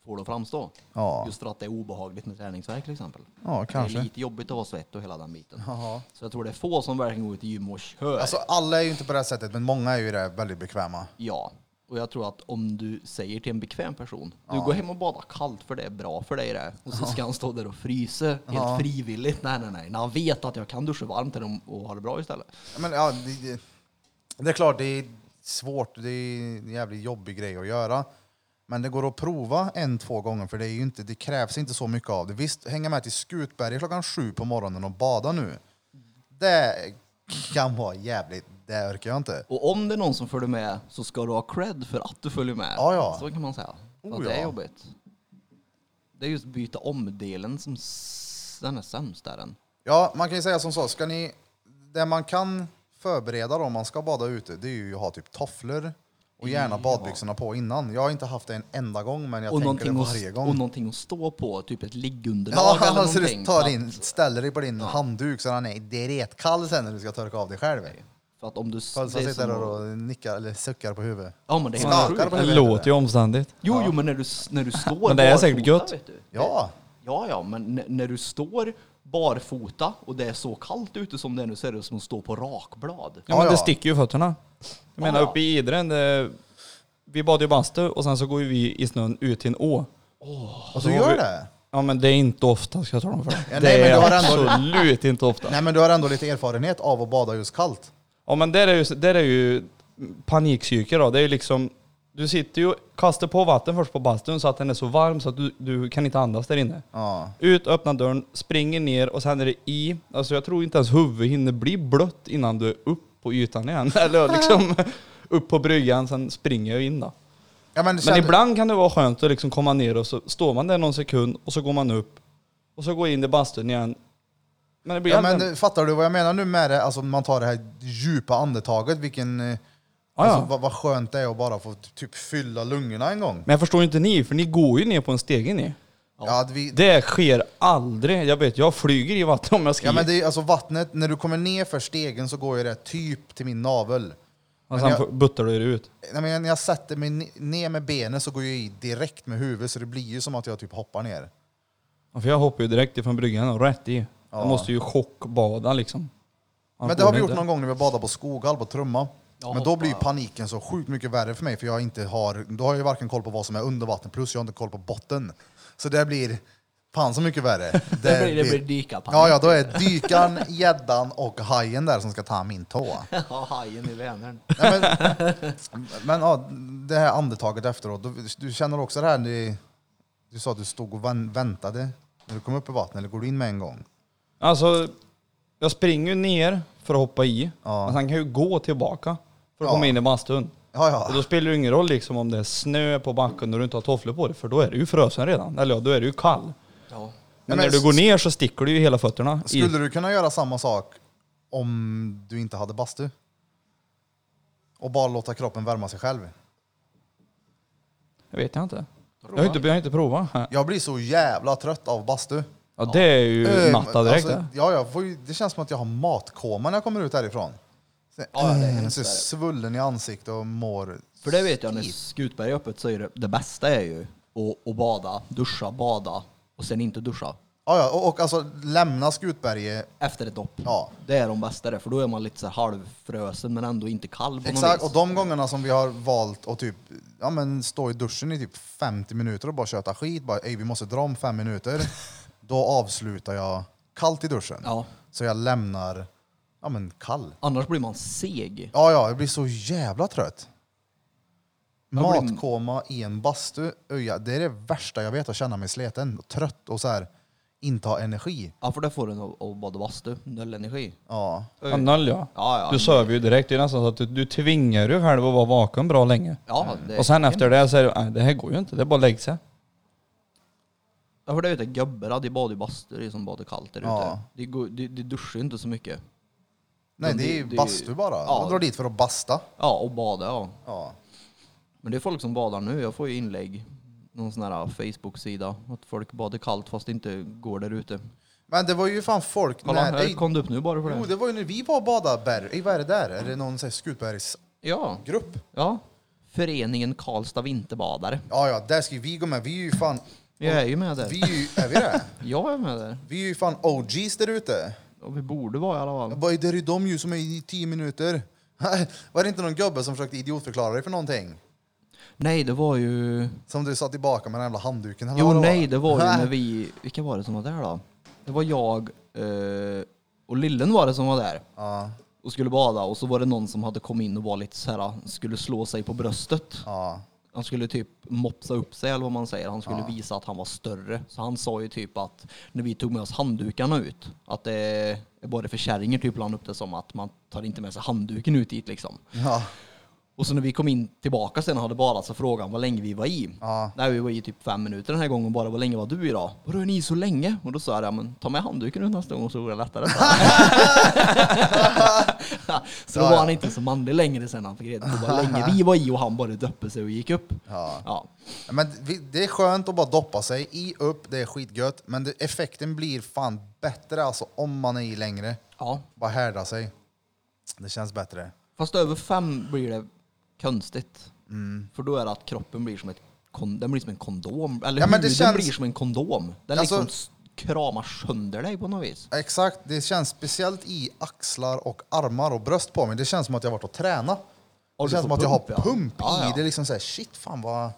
Speaker 2: får det att framstå.
Speaker 1: Ja.
Speaker 2: Just för att det är obehagligt med träningsvärk till exempel.
Speaker 1: Ja,
Speaker 2: Det är
Speaker 1: kanske.
Speaker 2: lite jobbigt att vara svett och hela den biten.
Speaker 1: Jaha.
Speaker 2: Så jag tror det är få som verkligen går ut i gym och kör.
Speaker 1: Alltså alla är ju inte på det här sättet, men många är ju det väldigt bekväma.
Speaker 2: Ja, och jag tror att om du säger till en bekväm person, du går hem och badar kallt för det är bra för dig det. Och så ska han stå där och frysa helt
Speaker 1: Ja.
Speaker 2: frivilligt. Nej, nej, nej. När han vet att jag kan duscha varmt eller om- och ha det bra istället.
Speaker 1: Ja, Men, ja, det, det- det är klart, det är svårt. Det är en jävligt jobbig grej att göra. Men det går att prova en, två gånger för det, är ju inte, det krävs inte så mycket av det. Visst, hänga med till Skutberget klockan sju på morgonen och bada nu. Det kan vara jävligt, det orkar jag inte.
Speaker 2: Och om det är någon som följer med så ska du ha cred för att du följer med.
Speaker 1: Ja, ja.
Speaker 2: Så kan man säga. För
Speaker 1: Oh,
Speaker 2: att det är
Speaker 1: ja.
Speaker 2: jobbigt. Det är just byta om-delen som s- den är sämst där än.
Speaker 1: Ja, man kan ju säga som så, ska ni, det man kan förbereda då om man ska bada ute, det är ju att ha typ tofflor och gärna badbyxorna på innan. Jag har inte haft det en enda gång, men jag
Speaker 2: Och
Speaker 1: tänker det
Speaker 2: någonting,
Speaker 1: varje
Speaker 2: att,
Speaker 1: gång.
Speaker 2: och någonting att stå på, typ ett liggunderlag
Speaker 1: Ja,
Speaker 2: eller
Speaker 1: alltså
Speaker 2: någonting.
Speaker 1: du
Speaker 2: så
Speaker 1: tar
Speaker 2: att-
Speaker 1: in, ställer dig på din handduk så han är direktkall sen när du ska torka av dig själv.
Speaker 2: För att om du... s-
Speaker 1: Pölsa
Speaker 2: det är
Speaker 1: sitter
Speaker 2: som
Speaker 1: där
Speaker 2: att-
Speaker 1: och nickar eller suckar på huvudet.
Speaker 2: Ja men det är helt
Speaker 1: Skakar
Speaker 2: sjukt.
Speaker 1: på
Speaker 4: Det låter ju omständigt.
Speaker 2: Jo, jo, men när du, när du står
Speaker 4: Men det är säkert
Speaker 2: barfota,
Speaker 4: gött.
Speaker 2: vet du.
Speaker 1: Ja,
Speaker 2: Ja, ja, men n- när du står barfota och det är så kallt ute som det är nu så är det som att stå på rakblad.
Speaker 4: Ja, men
Speaker 1: Ja, ja.
Speaker 4: det sticker ju i fötterna. Jag menar
Speaker 2: Ja.
Speaker 4: uppe i Idren, det, vi badade ju bastu och sen så går ju vi i snön ut till en å.
Speaker 1: och du
Speaker 4: så har
Speaker 1: gör
Speaker 4: vi-
Speaker 1: det?
Speaker 4: Ja men det är inte ofta ska jag tala om för dig.
Speaker 1: Ja, nej,
Speaker 4: det
Speaker 1: men
Speaker 4: är
Speaker 1: du har ändå-
Speaker 4: absolut inte ofta.
Speaker 1: Nej men du har ändå lite erfarenhet av att bada just kallt.
Speaker 4: Ja men där är ju, där är ju panikpsyke då. Det är ju liksom, du sitter ju och kastar på vatten först på bastun så att den är så varm så att du, du kan inte andas där inne.
Speaker 1: Ja.
Speaker 4: Ut, öppna dörren, springer ner och sen är det i. Alltså jag tror inte ens huvudet hinner bli blött innan du är upp på ytan igen. Eller liksom upp på bryggan, sen springer jag in då.
Speaker 1: Ja, men
Speaker 4: Men
Speaker 1: kände-
Speaker 4: ibland kan det vara skönt att liksom komma ner och så står man där någon sekund och så går man upp och så går in i bastun igen. Men det blir
Speaker 1: ja,
Speaker 4: aldrig-
Speaker 1: men, fattar du vad jag menar nu med det? Alltså man tar det här djupa andetaget, vilken... eh,
Speaker 4: Ah, Ja,
Speaker 1: alltså,
Speaker 4: ja.
Speaker 1: vad, vad skönt det är att bara få typ fylla lungorna en gång.
Speaker 4: men jag förstår ju inte ni, för ni går ju ner på en stege ni.
Speaker 1: Ja, att vi,
Speaker 4: Det sker aldrig. Jag vet, jag flyger i vatten om jag ska
Speaker 1: Ja
Speaker 4: ja,
Speaker 1: men det är alltså vattnet, när du kommer ner för stegen så går ju det typ till min navel.
Speaker 4: Men
Speaker 1: Men
Speaker 4: sen
Speaker 1: jag-
Speaker 4: får- buttar du det ut.
Speaker 1: Nej, men när jag sätter mig ne- ner med benen så går jag i direkt med huvudet så det blir ju som att jag typ hoppar ner.
Speaker 4: Ja, För jag hoppar ju direkt ifrån bryggan och rätt i.
Speaker 1: Ja.
Speaker 4: Jag måste ju chockbada liksom. Annars
Speaker 1: Men det
Speaker 4: går
Speaker 1: har vi gjort
Speaker 4: inte.
Speaker 1: någon gång när vi badade på Skoghall på Trumma.
Speaker 3: Jag
Speaker 1: Men då blir ju
Speaker 3: hoppar.
Speaker 1: paniken så sjukt mycket värre för mig för jag inte har, då har jag ju varken koll på vad som är under vatten plus jag har inte koll på botten. Så det blir fan så mycket värre.
Speaker 3: Det blir, det blir dyka på.
Speaker 1: Ja, ja, då är dykan, gäddan och hajen där som ska ta min tå.
Speaker 3: ja, hajen i Vänern.
Speaker 1: Nej, men men ja, det här andetaget efteråt, du, du känner också det här, du, du sa att du stod och vän- väntade när du kom upp i vattnet, eller går du in med en gång?
Speaker 4: Alltså, jag springer ju ner för att hoppa i.
Speaker 1: Ja.
Speaker 4: Men sen kan jag ju gå tillbaka för att
Speaker 1: Ja.
Speaker 4: komma in i bastun.
Speaker 1: Ja,
Speaker 4: Och
Speaker 1: ja.
Speaker 4: då spelar det ju ingen roll liksom om det är snö på backen och du inte har tofflor på dig, för då är du ju frösen redan. Eller ja, då är du ju kall. Men,
Speaker 3: Ja.
Speaker 1: men
Speaker 4: när du
Speaker 1: s-
Speaker 4: går ner så sticker du ju hela fötterna. i-
Speaker 1: Skulle du kunna göra samma sak om du inte hade bastu? Och bara låta kroppen värma sig själv?
Speaker 4: Jag vet jag inte. Jag har inte, jag har inte provat. Ja,
Speaker 1: Jag blir så jävla trött av bastu.
Speaker 4: det är ju
Speaker 1: Ehm,
Speaker 4: natta direkt
Speaker 1: alltså,
Speaker 4: det.
Speaker 1: ja, jag får ju, det känns som att jag har matkoma när jag kommer ut därifrån. Så,
Speaker 2: ja, det är
Speaker 1: eh,
Speaker 2: hemskt,
Speaker 1: så
Speaker 2: det är det.
Speaker 1: svullen i ansiktet och mår...
Speaker 2: För det vet jag när Skutberg är öppet så är det, det bästa är ju att, att bada, duscha, bada och sen inte duscha
Speaker 1: Ja, ja, och, och alltså lämna Skutberget.
Speaker 2: efter ett dopp.
Speaker 1: Ja.
Speaker 2: Det är de bästa det, för då är man lite så här halvfrösen men ändå inte kall på något
Speaker 1: Exakt,
Speaker 2: vis.
Speaker 1: och de gångerna som vi har valt att typ, ja, men stå i duschen i typ 50 minuter och bara köta skit, bara Ey, vi måste dra om fem minuter. Då avslutar jag kallt i duschen.
Speaker 2: Ja.
Speaker 1: Så jag lämnar ja, men kall.
Speaker 2: Annars blir man seg.
Speaker 1: Ja, ja, jag blir så jävla trött.
Speaker 2: Jag blir-
Speaker 1: Matkoma i en bastu, öja, det är det värsta jag vet, att känna mig sliten, och trött och så här inte ha energi.
Speaker 2: Ja, för det får en av av bada bastu, noll energi.
Speaker 1: Ja.
Speaker 4: Ja, noll ja.
Speaker 2: Ja, ja.
Speaker 4: Du söver ju direkt. Det är nästan så att du, du tvingar ju själv att vara vaken bra länge.
Speaker 2: Ja,
Speaker 1: Mm.
Speaker 2: det
Speaker 4: Och sen efter det så är det, nej det här går ju inte, det är bara att lägga sig.
Speaker 2: Ja, för det vet jag, gubbarna de badar ju bastu, det är som badar kallt där ute.
Speaker 1: Ja.
Speaker 2: De, går, de, de duschar ju inte så mycket.
Speaker 1: Nej,
Speaker 2: Men
Speaker 1: det är
Speaker 2: det-
Speaker 1: ju
Speaker 2: det är ju-
Speaker 1: bastu bara.
Speaker 2: Ja.
Speaker 1: Man drar dit för att basta.
Speaker 2: Ja, och badar ja.
Speaker 1: Ja.
Speaker 2: Men det är folk som badar nu. Jag får ju inlägg, någon sån här Facebook-sida, att folk badar kallt fast det inte går där ute.
Speaker 1: Men det var ju fan folk...
Speaker 2: Kolla,
Speaker 1: när,
Speaker 2: här kom det upp nu bara för det.
Speaker 1: jo, Oh, det var ju när vi var och badade berg. Ey, Vad är det där? Är det någon sån här Skutbergsgrupp?
Speaker 2: Ja, ja. Föreningen Karlstad Vinterbadare.
Speaker 1: Ja, ja, där ska ju vi gå med. Vi är ju fan...
Speaker 2: Jag är ju med där.
Speaker 1: Vi är, ju, är vi det?
Speaker 2: Jag är med där.
Speaker 1: Vi är ju fan OGs där ute.
Speaker 2: Och vi borde vara i alla
Speaker 1: Jag
Speaker 2: fall.
Speaker 1: bara, det är ju de ju som är i tio minuter. Var det inte någon gubbe som försökte idiotförklara dig för någonting?
Speaker 2: Nej, det var ju...
Speaker 1: Som du sa tillbaka med den jävla handduken eller
Speaker 2: Jo,
Speaker 1: vad
Speaker 2: nej, det var ju
Speaker 1: Nej.
Speaker 2: när vi... Vilka var det som var där då? Det var jag eh, och Lillen var det som var där
Speaker 1: Ja,
Speaker 2: och skulle bada och så var det någon som hade kommit in och var lite så här, skulle slå sig på bröstet.
Speaker 1: ja.
Speaker 2: Han skulle typ mopsa upp sig eller vad man säger. Han skulle visa att han var större. Så han sa ju typ att när vi tog med oss handdukarna ut, att det är bara för kärringar typ la han upp det som att man tar inte med sig handduken ut dit liksom.
Speaker 1: Ja,
Speaker 2: Och så när vi kom in tillbaka sen och hade badat så frågade han vad länge vi var i.
Speaker 1: Ja.
Speaker 2: Nej, vi var i typ fem minuter den här gången och bara vad länge var du idag? Vadå är ni så länge? Och då sa jag ja, men ta med handduken ut nästa gång så går det lättare. så då
Speaker 1: Ja,
Speaker 2: var
Speaker 1: ja.
Speaker 2: han inte så manlig längre sen han fick reda på vad länge vi var i och han bara döpte sig och gick upp.
Speaker 1: Ja.
Speaker 2: Ja.
Speaker 1: Men vi- det är skönt att bara doppa sig i, upp, det är skitgött. Men det, effekten blir fan bättre alltså om man är i längre.
Speaker 2: ja.
Speaker 1: Bara härda sig. Det känns bättre.
Speaker 2: Fast över fem blir det konstigt.
Speaker 1: Mm.
Speaker 2: För då är det att kroppen blir som, ett kon- den blir som en kondom. Eller
Speaker 1: Ja, men det
Speaker 2: huden
Speaker 1: känns-
Speaker 2: blir som en kondom. Den
Speaker 1: Alltså-
Speaker 2: liksom s- kramar sönder dig på något vis.
Speaker 1: Exakt, det känns speciellt i axlar och armar och bröst på mig. Det känns som att jag har varit och tränat.
Speaker 2: Ja,
Speaker 1: Det
Speaker 2: du
Speaker 1: känns
Speaker 2: får
Speaker 1: som att jag har
Speaker 2: pump, ja.
Speaker 1: pump
Speaker 2: Ja,
Speaker 1: i.
Speaker 2: ja.
Speaker 1: Det är liksom såhär, shit fan vad... Jag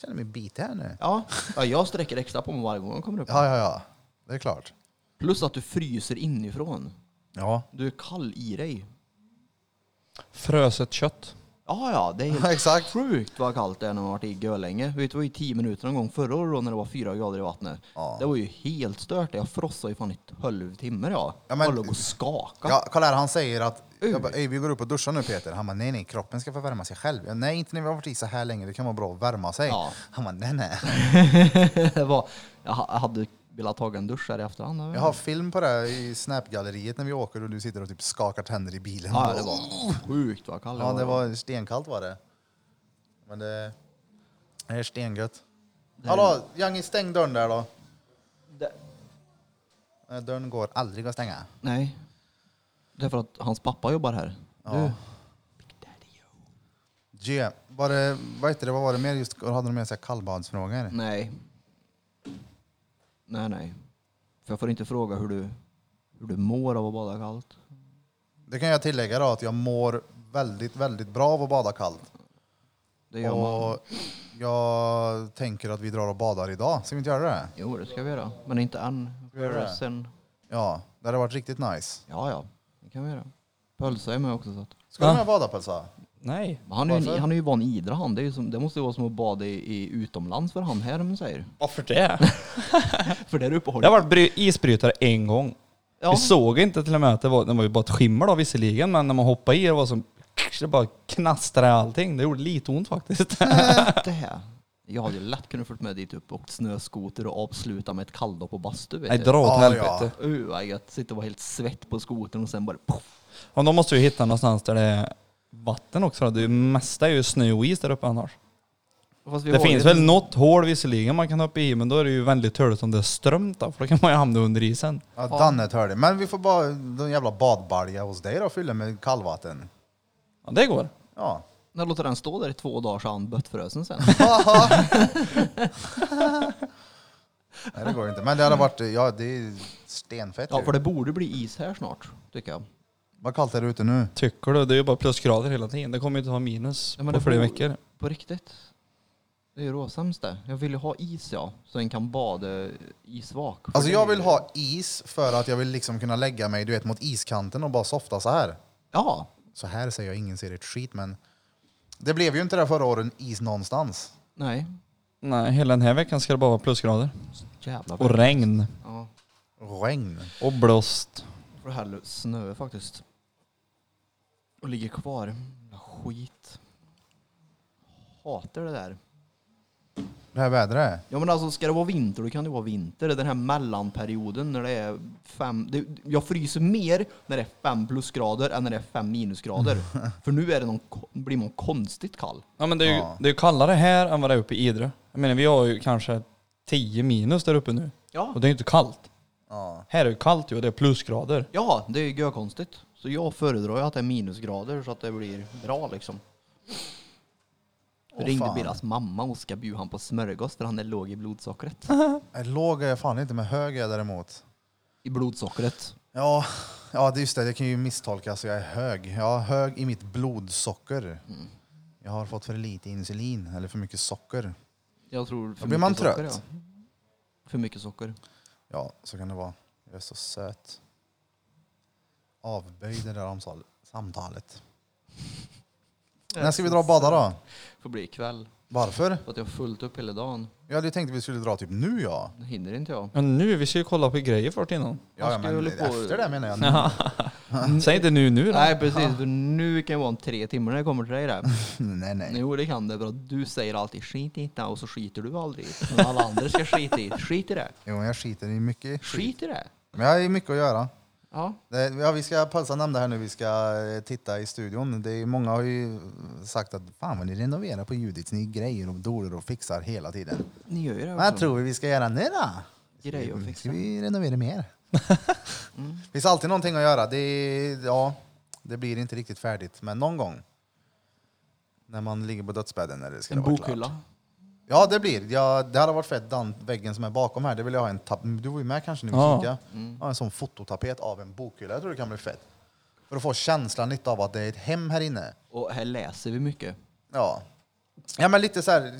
Speaker 1: känner mig bit här nu.
Speaker 2: Ja. ja, jag sträcker extra på mig varje gång jag kommer upp.
Speaker 1: Ja, ja, ja. Det är klart.
Speaker 2: Plus att du fryser inifrån.
Speaker 1: Ja.
Speaker 2: Du är kall i dig.
Speaker 4: Fröset kött.
Speaker 2: Ja, ja, det är
Speaker 1: Ja,
Speaker 2: helt
Speaker 1: exakt.
Speaker 2: sjukt vad kallt det är när man har varit i Gölänge. Vet du, det var ju 10 minuter någon gång förra året då när det var 4 grader i vattnet.
Speaker 1: Ja.
Speaker 2: Det var ju helt stört. Jag frossade ju fan i 12 timmar jag.
Speaker 1: Ja, men-
Speaker 2: Jag låg och skakade.
Speaker 1: Ja, kolla här, han säger att jag
Speaker 2: Ur.
Speaker 1: bara, "Ey, vi går upp och duschar nu Peter. Han bara, nej nej, kroppen ska få värma sig själv. Jag, nej, inte när vi har varit i så här länge, det kan vara bra att värma sig.
Speaker 2: Ja.
Speaker 1: Han bara, nej nej.
Speaker 2: det var, jag ha- jag hade velat ta en dusch här i efterhand.
Speaker 1: Jag har film på det här i Snap-galleriet när vi åker och du sitter och typ skakar tänder i bilen.
Speaker 2: ja, det var sjukt vad kallt
Speaker 1: ja, det var stenkallt var det. Men det, det är stengött. Hallå, Jangi stäng dörren där då.
Speaker 2: Det-
Speaker 1: Eh, Dörren går aldrig att stänga.
Speaker 2: Nej. Det är för att hans pappa jobbar här.
Speaker 1: Ja.
Speaker 2: Du. Big Daddy, yo.
Speaker 1: G, var det, vad heter det, vad var det mer? Just, hade de med sig kallbadsfrågor?
Speaker 2: Nej. Nej, nej. För jag får inte fråga hur du, hur du mår av att bada kallt.
Speaker 1: Det kan jag tillägga då, att jag mår väldigt, väldigt bra av att bada kallt.
Speaker 2: Det gör man.
Speaker 1: Och jag tänker att vi drar och badar idag. Ska vi inte göra det?
Speaker 2: Jo, det ska vi göra. Men inte än.
Speaker 1: Ska vi göra det?
Speaker 2: Sen.
Speaker 1: Ja, det hade varit riktigt nice.
Speaker 2: Ja, ja. Det kan vi göra. Pölsa är med också. Så att.
Speaker 1: Ska
Speaker 4: Ja.
Speaker 1: du med bada Pölsa?
Speaker 4: Nej.
Speaker 2: Men han, är ju,
Speaker 1: Varför?
Speaker 2: en- han är ju van i Idre han. Det, är ju som, det måste ju vara som att bada i, i utomlands för han här, om man säger.
Speaker 4: Varför det?
Speaker 2: För där uppe har
Speaker 4: Jag har varit bry- isbrytare en gång.
Speaker 2: Ja,
Speaker 4: Vi såg inte till och med att det var, det var ju bara ett skimmer då visserligen, men när man hoppade i det var som det bara knastrade allting. Det gjorde lite ont faktiskt.
Speaker 2: det här. Jag hade ju lätt kunnat följt med dit upp och åkt snöskoter och avsluta med ett kalldopp på bastu. Vet
Speaker 4: Nej,
Speaker 2: du.
Speaker 4: dra åt
Speaker 1: Ja,
Speaker 4: helvete.
Speaker 2: Uh, vad gött. Sitta och vara helt svett på skotern och sen bara poff.
Speaker 4: Ja, då måste vi hitta någonstans där det är vatten också. då. Det mesta är ju snö och is där uppe annars.
Speaker 2: Fast vi
Speaker 4: Det
Speaker 2: har ju-
Speaker 4: finns väl något hål visserligen man kan hoppa i, men då är det ju väldigt töligt om det är strömt då, för då kan man ju hamna under isen.
Speaker 1: Ja, Danne hör det. Men vi får bara någon jävla badbalja hos dig då, fylla med kallvatten.
Speaker 4: Ja, det går.
Speaker 1: Ja.
Speaker 2: När låter den stå där i två dagar så har han böttfrösen sen.
Speaker 1: Nej, det går inte. Men det hade varit, ja det är stenfett
Speaker 2: Ja,
Speaker 1: ju.
Speaker 2: för det borde bli is här snart, tycker jag.
Speaker 1: Vad kallt är det ute nu?
Speaker 4: Tycker du? Det är ju bara plusgrader hela tiden. Det kommer ju inte vara minus
Speaker 2: Ja, men
Speaker 4: på
Speaker 2: det
Speaker 4: flera
Speaker 2: bor-
Speaker 4: veckor.
Speaker 2: På riktigt. Det är ju råsämst det. Jag vill ju ha is, ja. Så en kan bada isvak. För
Speaker 1: Alltså
Speaker 2: det
Speaker 1: jag
Speaker 2: är
Speaker 1: vill
Speaker 2: ju-
Speaker 1: ha is för att jag vill liksom kunna lägga mig du vet, mot iskanten och bara softa så här.
Speaker 2: Ja.
Speaker 1: Så här säger jag, ingen ser ett skit men det blev ju inte det förra året, is någonstans.
Speaker 2: Nej.
Speaker 4: Nej, hela den här veckan ska det bara vara plusgrader.
Speaker 2: Jävla
Speaker 4: Och regn.
Speaker 2: Ja.
Speaker 1: Regn.
Speaker 4: Och blåst.
Speaker 2: Får hellre snö faktiskt. Och ligger kvar. Jävla Skit. Hatar det där.
Speaker 1: Det här vädret.
Speaker 2: Ja men alltså ska det vara vinter då kan det vara vinter. Den här mellanperioden när det är fem... Det, jag fryser mer när det är fem plusgrader än när det är fem minusgrader. För nu är det någon, ko- blir man konstigt kall.
Speaker 4: Ja men det är ju
Speaker 1: Ja.
Speaker 4: det är ju kallare här än vad det är uppe i Idre. Jag menar vi har ju kanske 10 minus där uppe nu.
Speaker 2: Ja.
Speaker 4: Och det är ju inte kallt.
Speaker 1: Ja.
Speaker 4: Här är ju kallt ju och det är plusgrader.
Speaker 2: Ja, det är ju konstigt. Så jag föredrar ju att det är minusgrader så att det blir bra liksom.
Speaker 1: Åh,
Speaker 2: Ringde
Speaker 1: fan.
Speaker 2: Birras mamma och ska bjuda han på smörgås för han är låg i blodsockret.
Speaker 1: Nej, Låg är jag fan inte, men hög är jag däremot.
Speaker 2: I blodsockret.
Speaker 1: Ja, ja det är just det. Det kan ju misstolkas. Jag är hög. Jag är hög i mitt blodsocker. Jag har fått för lite insulin, eller för mycket socker.
Speaker 2: Jag tror för
Speaker 1: Då blir man
Speaker 2: mycket socker,
Speaker 1: trött.
Speaker 2: ja. För mycket socker.
Speaker 1: Ja, så kan det vara. Jag är så söt. Avböj det där omsal- samtalet. När ska vi dra och bada då?
Speaker 2: Får bli ikväll.
Speaker 1: Varför?
Speaker 2: För att jag har fullt upp hela dagen.
Speaker 1: Jag hade ju tänkt att vi skulle dra typ nu ja.
Speaker 2: Det hinner inte jag.
Speaker 4: Men nu, vi ska ju kolla på grejer först innan.
Speaker 1: Ja, ja
Speaker 2: ska
Speaker 1: men
Speaker 2: hålla på-
Speaker 1: efter det menar jag.
Speaker 4: Säg inte nu nu då.
Speaker 2: Nej precis, för nu kan det vara om tre timmar när jag kommer till dig där.
Speaker 1: nej, nej.
Speaker 2: Jo det kan det, för att du säger alltid skit i det och så skiter du aldrig i det. Men alla andra ska skita i det. Skit i det.
Speaker 1: Jo, men jag skiter i mycket skit.
Speaker 2: Skit i det.
Speaker 1: Men jag har ju mycket att göra.
Speaker 2: Ja.
Speaker 1: Det, ja, vi ska, Pölsa nämnde här nu, vi ska eh, titta i studion. Det är, många har ju sagt att fan vad ni renoverar på Judits, ni grejer och doler och fixar hela tiden.
Speaker 2: Ni gör ju det
Speaker 1: Vad
Speaker 2: också.
Speaker 1: tror vi vi ska göra nu då?
Speaker 2: Grejer Mm. att
Speaker 1: Ska
Speaker 2: fixa.
Speaker 1: vi renovera mer? Det finns alltid någonting att göra. Det, är- ja, det blir inte riktigt färdigt, men någon gång. När man ligger på dödsbädden. Eller ska
Speaker 2: En
Speaker 1: det vara klart.
Speaker 2: bokhylla.
Speaker 1: Ja, det blir. Ja, det hade varit fett, den väggen som är bakom här, det vill jag ha en tap- Du var ju med kanske när vi
Speaker 4: Ja.
Speaker 1: kikade. Ja, en sån fototapet av en bokhylla. Jag tror det kan bli fett. För att få känslan lite av att det är ett hem här inne.
Speaker 2: Och här läser vi mycket.
Speaker 1: Ja. Ja, men lite så här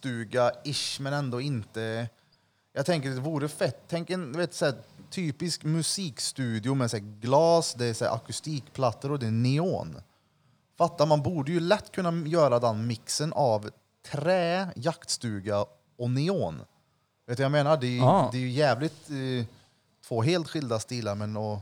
Speaker 1: jaktstuga-ish, men ändå inte. Jag tänker det vore fett. Tänk en du vet, så här, typisk musikstudio med så här, glas, det är så här, akustikplattor och det är neon. Fattar, man borde ju lätt kunna göra den mixen av trä, jaktstuga och neon. Vet du vad jag menar? Det är, ju-
Speaker 4: Ja.
Speaker 1: det är ju jävligt eh, två helt skilda stilar, men och
Speaker 4: Man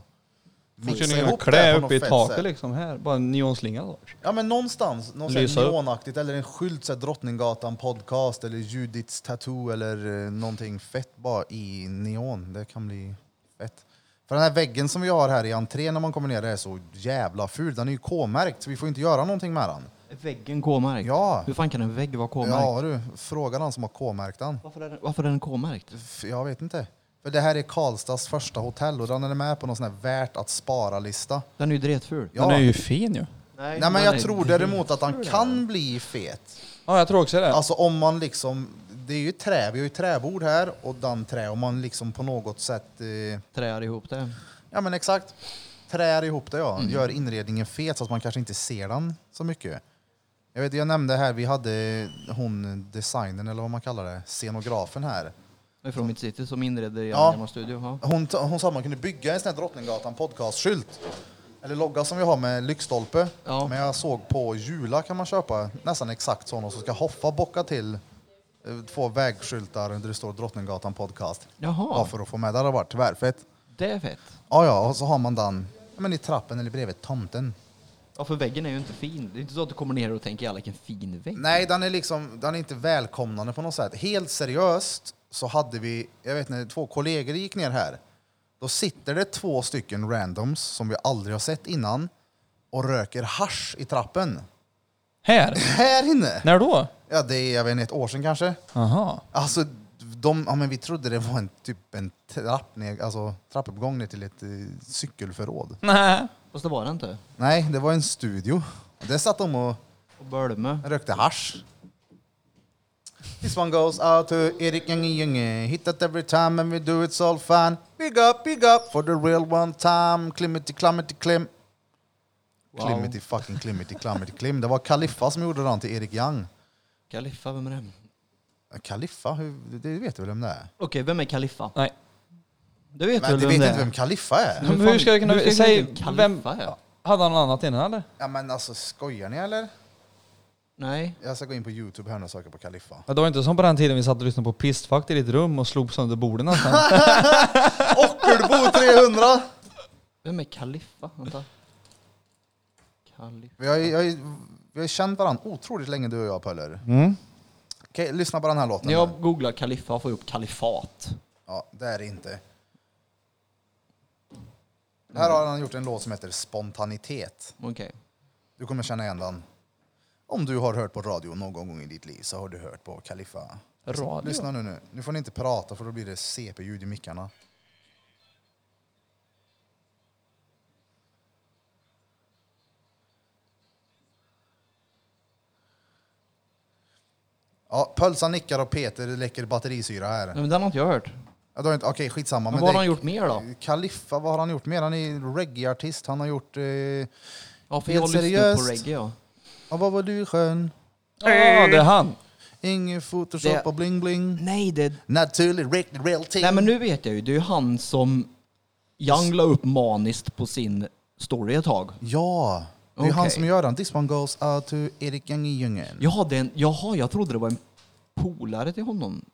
Speaker 1: mixa
Speaker 4: skulle kunna
Speaker 1: det
Speaker 4: klä
Speaker 1: på
Speaker 4: upp
Speaker 1: något
Speaker 4: i
Speaker 1: fett
Speaker 4: taket
Speaker 1: sätt.
Speaker 4: liksom här. Bara en neonslinga då.
Speaker 1: Ja men någonstans, någon sån här
Speaker 4: Lysa upp.
Speaker 1: neonaktigt eller en skylt så här Drottninggatan podcast eller Judiths tattoo eller eh, någonting fett bara i neon. Det kan bli fett. För den här väggen som vi har här i entrén när man kommer ner är så jävla ful. Den är ju K-märkt så vi får inte göra någonting med den.
Speaker 2: Väggen K-märkt.
Speaker 1: Ja,
Speaker 2: Hur fan kan en vägg vara K-märkt?
Speaker 1: ja du, fråga den som har K-märkt den.
Speaker 2: Varför, är den, varför är den K-märkt?
Speaker 1: F- Jag vet inte. För det här är Karlstads första hotell och den är med på någon sån här värt att spara-lista.
Speaker 2: Den är ju dretful.
Speaker 1: Ja.
Speaker 4: Den är ju fin ju.
Speaker 3: Nej.
Speaker 1: Nej men jag
Speaker 2: Nej.
Speaker 1: tror däremot att han kan bli fet.
Speaker 4: Ja, jag tror också det.
Speaker 1: Alltså om man liksom, det är ju trä, vi har ju träbord här och dan trä. Om man liksom på något sätt, eh,
Speaker 2: Träar ihop det.
Speaker 1: ja men exakt, trär ihop det ja. Gör inredningen fet så att man kanske inte ser den så mycket. Jag vet, jag nämnde här, vi hade hon designern eller vad man kallar det, scenografen här.
Speaker 2: Från mitt city som inreder er
Speaker 1: Ja.
Speaker 2: gamla studio. Ja.
Speaker 1: Hon, ta- hon sa att man kunde bygga en sån här Drottninggatan podcastskylt. Eller logga som vi har med lyktstolpe.
Speaker 2: Ja.
Speaker 1: Men jag såg på Jula kan man köpa nästan exakt sån och så ska Hoffa bocka till eh, två vägskyltar där det står Drottninggatan podcast.
Speaker 2: Jaha,
Speaker 1: Bara för att få med. Det hade varit tvärfett.
Speaker 2: det är fett.
Speaker 1: Ja, ja, och så har man den ja, men i trappen eller bredvid tomten.
Speaker 2: Ja, för väggen är ju inte fin. Det är inte så att du kommer ner och tänker jävlar vilken fin vägg.
Speaker 1: Nej, den är liksom, den är inte välkomnande på något sätt. Helt seriöst så hade vi, jag vet inte, två kollegor gick ner här. Då sitter det två stycken randoms som vi aldrig har sett innan och röker hasch i trappen.
Speaker 4: Här?
Speaker 1: Här inne!
Speaker 4: När då?
Speaker 1: Ja, det är, jag vet inte, ett år sedan kanske.
Speaker 4: Aha.
Speaker 1: Alltså, de, ja, men vi trodde det var en, typ en trapp ner, alltså, trappuppgång ner till ett eh, cykelförråd.
Speaker 4: Nej.
Speaker 2: Fast det var det inte.
Speaker 1: Nej, det var en studio. Där satt de och
Speaker 2: Och Bölme.
Speaker 1: rökte hasch. This one goes out to Erik Ljunge. Hit it every time and we do it so fun. Big up, big up for the real one time. Klimity, klamity, klim.
Speaker 2: Wow.
Speaker 1: Klimity, fucking klimity, klamity, klim. Det var Kaliffa som gjorde den till Erik Young.
Speaker 2: Kaliffa, vem är det?
Speaker 1: Kaliffa, hur, det vet du väl vem det är?
Speaker 2: Okej, vem är Kaliffa?
Speaker 4: Nej.
Speaker 2: Du vet
Speaker 1: Men
Speaker 2: väl
Speaker 1: du
Speaker 2: vem
Speaker 1: vet
Speaker 2: det
Speaker 1: inte
Speaker 2: är?
Speaker 1: vem Kaliffa är?
Speaker 4: Men hur ska jag kunna-
Speaker 2: du
Speaker 4: säg
Speaker 2: Kaliffa
Speaker 4: vem-
Speaker 2: är?
Speaker 4: Hade han något annat innan eller?
Speaker 1: Ja men alltså skojar ni eller?
Speaker 2: Nej.
Speaker 1: Jag ska gå in på Youtube här nu och söka på Kaliffa.
Speaker 4: Ja, det var inte som på den tiden vi satt och lyssnade på pistfakt i ditt rum och slog sönder borden nästan.
Speaker 1: Ockelbo 300!
Speaker 2: Vem är Kaliffa? Vänta. Kaliffa.
Speaker 1: Vi har, ju- jag har, ju- vi har ju känt varandra otroligt länge du och jag Pöller.
Speaker 4: Mm.
Speaker 1: Okej, lyssna på den här låten.
Speaker 2: När jag googlar Kaliffa får jag upp kalifat.
Speaker 1: Ja, det är det inte. Här har han gjort en låt som heter Spontanitet.
Speaker 2: Okej.
Speaker 1: Du kommer känna igen den. Om du har hört på radio någon gång i ditt liv så har du hört på Kaliffa.
Speaker 4: Radio?
Speaker 1: Lyssna nu, nu. Nu får ni inte prata för då blir det CP-ljud i mickarna. Ja, Pölsan nickar och Peter läcker batterisyra här.
Speaker 2: Nej, men den har inte jag hört.
Speaker 1: Ja, då är inte- Okej, skitsamma.
Speaker 2: Mm. Men
Speaker 1: Men
Speaker 2: vad har
Speaker 1: det-
Speaker 2: han gjort mer då?
Speaker 1: Kaliffa, vad har han gjort mer? Han är reggaeartist. Han har gjort... Eh,
Speaker 2: Ja, för
Speaker 1: Helt
Speaker 2: jag lyssnar
Speaker 1: seriöst.
Speaker 2: på reggae ja.
Speaker 1: ja, vad var du skön?
Speaker 4: Ja, det är han.
Speaker 1: Ingen photoshop
Speaker 2: Det-
Speaker 1: och bling bling.
Speaker 2: Nej, det...
Speaker 1: Naturlig, riktig, real ting.
Speaker 2: Nej men nu vet jag ju. Det är ju han som Young la upp maniskt på sin story ett tag.
Speaker 1: Ja, det är ju
Speaker 2: Okej.
Speaker 1: han som gör den. This one goes out to Erik Jungejungen.
Speaker 2: Jaha, det är en... Jaha, jag trodde det var en polare till honom.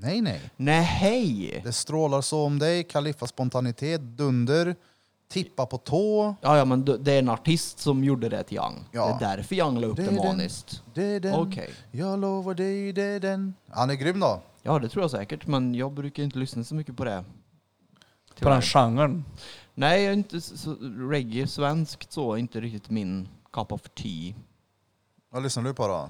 Speaker 1: Nej, nej.
Speaker 2: Nej, hej!
Speaker 1: Det strålar så om dig. Kaliffa spontanitet, dunder, tippa på tå.
Speaker 2: Ja, ja, men d- det är en artist som gjorde det till Young.
Speaker 1: Ja.
Speaker 2: Det är därför Young la upp
Speaker 1: Det
Speaker 2: det,
Speaker 1: är den.
Speaker 2: maniskt.
Speaker 1: Det är den.
Speaker 2: Okej.
Speaker 1: Jag lovar dig, det är den. Han är grym då.
Speaker 2: Ja, det tror jag säkert, men jag brukar inte lyssna så mycket på det.
Speaker 4: På
Speaker 2: Tyvärr.
Speaker 4: den genren.
Speaker 2: Nej, jag är inte s- så, reggae, svenskt så, är inte riktigt min cup of tea.
Speaker 1: Vad lyssnar du på då?
Speaker 2: Ja.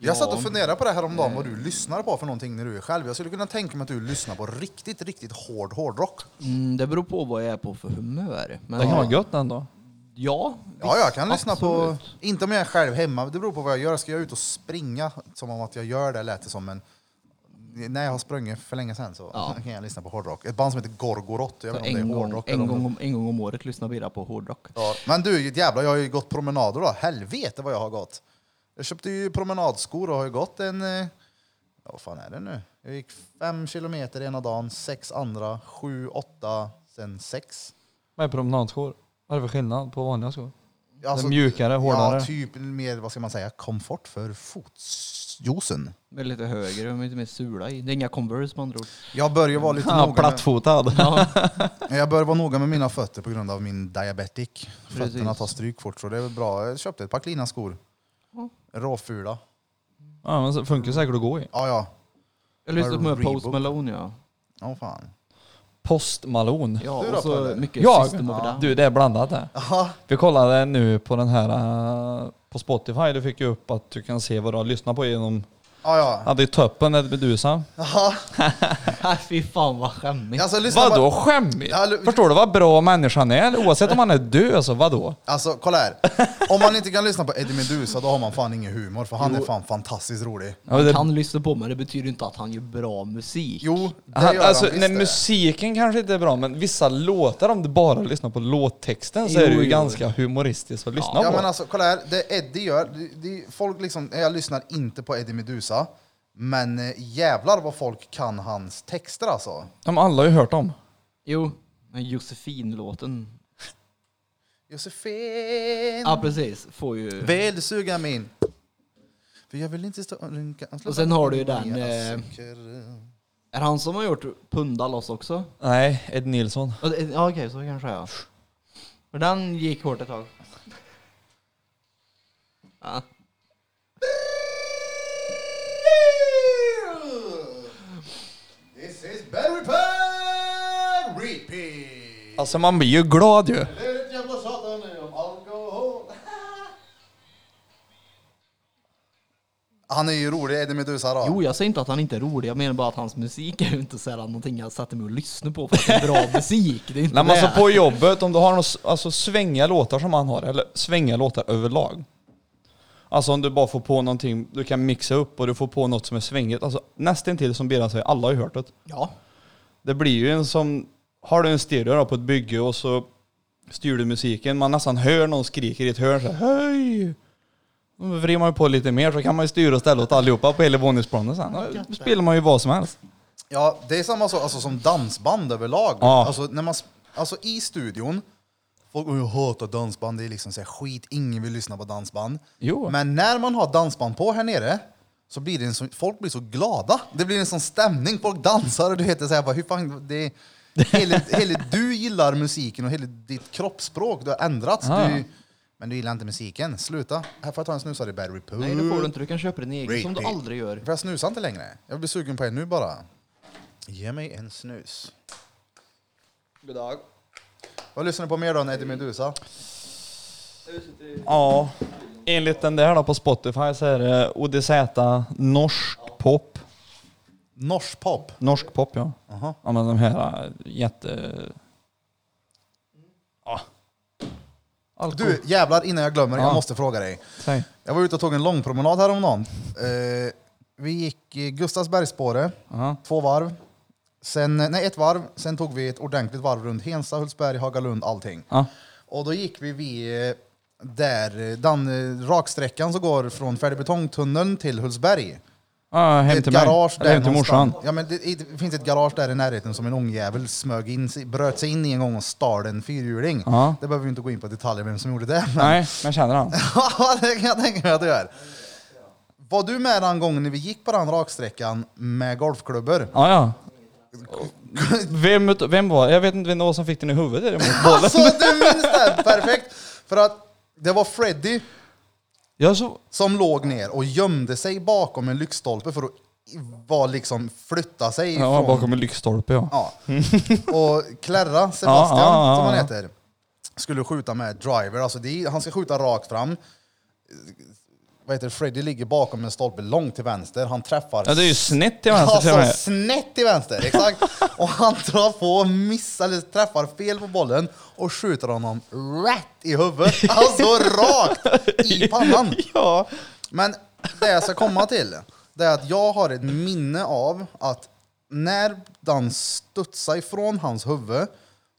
Speaker 2: Eh.
Speaker 1: Jag satt och funderade på det här om dagen, vad du lyssnar på för någonting när du är själv. Jag skulle kunna tänka mig att du lyssnar på riktigt, riktigt hård hårdrock.
Speaker 2: Mm, det beror på vad jag är på för humör. Men
Speaker 4: Det kan vara gött ändå.
Speaker 2: Ja,
Speaker 1: Ja,
Speaker 2: visst,
Speaker 1: jag kan lyssna på...
Speaker 2: absolut.
Speaker 1: Inte om jag är själv hemma, det beror på vad jag gör. Ska jag ut och springa, som om att jag gör det lät det som, men när jag har sprungit för länge sedan så
Speaker 2: Ja.
Speaker 1: kan jag lyssna på hårdrock. Ett band som heter Gorgoroth, jag vet
Speaker 2: Så
Speaker 1: inte om
Speaker 2: en,
Speaker 1: det är
Speaker 2: gång,
Speaker 1: hårdrock eller
Speaker 2: en,
Speaker 1: om det-
Speaker 2: gång om, en gång om året lyssnar Birra på hårdrock.
Speaker 1: Ja. Men du, jävlar, jag har ju gått promenader då. Helvete vad jag har gått. Jag köpte ju promenadskor och har ju gått en... eh, Ja, vad fan är det nu? Jag gick fem kilometer ena dagen, sex andra, sju, åtta, sen sex.
Speaker 4: Vad är promenadskor? Vad är det för skillnad på vanliga skor?
Speaker 1: Alltså,
Speaker 4: mjukare, hårdare.
Speaker 1: Ja, typ mer, vad ska man säga, komfort för fotjosen.
Speaker 2: Med lite högre, med lite mer sula i. Det är inga Converse med andra ord.
Speaker 1: Jag börjar vara lite
Speaker 4: Ja,
Speaker 1: noga
Speaker 4: plattfotad.
Speaker 2: Ja,
Speaker 1: med, jag börjar vara noga med mina fötter på grund av min diabetic. Fötterna
Speaker 2: Precis.
Speaker 1: tar stryk fort, så det är väl bra. Jag köpte ett par klina skor.
Speaker 2: Ja.
Speaker 1: Råfula.
Speaker 4: Ja, men så funkar säkert att gå i.
Speaker 1: Ja, ja.
Speaker 2: jag lyssnar på
Speaker 1: Reebok.
Speaker 2: Post Malone ja.
Speaker 1: Åh fan.
Speaker 4: Post Malone.
Speaker 2: Ja,
Speaker 1: Du då,
Speaker 2: och så
Speaker 1: Pelle?
Speaker 2: mycket
Speaker 4: Jag?
Speaker 2: System of a Down.
Speaker 4: Du, det är blandat det.
Speaker 1: Aha.
Speaker 4: Vi kollade nu på den här eh, på Spotify. Du fick ju upp att du kan se vad du har lyssnat på genom
Speaker 1: Ja, ja.
Speaker 4: Hade ju tuppen ett medusa.
Speaker 1: Jaha.
Speaker 3: Fy fan vad skämmigt.
Speaker 1: Alltså, lyssna
Speaker 4: Vadå
Speaker 1: bara-
Speaker 4: skämmigt?
Speaker 1: Ja, lu-
Speaker 4: Förstår du vad bra människan är? Oavsett om han är död, alltså vadå?
Speaker 1: Alltså, kolla här. Om man inte kan lyssna på Eddie Meduza då har man fan ingen humor, för han är fan fantastiskt rolig.
Speaker 4: Ja, men
Speaker 3: Man
Speaker 4: det-
Speaker 3: kan lyssna på men det betyder inte att han gör bra musik.
Speaker 1: Jo, det
Speaker 4: Han,
Speaker 1: gör
Speaker 4: alltså,
Speaker 1: han
Speaker 4: nej,
Speaker 1: visst det.
Speaker 4: musiken kanske inte är bra, men vissa låtar, om du bara lyssnar på låttexten
Speaker 3: Jo,
Speaker 4: så är det ju
Speaker 3: jo.
Speaker 4: ganska humoristiskt att lyssna
Speaker 1: Ja
Speaker 4: på.
Speaker 1: men alltså kolla här, det Eddie gör, det, det, folk liksom, jag lyssnar inte på Eddie Meduza, men eh, jävlar vad folk kan hans texter alltså.
Speaker 4: Ja, men alla har ju hört dem.
Speaker 3: Jo, men Josefin-låten.
Speaker 1: Josefin,
Speaker 3: Ja precis, får ju...
Speaker 1: vill du suga min? För jag vill inte stå och runka.
Speaker 3: Och sen har du ju den,
Speaker 1: Jag
Speaker 3: eh,
Speaker 1: söker, eh,
Speaker 3: Är det han som har gjort Pundalos också?
Speaker 4: Nej, Ed Nilsson.
Speaker 3: Ja, det- Ja okej, så kanske jag. För den gick hårt ett tag. Ja.
Speaker 1: This is Barry Perry!
Speaker 4: Alltså man blir ju glad ju.
Speaker 1: Det är ett jävla satan nu om alkohol. Han är ju rolig, Eddie Meduza då.
Speaker 3: Jo, jag säger inte att han inte är rolig. Jag menar bara att hans musik är ju inte så här någonting jag sätter mig och lyssnar på för att det är bra musik. Det är inte
Speaker 4: När man
Speaker 3: det.
Speaker 4: så på jobbet, om du har någon, s- alltså svänga låtar som han har, eller svänga låtar överlag. Alltså om du bara får på någonting, du kan mixa upp och du får på något som är svängigt. Alltså nästintill som Birra säger, alla har ju hört det.
Speaker 3: Ja.
Speaker 4: Det blir ju en som, har du en stereo då på ett bygge och så styr du musiken, man nästan hör någon skriker i ett hörn såhär hej! Då vrider man ju på lite mer så kan man ju styra och ställa åt allihopa på hela våningsplanen sen. Då spelar man ju vad som helst.
Speaker 1: Ja, det är samma sak alltså, som dansband överlag.
Speaker 4: Ja.
Speaker 1: Alltså, när man, sp- alltså i studion, folk "Åh, jag hatar dansband, det är liksom så här, skit, ingen vill lyssna på dansband.
Speaker 4: Jo.
Speaker 1: Men när man har dansband på här nere så blir det en sån, folk blir så glada. Det blir en sån stämning, folk dansar och du vet, det är så här, bara, hur fan, det är, hela, hela, du gillar musiken och hela ditt kroppsspråk, du har ändrats.
Speaker 4: Ja.
Speaker 1: Du, men du gillar inte musiken, sluta. Här får jag ta en snusare Barry Poo.
Speaker 3: Nej, det får du inte. Du kan köpa din egen som du
Speaker 1: Repeat.
Speaker 3: aldrig gör.
Speaker 1: För jag snusar inte längre. Jag blir sugen på en nu bara. Ge mig en snus.
Speaker 4: Goddag.
Speaker 1: Vad lyssnar ni på mer då än Eddie Meduza?
Speaker 4: Ja, enligt den där då på Spotify så är det ODZ norsk pop.
Speaker 1: Norsk pop.
Speaker 4: Norsk pop ja.
Speaker 1: Aha.
Speaker 4: Ja men de här äh, jätte... Ja. Alko.
Speaker 1: Du, jävlar innan jag glömmer, jag
Speaker 4: Ja.
Speaker 1: måste fråga dig.
Speaker 4: Säg.
Speaker 1: Jag var ute och tog en lång promenad häromdagen. Eh, vi gick eh, Gustavsbergsspåret,
Speaker 4: Ja.
Speaker 1: två varv. Sen, nej, ett varv. Sen tog vi ett ordentligt varv runt Hensta, Hultsberg, Hagalund, allting.
Speaker 4: Ja.
Speaker 1: Och då gick vi vid eh, där, eh, den eh, raksträckan som går från Färdigbetongtunneln till Hultsberg.
Speaker 4: Ja, hem
Speaker 1: ett
Speaker 4: till mig.
Speaker 1: garage
Speaker 4: Eller
Speaker 1: där
Speaker 4: hem till morsan.
Speaker 1: någonstans. Ja, men det, det finns ett garage där i närheten som en ångjävel smög in, sig- bröt sig in i en gång och stal en fyrhjuling.
Speaker 4: Ja.
Speaker 1: Det behöver vi inte gå in på detaljer vem som gjorde det. Men
Speaker 4: Nej, men jag känner han.
Speaker 1: Ja, det kan jag tänka mig att du är. Var du med den gången när vi gick på den raksträckan med golfklubbor?
Speaker 4: Ja, ja. Vem, ut- vem var Jag vet inte vem det var som fick den i huvudet däremot. Bollen.
Speaker 1: Alltså du minns det! Perfekt! För att det var Freddy
Speaker 4: Jag så...
Speaker 1: som låg ner och gömde sig bakom en lyktstolpe för att var liksom flytta sig
Speaker 4: Jag var
Speaker 1: ifrån-
Speaker 4: bakom en lyktstolpe ja.
Speaker 1: Ja. Och Klerra, Sebastian
Speaker 4: Ja, ja, ja,
Speaker 1: som han
Speaker 4: ja.
Speaker 1: heter, skulle skjuta med driver. Alltså det är, han ska skjuta rakt fram. Vad heter det? Freddy ligger bakom en stolpe långt till vänster. Han träffar
Speaker 4: Ja, det är ju snett till vänster till och med.
Speaker 1: Alltså snett till vänster, exakt. och han drar på, missar, eller träffar fel på bollen och skjuter honom rätt i huvudet. Alltså rakt i pannan.
Speaker 4: Ja.
Speaker 1: Men det jag ska komma till, det är att jag har ett minne av att när den studsade ifrån hans huvud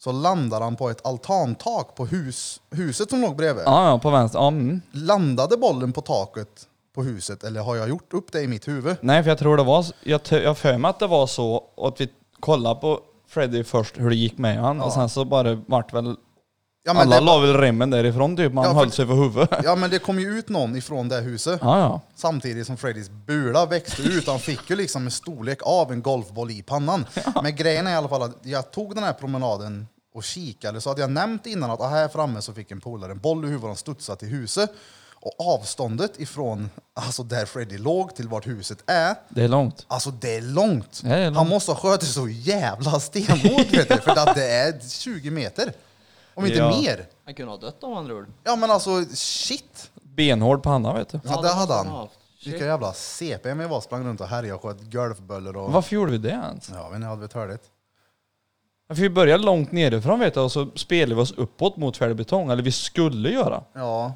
Speaker 1: så landade han på ett altantak på hus, huset som låg bredvid.
Speaker 4: Ja, ja, på vänster. Ja, mm.
Speaker 1: Landade bollen på taket på huset eller har jag gjort upp det i mitt huvud?
Speaker 4: Nej, för jag tror det var, jag, t- jag för mig att det var så att vi kollade på Freddy först hur det gick med han och sen så bara vart väl,
Speaker 1: Ja,
Speaker 4: alla
Speaker 1: det,
Speaker 4: la väl remmen därifrån typ, man
Speaker 1: Ja, för-
Speaker 4: höll sig för huvudet.
Speaker 1: ja men det kom ju ut någon ifrån det huset.
Speaker 4: Ja, ja.
Speaker 1: Samtidigt som Freddys bula växte ut. Han fick ju liksom en storlek av en golfboll i pannan. Men grejen är i alla fall att jag tog den här promenaden och kikade. Så hade jag nämnt innan att ah, här framme så fick en polare en boll i huvudet och studsade till huset. Och avståndet ifrån alltså där Freddy låg till vart huset är,
Speaker 4: Det är långt.
Speaker 1: alltså det är långt.
Speaker 4: Ja, det är långt.
Speaker 1: Han måste ha skjutit så jävla stenhårt vet du, för att det är 20 meter. Om inte
Speaker 4: Ja.
Speaker 1: mer.
Speaker 3: Han kunde ha dött om andra ord.
Speaker 1: Ja men alltså shit.
Speaker 4: Benhård panna vet du.
Speaker 1: Ja, det hade han.
Speaker 3: haft.
Speaker 1: Vilka jävla CP vi var sprang runt och härjade och sköt golfböllor och...
Speaker 4: Varför gjorde vi det ens?
Speaker 1: Ja, men jag hade väl törligt.
Speaker 4: För vi började långt nerifrån vet jag och så spelade vi oss uppåt mot färdigbetong, eller vi skulle göra.
Speaker 1: Ja.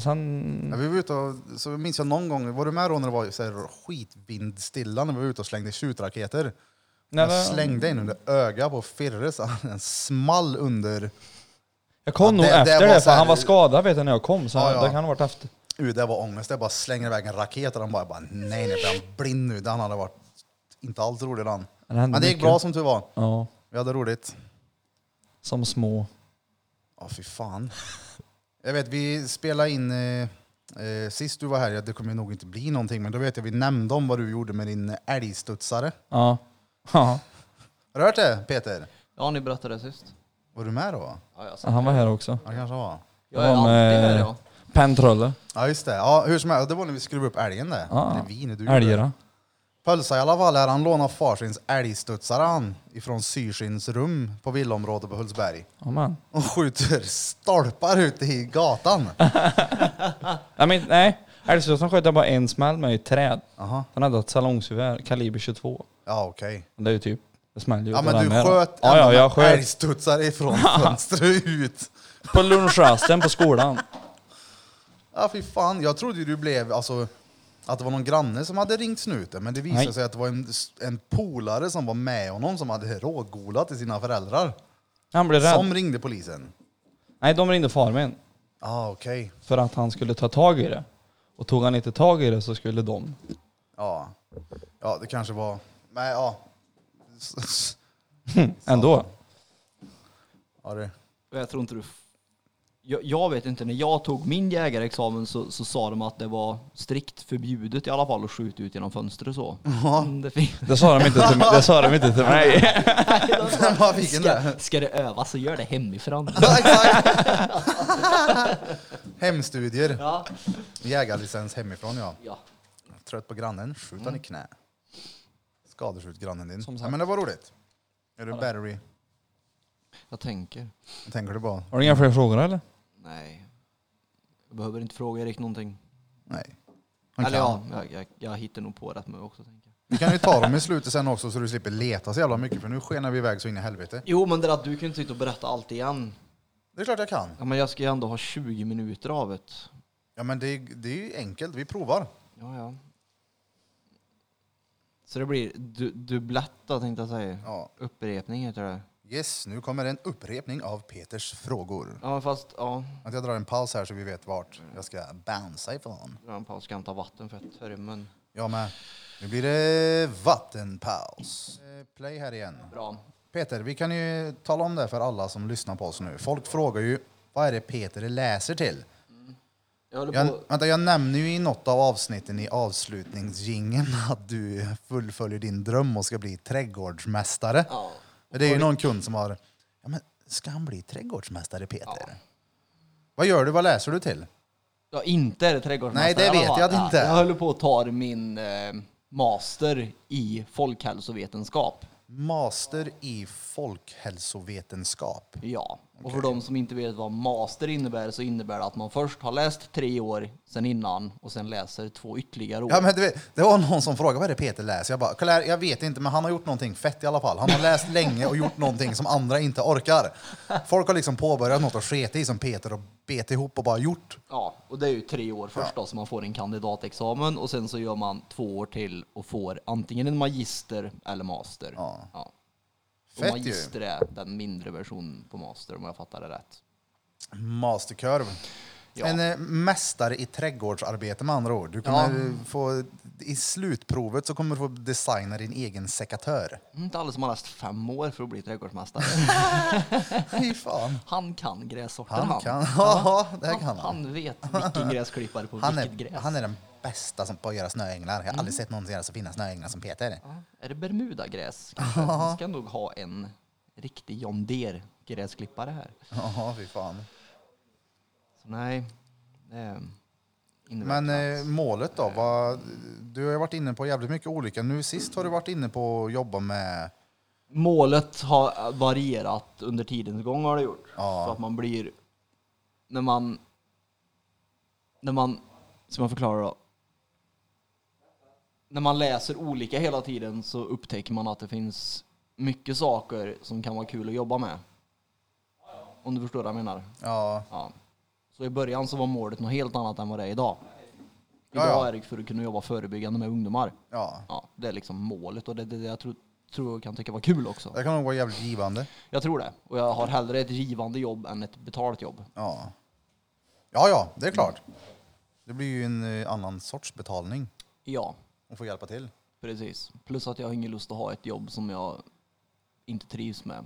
Speaker 1: ja.
Speaker 4: sen...
Speaker 1: Vi var ute och, så minns jag någon gång, var du med då när det var så här skitvindstilla när vi var ute och slängde tjutraketer?
Speaker 4: Nej,
Speaker 1: jag
Speaker 4: men-
Speaker 1: slängde in under ögat på Firre så han en small under...
Speaker 4: Jag kom
Speaker 1: Ja,
Speaker 4: nog
Speaker 1: det- det
Speaker 4: efter
Speaker 1: var
Speaker 4: det,
Speaker 1: så
Speaker 4: för
Speaker 1: här-
Speaker 4: han var skadad vet jag när jag kom, så
Speaker 1: Ja,
Speaker 4: han-
Speaker 1: ja.
Speaker 4: det kan ha varit efter.
Speaker 1: Uh, det var ångest. Jag bara slänger iväg en raket och han bara, jag bara nej, nej, blir han blind nu? Den hade varit inte alls rolig den.
Speaker 4: Det hände
Speaker 1: Men det gick
Speaker 4: mycket.
Speaker 1: bra som tur var.
Speaker 4: Ja,
Speaker 1: Vi hade roligt.
Speaker 4: som små.
Speaker 1: Ja, fy fan. Jag vet, vi spelade in... Eh, eh, sist du var här, ja, det kommer nog inte bli någonting, men då vet jag vi nämnde om vad du gjorde med din älgstudsare.
Speaker 4: Ja. Ja,
Speaker 1: Har du hört det, Peter?
Speaker 2: Ja, ni berättade det sist.
Speaker 1: Var du med då?
Speaker 2: Ja, jag, sa-
Speaker 4: han var här också.
Speaker 1: Ja, kanske var.
Speaker 2: jag är alltid med ja.
Speaker 4: Pentrolle.
Speaker 1: Ja, just det. Ja, hur som helst, det var när vi skruvade upp älgen det.
Speaker 4: Ja.
Speaker 1: Eller vi, när du gjorde det.
Speaker 4: Älgera.
Speaker 1: Pölsa i alla fall här, han lånade farsins älgstudsare han, ifrån Syrsins rum på villaområdet på Hultsberg.
Speaker 4: Amen.
Speaker 1: Och skjuter stolpar ute i gatan.
Speaker 4: Nej, men, nej. Älgstudsaren sköt jag bara en smäll med i ett träd.
Speaker 1: Aha.
Speaker 4: Han hade ett salongsgevär, kaliber 22.
Speaker 1: Ja, okej.
Speaker 4: Det är ju typ, det smäller ju
Speaker 1: Ja,
Speaker 4: åt
Speaker 1: men
Speaker 4: alla
Speaker 1: du
Speaker 4: med då.
Speaker 1: sköt
Speaker 4: Ja, ja,
Speaker 1: ändå
Speaker 4: jag
Speaker 1: med
Speaker 4: sköt.
Speaker 1: älgstudsare ifrån fönstret ut.
Speaker 4: På lunchrasten på skolan.
Speaker 1: Ja, fy fan. Jag trodde ju du blev, alltså, att det var någon granne som hade ringt snuten, men det visade
Speaker 4: Nej.
Speaker 1: sig att det var en, en polare som var med honom som hade rågolat till sina föräldrar.
Speaker 4: Han blev rädd.
Speaker 1: Som ringde polisen.
Speaker 4: Nej, de ringde far min
Speaker 1: Ja, ah, okej.
Speaker 4: för att han skulle ta tag i det. Och tog han inte tag i det så skulle de...
Speaker 1: Ja. ja, det kanske var... Nej, ja.
Speaker 4: Ändå.
Speaker 1: ja det.
Speaker 2: Och Jag tror inte du... f- Jag, jag vet inte, när jag tog min jägarexamen så, så sa de att det var strikt förbjudet i alla fall att skjuta ut genom fönstret så. Mm, Det fin-
Speaker 4: Det sa de inte till, det sa de inte till mig.
Speaker 1: Vad fick den där?
Speaker 2: ska, ska det övas så gör det hemifrån.
Speaker 1: Ja, exakt. Hemstudier.
Speaker 2: Ja.
Speaker 1: Jägarlicens hemifrån, ja.
Speaker 2: ja.
Speaker 1: Trött på grannen, skjut han i knä. Skadeskjut grannen din.
Speaker 4: Som sagt.
Speaker 1: Ja, men det var roligt. Är du battery?
Speaker 2: Jag tänker.
Speaker 1: Tänker du bara?
Speaker 4: Har du inga fler frågor eller?
Speaker 2: Nej. Jag behöver inte fråga Erik någonting.
Speaker 1: Nej. Han
Speaker 2: Eller
Speaker 1: kan.
Speaker 2: ja, jag, jag, jag hittar nog på rätt med också. Tänker. jag.
Speaker 1: Vi kan ju ta dem i slutet sen också så du slipper leta så jävla mycket för nu skenar vi iväg så in i helvete.
Speaker 2: Jo, men det är att du kan inte sitta och berätta allt igen.
Speaker 1: Det är klart jag kan.
Speaker 2: Ja, men jag ska ju ändå ha 20 minuter av det.
Speaker 1: Ja men det, det är ju enkelt, vi provar.
Speaker 2: Ja, ja. Så det blir du, dubbletta tänkte jag säga.
Speaker 1: Ja.
Speaker 2: Upprepning heter det.
Speaker 1: Yes, nu kommer en upprepning av Peters frågor.
Speaker 2: Ja, men fast ja.
Speaker 1: Att jag drar en paus här så vi vet vart jag ska bouncea ifrån.
Speaker 2: Dra en paus, ska inte ta vatten för att törmen.
Speaker 1: Jag med. Nu blir det vattenpaus. Eh, Play här igen.
Speaker 2: Bra.
Speaker 1: Peter, vi kan ju tala om det för alla som lyssnar på oss nu. Folk frågar ju vad är det Peter läser till?
Speaker 2: Jag håller
Speaker 1: Jag,
Speaker 2: på.
Speaker 1: vänta, jag nämner ju i något av avsnitten i avslutningsjingeln att du fullföljer din dröm och ska bli trädgårdsmästare.
Speaker 2: Ja.
Speaker 1: Det är ju någon kund som har... Ja, men ska han bli trädgårdsmästare, Peter? Vad gör du? Vad läser du till?
Speaker 2: ja, inte är det
Speaker 1: Nej,
Speaker 2: trädgårdsmästare
Speaker 1: det
Speaker 2: i alla
Speaker 1: vet
Speaker 2: fall.
Speaker 1: jag att
Speaker 2: Ja,
Speaker 1: inte är.
Speaker 2: Jag håller på att ta min eh, master i folkhälsovetenskap.
Speaker 1: Master i folkhälsovetenskap.
Speaker 2: Ja, och för de som inte vet vad master innebär så innebär det att man först har läst tre år sen innan och sen läser två ytterligare år.
Speaker 1: Ja, men du vet, det var någon som frågade vad är det Peter läser. Jag bara, "Kolla här, jag vet inte, men han har gjort någonting fett i alla fall. Han har läst länge och gjort någonting som andra inte orkar. Folk har liksom påbörjat något och sket i som Peter och bet ihop och bara gjort.
Speaker 2: Ja, och det är ju tre år först då, så man får en kandidatexamen och sen så gör man två år till och får antingen en magister eller master.
Speaker 1: Ja.
Speaker 2: Och
Speaker 1: Fett ju.
Speaker 2: magister är den mindre versionen på master om jag fattar det rätt.
Speaker 1: Masterkurv.
Speaker 2: Ja.
Speaker 1: En eh, mästare i trädgårdsarbete med andra ord. Du kommer eh, få, I slutprovet så kommer du få designa din egen sekatör.
Speaker 2: Mm, Inte alla som har läst fem år för att bli trädgårdsmästare.
Speaker 1: Fy fan.
Speaker 2: Han kan grässorter han.
Speaker 1: Han kan, ja, det
Speaker 2: han,
Speaker 1: kan han. Han,
Speaker 2: han vet vilken gräsklippare på vilket
Speaker 1: är,
Speaker 2: gräs.
Speaker 1: han är den bästa som på att göra snöänglar. Jag har aldrig sett någon som gör så fina snöänglar som Peter.
Speaker 2: Ja, Är det Bermudagräs? kanske? Vi ska nog ha en riktig John Deere gräsklippare här.
Speaker 1: Ja, fy fan.
Speaker 2: Så nej, det innebär
Speaker 1: Men
Speaker 2: knappt.
Speaker 1: eh, målet då? Vad, du har ju varit inne på jävligt mycket olika. Nu sist har du varit inne på att jobba med...
Speaker 2: Målet har varierat under tidens gång har det gjort.
Speaker 1: Ja.
Speaker 2: Så att man blir, när man, när man, som jag förklarar då, när man läser olika hela tiden så upptäcker man att det finns mycket saker som kan vara kul att jobba med. Om du förstår vad jag menar.
Speaker 1: Ja,
Speaker 2: Ja. Så i början så var målet något helt annat än vad det är idag.
Speaker 1: Ja,
Speaker 2: Idag
Speaker 1: ja.
Speaker 2: är det för att kunna jobba förebyggande med ungdomar.
Speaker 1: ja.
Speaker 2: Ja, det är liksom målet och det, det, det jag tror, tror jag kan tycka var kul också.
Speaker 1: Det kan nog vara jävligt givande.
Speaker 2: Jag tror det. Och jag har hellre ett givande jobb än ett betalt jobb.
Speaker 1: Ja. ja, ja, det är klart. Det blir ju en eh, annan sorts betalning
Speaker 2: Ja,
Speaker 1: att få hjälpa till.
Speaker 2: precis. Plus att jag har ingen lust att ha ett jobb som jag inte trivs med.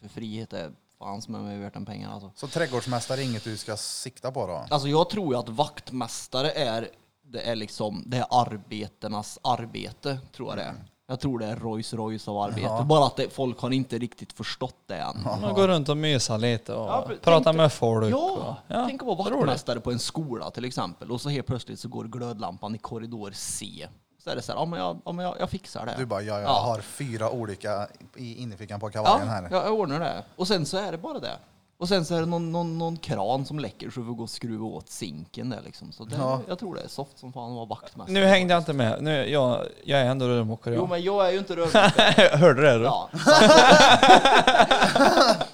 Speaker 2: För frihet är fan som är mig värt den pengarna alltså.
Speaker 1: Så trädgårdsmästare är inget du ska sikta på då?
Speaker 2: Alltså jag tror ju att vaktmästare är, det är liksom, det är arbetenas arbete, tror jag det är.
Speaker 1: Mm.
Speaker 2: Jag tror det är Rolls Royce av arbete. Bara att det, folk har inte riktigt förstått det än.
Speaker 4: Man går runt och mysar lite och
Speaker 2: Ja, men
Speaker 4: pratar
Speaker 2: tänk-
Speaker 4: med folk. och,
Speaker 2: Ja, tänk att vara
Speaker 4: roligt.
Speaker 2: vaktmästare på en skola till exempel. Och så helt plötsligt så går glödlampan i korridor C. Så är det så här, ja men jag, ja, men jag, jag fixar det.
Speaker 1: Du bara, ja, jag
Speaker 2: Ja.
Speaker 1: har fyra olika i innerfickan på
Speaker 2: Ja,
Speaker 1: kavajen här.
Speaker 2: ja, jag ordnar det. Och sen så är det bara det. Och sen så är det någon, någon, någon kran som läcker så vi får gå och skruva åt sinken där liksom. Så det,
Speaker 1: Ja.
Speaker 2: jag tror det är soft som fan att vara vaktmästare.
Speaker 4: Nu hängde jag inte med. Nu, jag, jag är ändå rörmokare.
Speaker 2: Jo
Speaker 4: jag.
Speaker 2: men jag är ju inte rörmokare.
Speaker 4: Hörde du det? då?
Speaker 2: ja.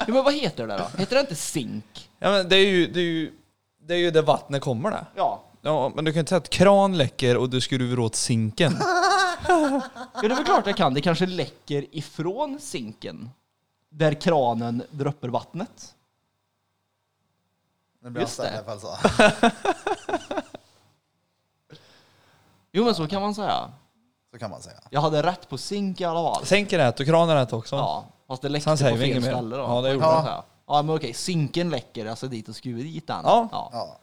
Speaker 2: jo men vad heter det då? Heter det inte zink?
Speaker 4: Ja, men det, är ju, det, är ju, det är ju där vattnet kommer det.
Speaker 2: Ja.
Speaker 4: Ja, men du kan inte säga att kran läcker och du skruvar åt sinken.
Speaker 2: Ja det är väl klart jag kan. Det kanske läcker ifrån zinken. Där kranen droppar vattnet.
Speaker 1: Nu blir alltså.
Speaker 2: Just
Speaker 1: jag
Speaker 2: det.
Speaker 1: ställd i alla fall så.
Speaker 2: Jo men så kan man säga.
Speaker 1: så kan man säga.
Speaker 2: Jag hade rätt på zink i alla fall.
Speaker 4: Sinken är rätt och kranen är rätt också.
Speaker 2: Ja. Fast det läckte
Speaker 4: Sen
Speaker 2: på
Speaker 4: säger vi
Speaker 2: fel
Speaker 4: inget mer.
Speaker 2: ställe då.
Speaker 4: Ja, det gjorde
Speaker 2: Kan
Speaker 1: det.
Speaker 2: man säga. Ja men okej, zinken läcker. Jag ska dit och skruva dit den.
Speaker 4: Ja.
Speaker 1: Ja,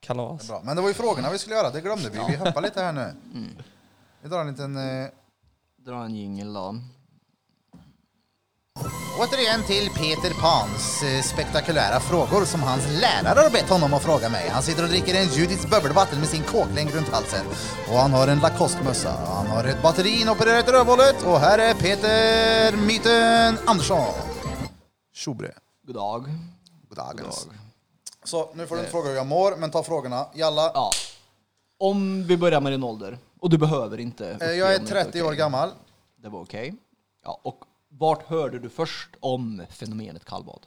Speaker 4: Kalas.
Speaker 1: bra. Men det var ju frågorna vi skulle göra, det glömde vi. Vi hoppar lite här nu.
Speaker 2: Mm.
Speaker 1: Vi drar en liten... eh,
Speaker 2: Dra en jingel då.
Speaker 1: Återigen till Peter Pans eh, spektakulära frågor som hans lärare har bett honom att fråga mig. Han sitter och dricker en Judiths bubbelvatten med sin kåklängd runt halsen. Och han har en Lacoste-mössa. Han har ett batteri inopererat i rövhålet. Och här är Peter Myten Andersson. Tjobre.
Speaker 2: God dag.
Speaker 1: Goddagens. Så nu får du inte fråga hur jag mår, men ta frågorna. Jalla.
Speaker 2: Ja. Om vi börjar med din ålder. Och du behöver inte.
Speaker 1: Eh,
Speaker 2: uppge
Speaker 1: Jag är
Speaker 2: om det inte
Speaker 1: 30 år
Speaker 2: okej.
Speaker 1: gammal.
Speaker 2: Det var okej. Ja, och vart hörde du först om fenomenet kallbad?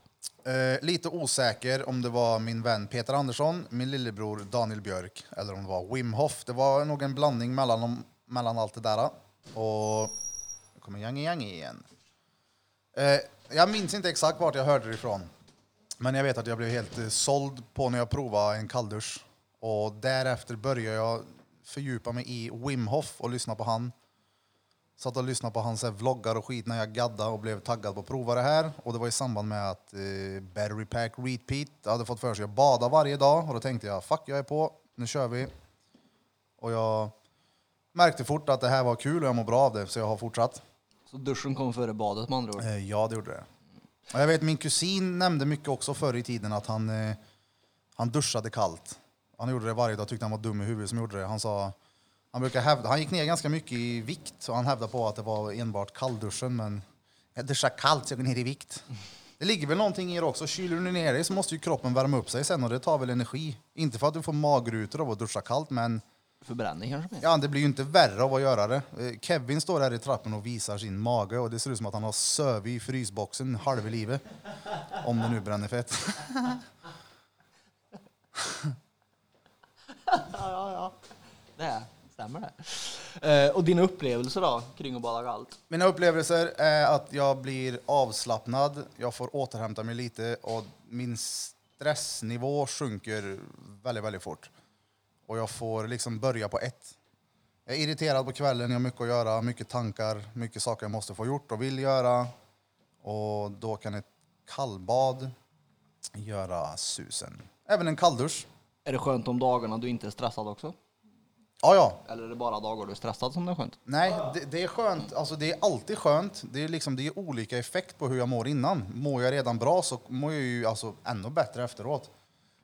Speaker 1: Eh, lite osäker om det var min vän Peter Andersson, min lillebror Daniel Björk eller om det var Wim Hof. Det var nog en blandning mellan, dem- mellan allt det där. Och nu kommer Yang Yang igen. Eh, jag minns inte exakt vart jag hörde det ifrån. Men jag vet att jag blev helt eh, såld på när jag provade en kalldusch. Och därefter började jag fördjupa mig i Wim Hof och lyssna på han. Satt och lyssnade på hans så här vloggar och skit när jag gaddade och blev taggad på att prova det här. Och det var i samband med att eh, Battery Pack Repeat hade fått för sig att bada varje dag. Och då tänkte jag, fuck jag är på, nu kör vi. Och jag märkte fort att det här var kul och jag mår bra av det, så jag har fortsatt.
Speaker 2: Så duschen kom före badet med andra ord?
Speaker 1: Eh, Ja, det gjorde det. Och jag vet min kusin nämnde mycket också förr i tiden att han, eh, han duschade kallt. Han gjorde det varje dag, tyckte han var dum i huvudet som gjorde det. Han sa, han brukar hävda, han gick ner ganska mycket i vikt och han hävdade på att det var enbart kallduschen men jag duschar kallt så jag går ner i vikt. Det ligger väl någonting i det också. Kyler du ner dig så måste ju kroppen värma upp sig sen och det tar väl energi. Inte för att du får magrutor av att duscha kallt men
Speaker 2: Förbränning kanske mer?
Speaker 1: Ja, det blir ju inte värre av att göra det. Eh, Kevin står här i trappen och visar sin mage och det ser ut som att han har sövit i frysboxen halva livet. Om det nu bränner fett.
Speaker 2: Ja, ja, ja. Det stämmer det. Eh, och dina upplevelser då, kring att bada kallt?
Speaker 1: Mina upplevelser är att jag blir avslappnad, jag får återhämta mig lite och min stressnivå sjunker väldigt, väldigt fort. Och jag får liksom börja på ett. Jag är irriterad på kvällen, jag har mycket att göra, mycket tankar, mycket saker jag måste få gjort och vill göra. Och då kan ett kallbad göra susen. Även en kalldusch.
Speaker 2: Är det skönt om dagarna du inte är stressad också?
Speaker 1: Ja, ja,
Speaker 2: Eller är det bara dagar du är stressad som det är skönt?
Speaker 1: Nej, det, det är skönt. Alltså, det är alltid skönt. Det är, liksom, det är olika effekt på hur jag mår innan. Mår jag redan bra så mår jag ju alltså, ännu bättre efteråt.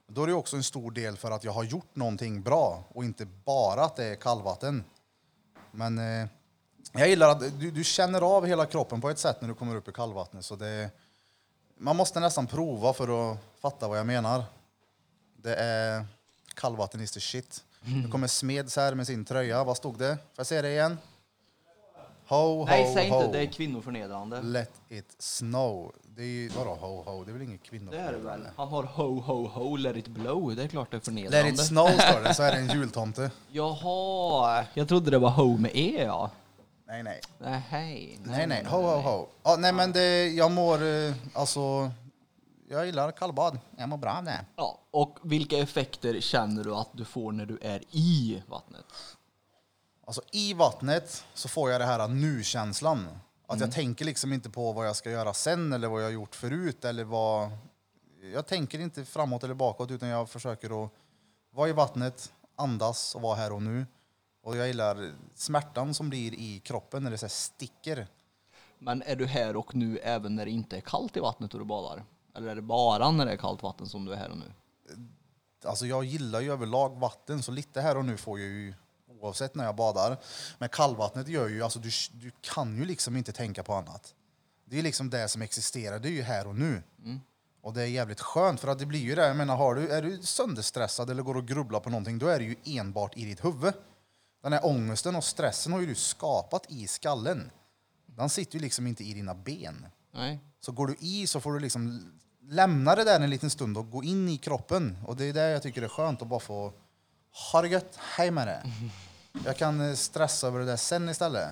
Speaker 1: Då är det ju också en stor del för att jag har gjort någonting bra och inte bara att det är kallvatten. Men eh, jag gillar att du, du känner av hela kroppen på ett sätt när du kommer upp i kallvattnet. Så det, man måste nästan prova för att fatta vad jag menar. Det är kallvatten is the shit. Nu kommer Smeds här med sin tröja. Vad stod det? Får jag se det igen? Ho, ho,
Speaker 2: Nej, säg
Speaker 1: ho.
Speaker 2: inte. Det är kvinnoförnedrande.
Speaker 1: Let it snow. Det är ju, vadå ho, ho? Det är väl inget kvinnor?
Speaker 2: Det är det väl? Han har ho, ho, ho, let it blow. Det är klart det är
Speaker 1: Let
Speaker 2: förnedrande.
Speaker 1: it snow står det, så är det en jultomte.
Speaker 2: Jaha, jag trodde det var ho med e, ja.
Speaker 1: Nej, nej.
Speaker 2: Nej, hej.
Speaker 1: Nej, nej. Ho, ho, ho. Ja, nej, men det, jag mår... eh, Alltså... Jag gillar kallbad. Jag mår bra av det.
Speaker 2: Ja, och vilka effekter känner du att du får när du är i vattnet?
Speaker 1: Alltså i vattnet så får jag det här nu-känslan. Att jag tänker liksom inte på vad jag ska göra sen eller vad jag har gjort förut eller vad... Jag tänker inte framåt eller bakåt utan jag försöker att vara i vattnet, andas och vara här och nu. Och jag gillar smärtan som blir i kroppen när det så här sticker.
Speaker 2: Men är du här och nu även när det inte är kallt i vattnet och du badar? Eller är det bara när det är kallt vatten som du är här och nu?
Speaker 1: Alltså jag gillar ju överlag vatten så lite här och nu får jag ju oavsett när jag badar. Men kallvattnet gör ju, alltså du, du kan ju liksom inte tänka på annat. Det är liksom det som existerar, det är ju här och nu. Och det är jävligt skönt för att det blir ju det, jag menar har du, är du sönderstressad eller går och grubblar på någonting då är det ju enbart i ditt huvud. Den här ångesten och stressen har ju du skapat i skallen. Den sitter ju liksom inte i dina ben.
Speaker 2: Nej.
Speaker 1: Så går du i så får du liksom lämna det där en liten stund och gå in i kroppen. Och det är det jag tycker är skönt att bara få ha det gött, hej med det. Jag kan eh, stressa över det där sen istället.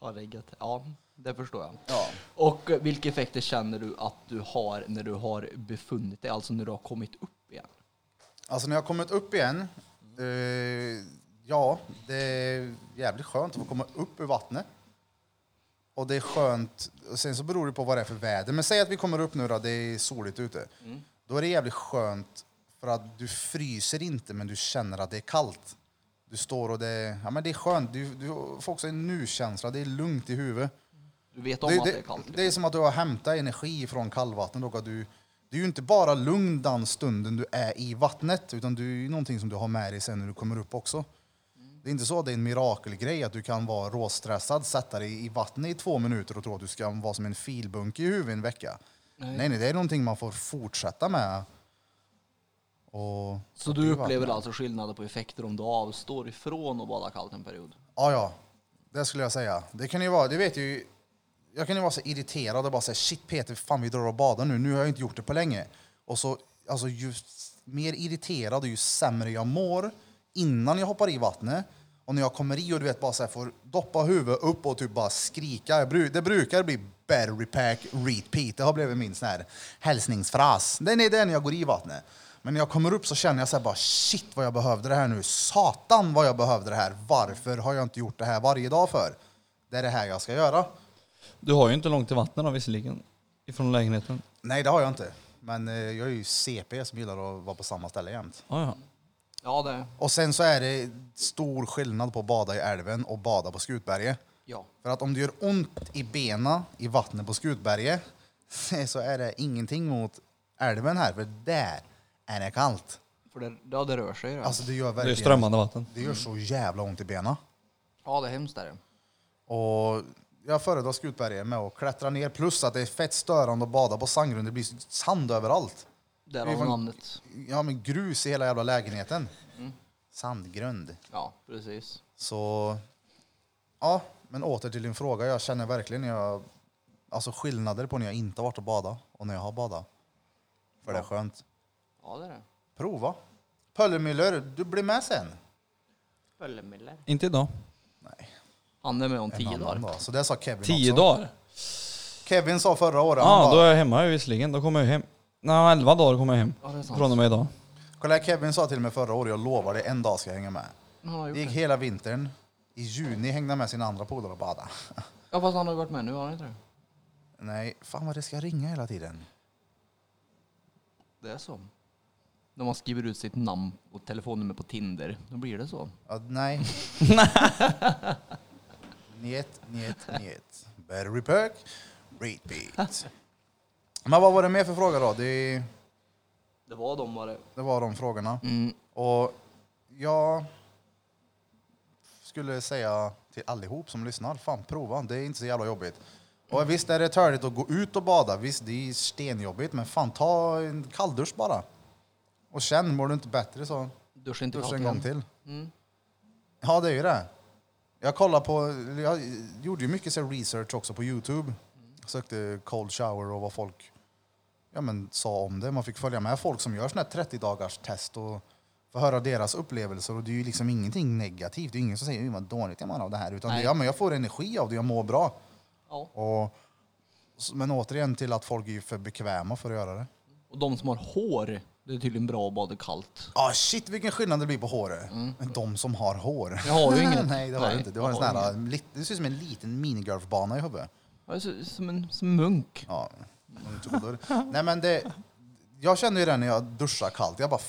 Speaker 2: Ja, det är gött. Ja, det förstår jag.
Speaker 1: Ja.
Speaker 2: Och eh, vilka effekter känner du att du har när du har befunnit dig, alltså när du har kommit upp igen?
Speaker 1: Alltså när jag har kommit upp igen, eh, ja, det är jävligt skönt att få komma upp ur vattnet. Och det är skönt, och sen så beror det på vad det är för väder. Men säg att vi kommer upp nu då, det är soligt ute. Då är det jävligt skönt för att du fryser inte men du känner att det är kallt. Du står och det, ja men det är skönt, du, du får också en nu-känsla, det är lugnt i huvudet.
Speaker 2: Du vet om
Speaker 1: Det,
Speaker 2: att
Speaker 1: det,
Speaker 2: det är kallt.
Speaker 1: det är som att du har hämtat energi från kallvatten. Och att du, det är ju inte bara lugn den stunden du är i vattnet, utan det är ju någonting som du har med dig sen när du kommer upp också. Det är inte så att det är en mirakelgrej att du kan vara råstressad, sätta dig i vattnet i två minuter och tro att du ska vara som en filbunke i huvudet en vecka. Nej. nej, det är någonting man får fortsätta med. Och
Speaker 2: Så du upplever alltså skillnader på effekter om du avstår ifrån att bada kallt en period?
Speaker 1: Ja, ja. Det skulle jag säga. Det kan ju vara, du vet ju, jag kan ju vara så irriterad och bara säga shit Peter, fan vi drar och badar nu, nu har jag inte gjort det på länge. Och så, alltså ju mer irriterad och ju sämre jag mår innan jag hoppar i vattnet och när jag kommer i och du vet bara så här får doppa huvudet upp och typ bara skrika. Jag bru- Det brukar bli battery pack repeat, det har blivit min sån här hälsningsfras. Den är den jag går i vattnet. Men när jag kommer upp så känner jag så här bara shit vad jag behövde det här nu. Satan vad jag behövde det här. Varför har jag inte gjort det här varje dag för? Det är det här jag ska göra.
Speaker 4: Du har ju inte långt till vattnet då visserligen. Ifrån lägenheten.
Speaker 1: Nej, det har jag inte. Men eh, jag är ju CP som gillar att vara på samma ställe jämt.
Speaker 4: Ah, ja.
Speaker 2: Ja, det...
Speaker 1: Och sen så är det stor skillnad på att bada i älven och bada på Skutberget.
Speaker 2: Ja.
Speaker 1: För att om det gör ont i bena i vattnet på Skutberget så är det ingenting mot älven här, för där är det kallt.
Speaker 2: För det, ja, det rör sig. ju.
Speaker 1: Alltså det gör
Speaker 4: Det är ju
Speaker 1: verkligen...
Speaker 4: strömmande vatten.
Speaker 1: Det gör så jävla ont i bena.
Speaker 2: Ja, det är hemskt. Där.
Speaker 1: Och jag föredrar Skutberget med att klättra ner, plus att det är fett störande att bada på sandgrund. Det blir sand överallt. Det är
Speaker 2: Därav
Speaker 1: fan-
Speaker 2: namnet.
Speaker 1: ja, men grus i hela jävla lägenheten.
Speaker 4: Mm.
Speaker 1: Sandgrund.
Speaker 2: Ja, precis.
Speaker 1: Så ja, men åter till din fråga. Jag känner verkligen jag, alltså skillnader på när jag inte har varit och badat och när jag har badat. För det är skönt.
Speaker 2: Ja, det är det.
Speaker 1: Prova. Pöllemüller, du blir med sen.
Speaker 2: Pöllemiller.
Speaker 4: Inte idag.
Speaker 2: Han är med om
Speaker 1: En
Speaker 2: tio
Speaker 1: annan
Speaker 2: dagar.
Speaker 1: dag. Så det sa Kevin
Speaker 4: Tio
Speaker 1: också.
Speaker 4: dagar?
Speaker 1: Kevin sa förra året,
Speaker 4: Ja,
Speaker 1: han
Speaker 4: då
Speaker 1: bara,
Speaker 4: är jag hemma ju visserligen. Då kommer jag hem. Nej, elva dagar kommer jag hem.
Speaker 2: Ja, det är sant.
Speaker 4: Från och med idag.
Speaker 1: kolla här, Kevin sa till mig förra året, jag lovar dig, en dag ska jag hänga med.
Speaker 2: Han har
Speaker 1: Det
Speaker 2: gjort
Speaker 1: gick
Speaker 2: det.
Speaker 1: hela vintern. I juni hängde han med sina andra polare och badade.
Speaker 2: Ja, fast han har ju varit med nu, har han inte det?
Speaker 1: Nej, fan vad det ska ringa hela tiden.
Speaker 2: Det är så. När man skriver ut sitt namn och telefonnummer på Tinder, då blir det så.
Speaker 1: Ja, nej. njet, njet, njet. Battery perk, repeat. Men vad var det mer för frågor då? Det,
Speaker 2: Det var de var det.
Speaker 1: det var de frågorna.
Speaker 2: Mm.
Speaker 1: Och jag skulle säga till allihop som lyssnar, fan prova, det är inte så jävla jobbigt. Och visst är det törligt att gå ut och bada, visst det är stenjobbigt, men fan ta en kalldusch bara. Och känn, mår du inte bättre så
Speaker 2: Duscha inte
Speaker 1: Plus en
Speaker 2: katten.
Speaker 1: gång till.
Speaker 2: Mm.
Speaker 1: Ja, det är ju det. Jag kollar på, jag gjorde ju mycket så här research också på Youtube. Sökte cold shower och vad folk ja, men, sa om det. Man fick följa med folk som gör såna här 30 dagars test och få höra deras upplevelser. Och det är ju liksom ingenting negativt. Det är ingen som säger "Oj, vad dåligt jag mår av det här. Utan det,
Speaker 2: Nej.
Speaker 1: ja, men jag får energi av det, jag mår bra.
Speaker 2: Ja.
Speaker 1: Och, men återigen till att folk är ju för bekväma för att göra det.
Speaker 2: Och de som har hår, det är tydligen bra att bada kallt.
Speaker 1: Ah shit vilken skillnad det blir på håret. Men de som har hår.
Speaker 2: Jag har ju inget.
Speaker 1: Nej det har du
Speaker 2: Nej,
Speaker 1: inte. Du har en
Speaker 2: jag
Speaker 1: sån
Speaker 2: har
Speaker 1: här, lit- det ser ut som en liten minigolfbana i huvudet.
Speaker 2: Jag är så- som en som munk.
Speaker 1: Ja. en tudor. Nej men det, jag känner ju det när jag duschar kallt. Jag bara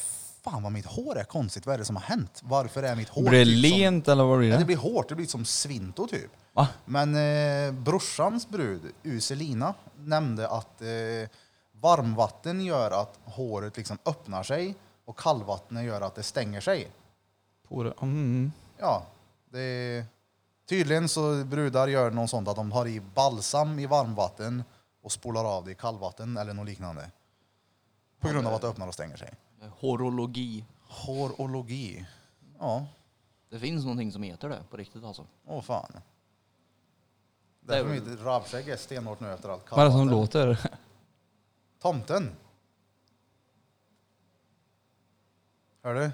Speaker 1: fan vad mitt hår är konstigt. Vad är det som har hänt? Varför är mitt hår
Speaker 4: Blir det
Speaker 1: typ som-
Speaker 4: lent eller vad blir
Speaker 1: Ja, det
Speaker 4: liksom. det?
Speaker 1: blir hårt, det blir som svinto typ.
Speaker 4: Va?
Speaker 1: Men eh, brorsans brud, Uselina, nämnde att eh, varmvatten gör att håret liksom öppnar sig och kallvatten gör att det stänger sig.
Speaker 4: Pore- Mm.
Speaker 1: Ja, det, tydligen så brudar gör något sånt att de har i balsam i varmvatten och spolar av det i kallvatten eller något liknande. På grund av att det öppnar och stänger sig.
Speaker 2: Horologi.
Speaker 1: Hårologi. Ja,
Speaker 2: Det finns någonting som heter det på riktigt alltså.
Speaker 1: åh fan.
Speaker 2: Det är
Speaker 1: Därför
Speaker 2: väl-
Speaker 1: mitt rabskägg är stenhårt nu efter allt
Speaker 4: Vad är det
Speaker 1: kallvatten.
Speaker 4: som låter?
Speaker 1: Tomten. Hör du?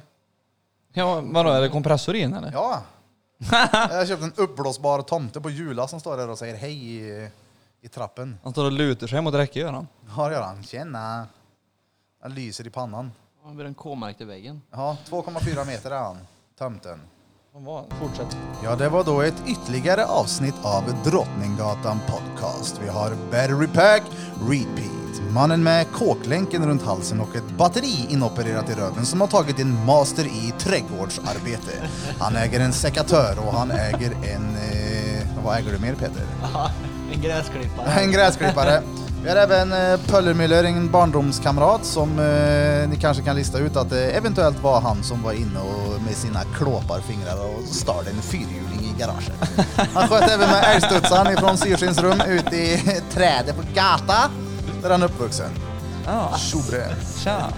Speaker 4: Ja, vadå, är det kompressor in eller?
Speaker 1: Ja. Jag köpte en uppblåsbar tomte på Jula som står där och säger hej i, i trappen.
Speaker 4: Han står och lutar sig mot räcket gör han.
Speaker 1: Ja det gör han. Tjena. Han lyser i pannan.
Speaker 2: Han blir en K-märkt i väggen.
Speaker 1: Ja, 2,4 meter är han. Tomten.
Speaker 4: Han var- Fortsätt.
Speaker 1: Ja, det var då ett ytterligare avsnitt av Drottninggatan Podcast. Vi har Battery Pack, Repeat, mannen med kåklänken runt halsen och ett batteri inopererat i röven som har tagit en master i trädgårdsarbete. Han äger en sekatör och han äger en... Eh, vad äger du mer Peter?
Speaker 2: en gräsklippare.
Speaker 1: En gräsklippare. Vi har även eh, Pöllermüller, en barndomskamrat som eh, ni kanske kan lista ut att det eventuellt var han som var inne och med sina klåparfingrar och stal en fyrhjuling i garaget. Han sköt även med älgstudsaren ifrån Syrsins rum ut i trädet på gatan där han är uppvuxen.
Speaker 4: Ja,
Speaker 1: Tjobre.
Speaker 4: tja.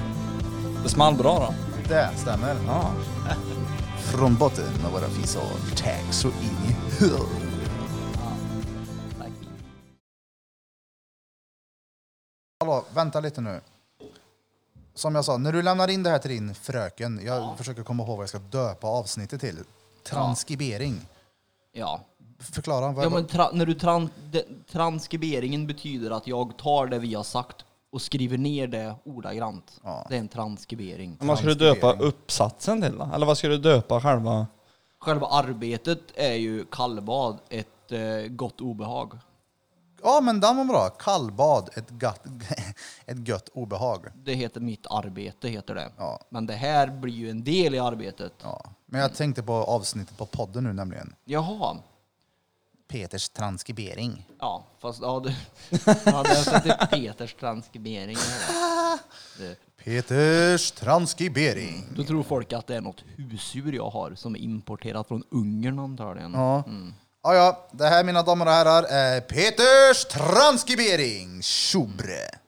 Speaker 4: Det small bra då.
Speaker 1: Det stämmer.
Speaker 4: Ja.
Speaker 1: Från botten av våra fisar, tack så in i huvudet.
Speaker 2: Tack.
Speaker 1: Hallå, vänta lite nu. Som jag sa, när du lämnar in det här till din fröken, jag försöker komma ihåg vad jag ska döpa avsnittet till. Transkribering.
Speaker 2: Ja.
Speaker 1: Förklara. Vad
Speaker 2: ja men tra- när du tran- de- transkriberingen betyder att jag tar det vi har sagt och skriver ner det ordagrant.
Speaker 1: Ja.
Speaker 2: Det är en transkribering.
Speaker 4: Men Vad ska du döpa uppsatsen till då? Eller vad ska du döpa själva?
Speaker 2: Själva arbetet är ju kallbad, ett eh, gott obehag.
Speaker 1: Ja, men den var bra. Kallbad, ett, gatt, ett gött obehag.
Speaker 2: Det heter mitt arbete, heter det.
Speaker 1: Ja.
Speaker 2: Men det här blir ju en del i arbetet.
Speaker 1: Ja. Men jag tänkte på avsnittet på podden nu nämligen.
Speaker 2: Jaha.
Speaker 1: Peters transkribering.
Speaker 2: Ja, fast ja, du, jag hade sett Peters transkribering. här. Det-
Speaker 1: Peters transkribering.
Speaker 2: Då tror folk att det är något husdjur jag har som är importerat från Ungern antagligen.
Speaker 1: Ja.
Speaker 2: Mm.
Speaker 1: Ja, ja, det här mina damer och herrar är Peters transkribering. Tjobre.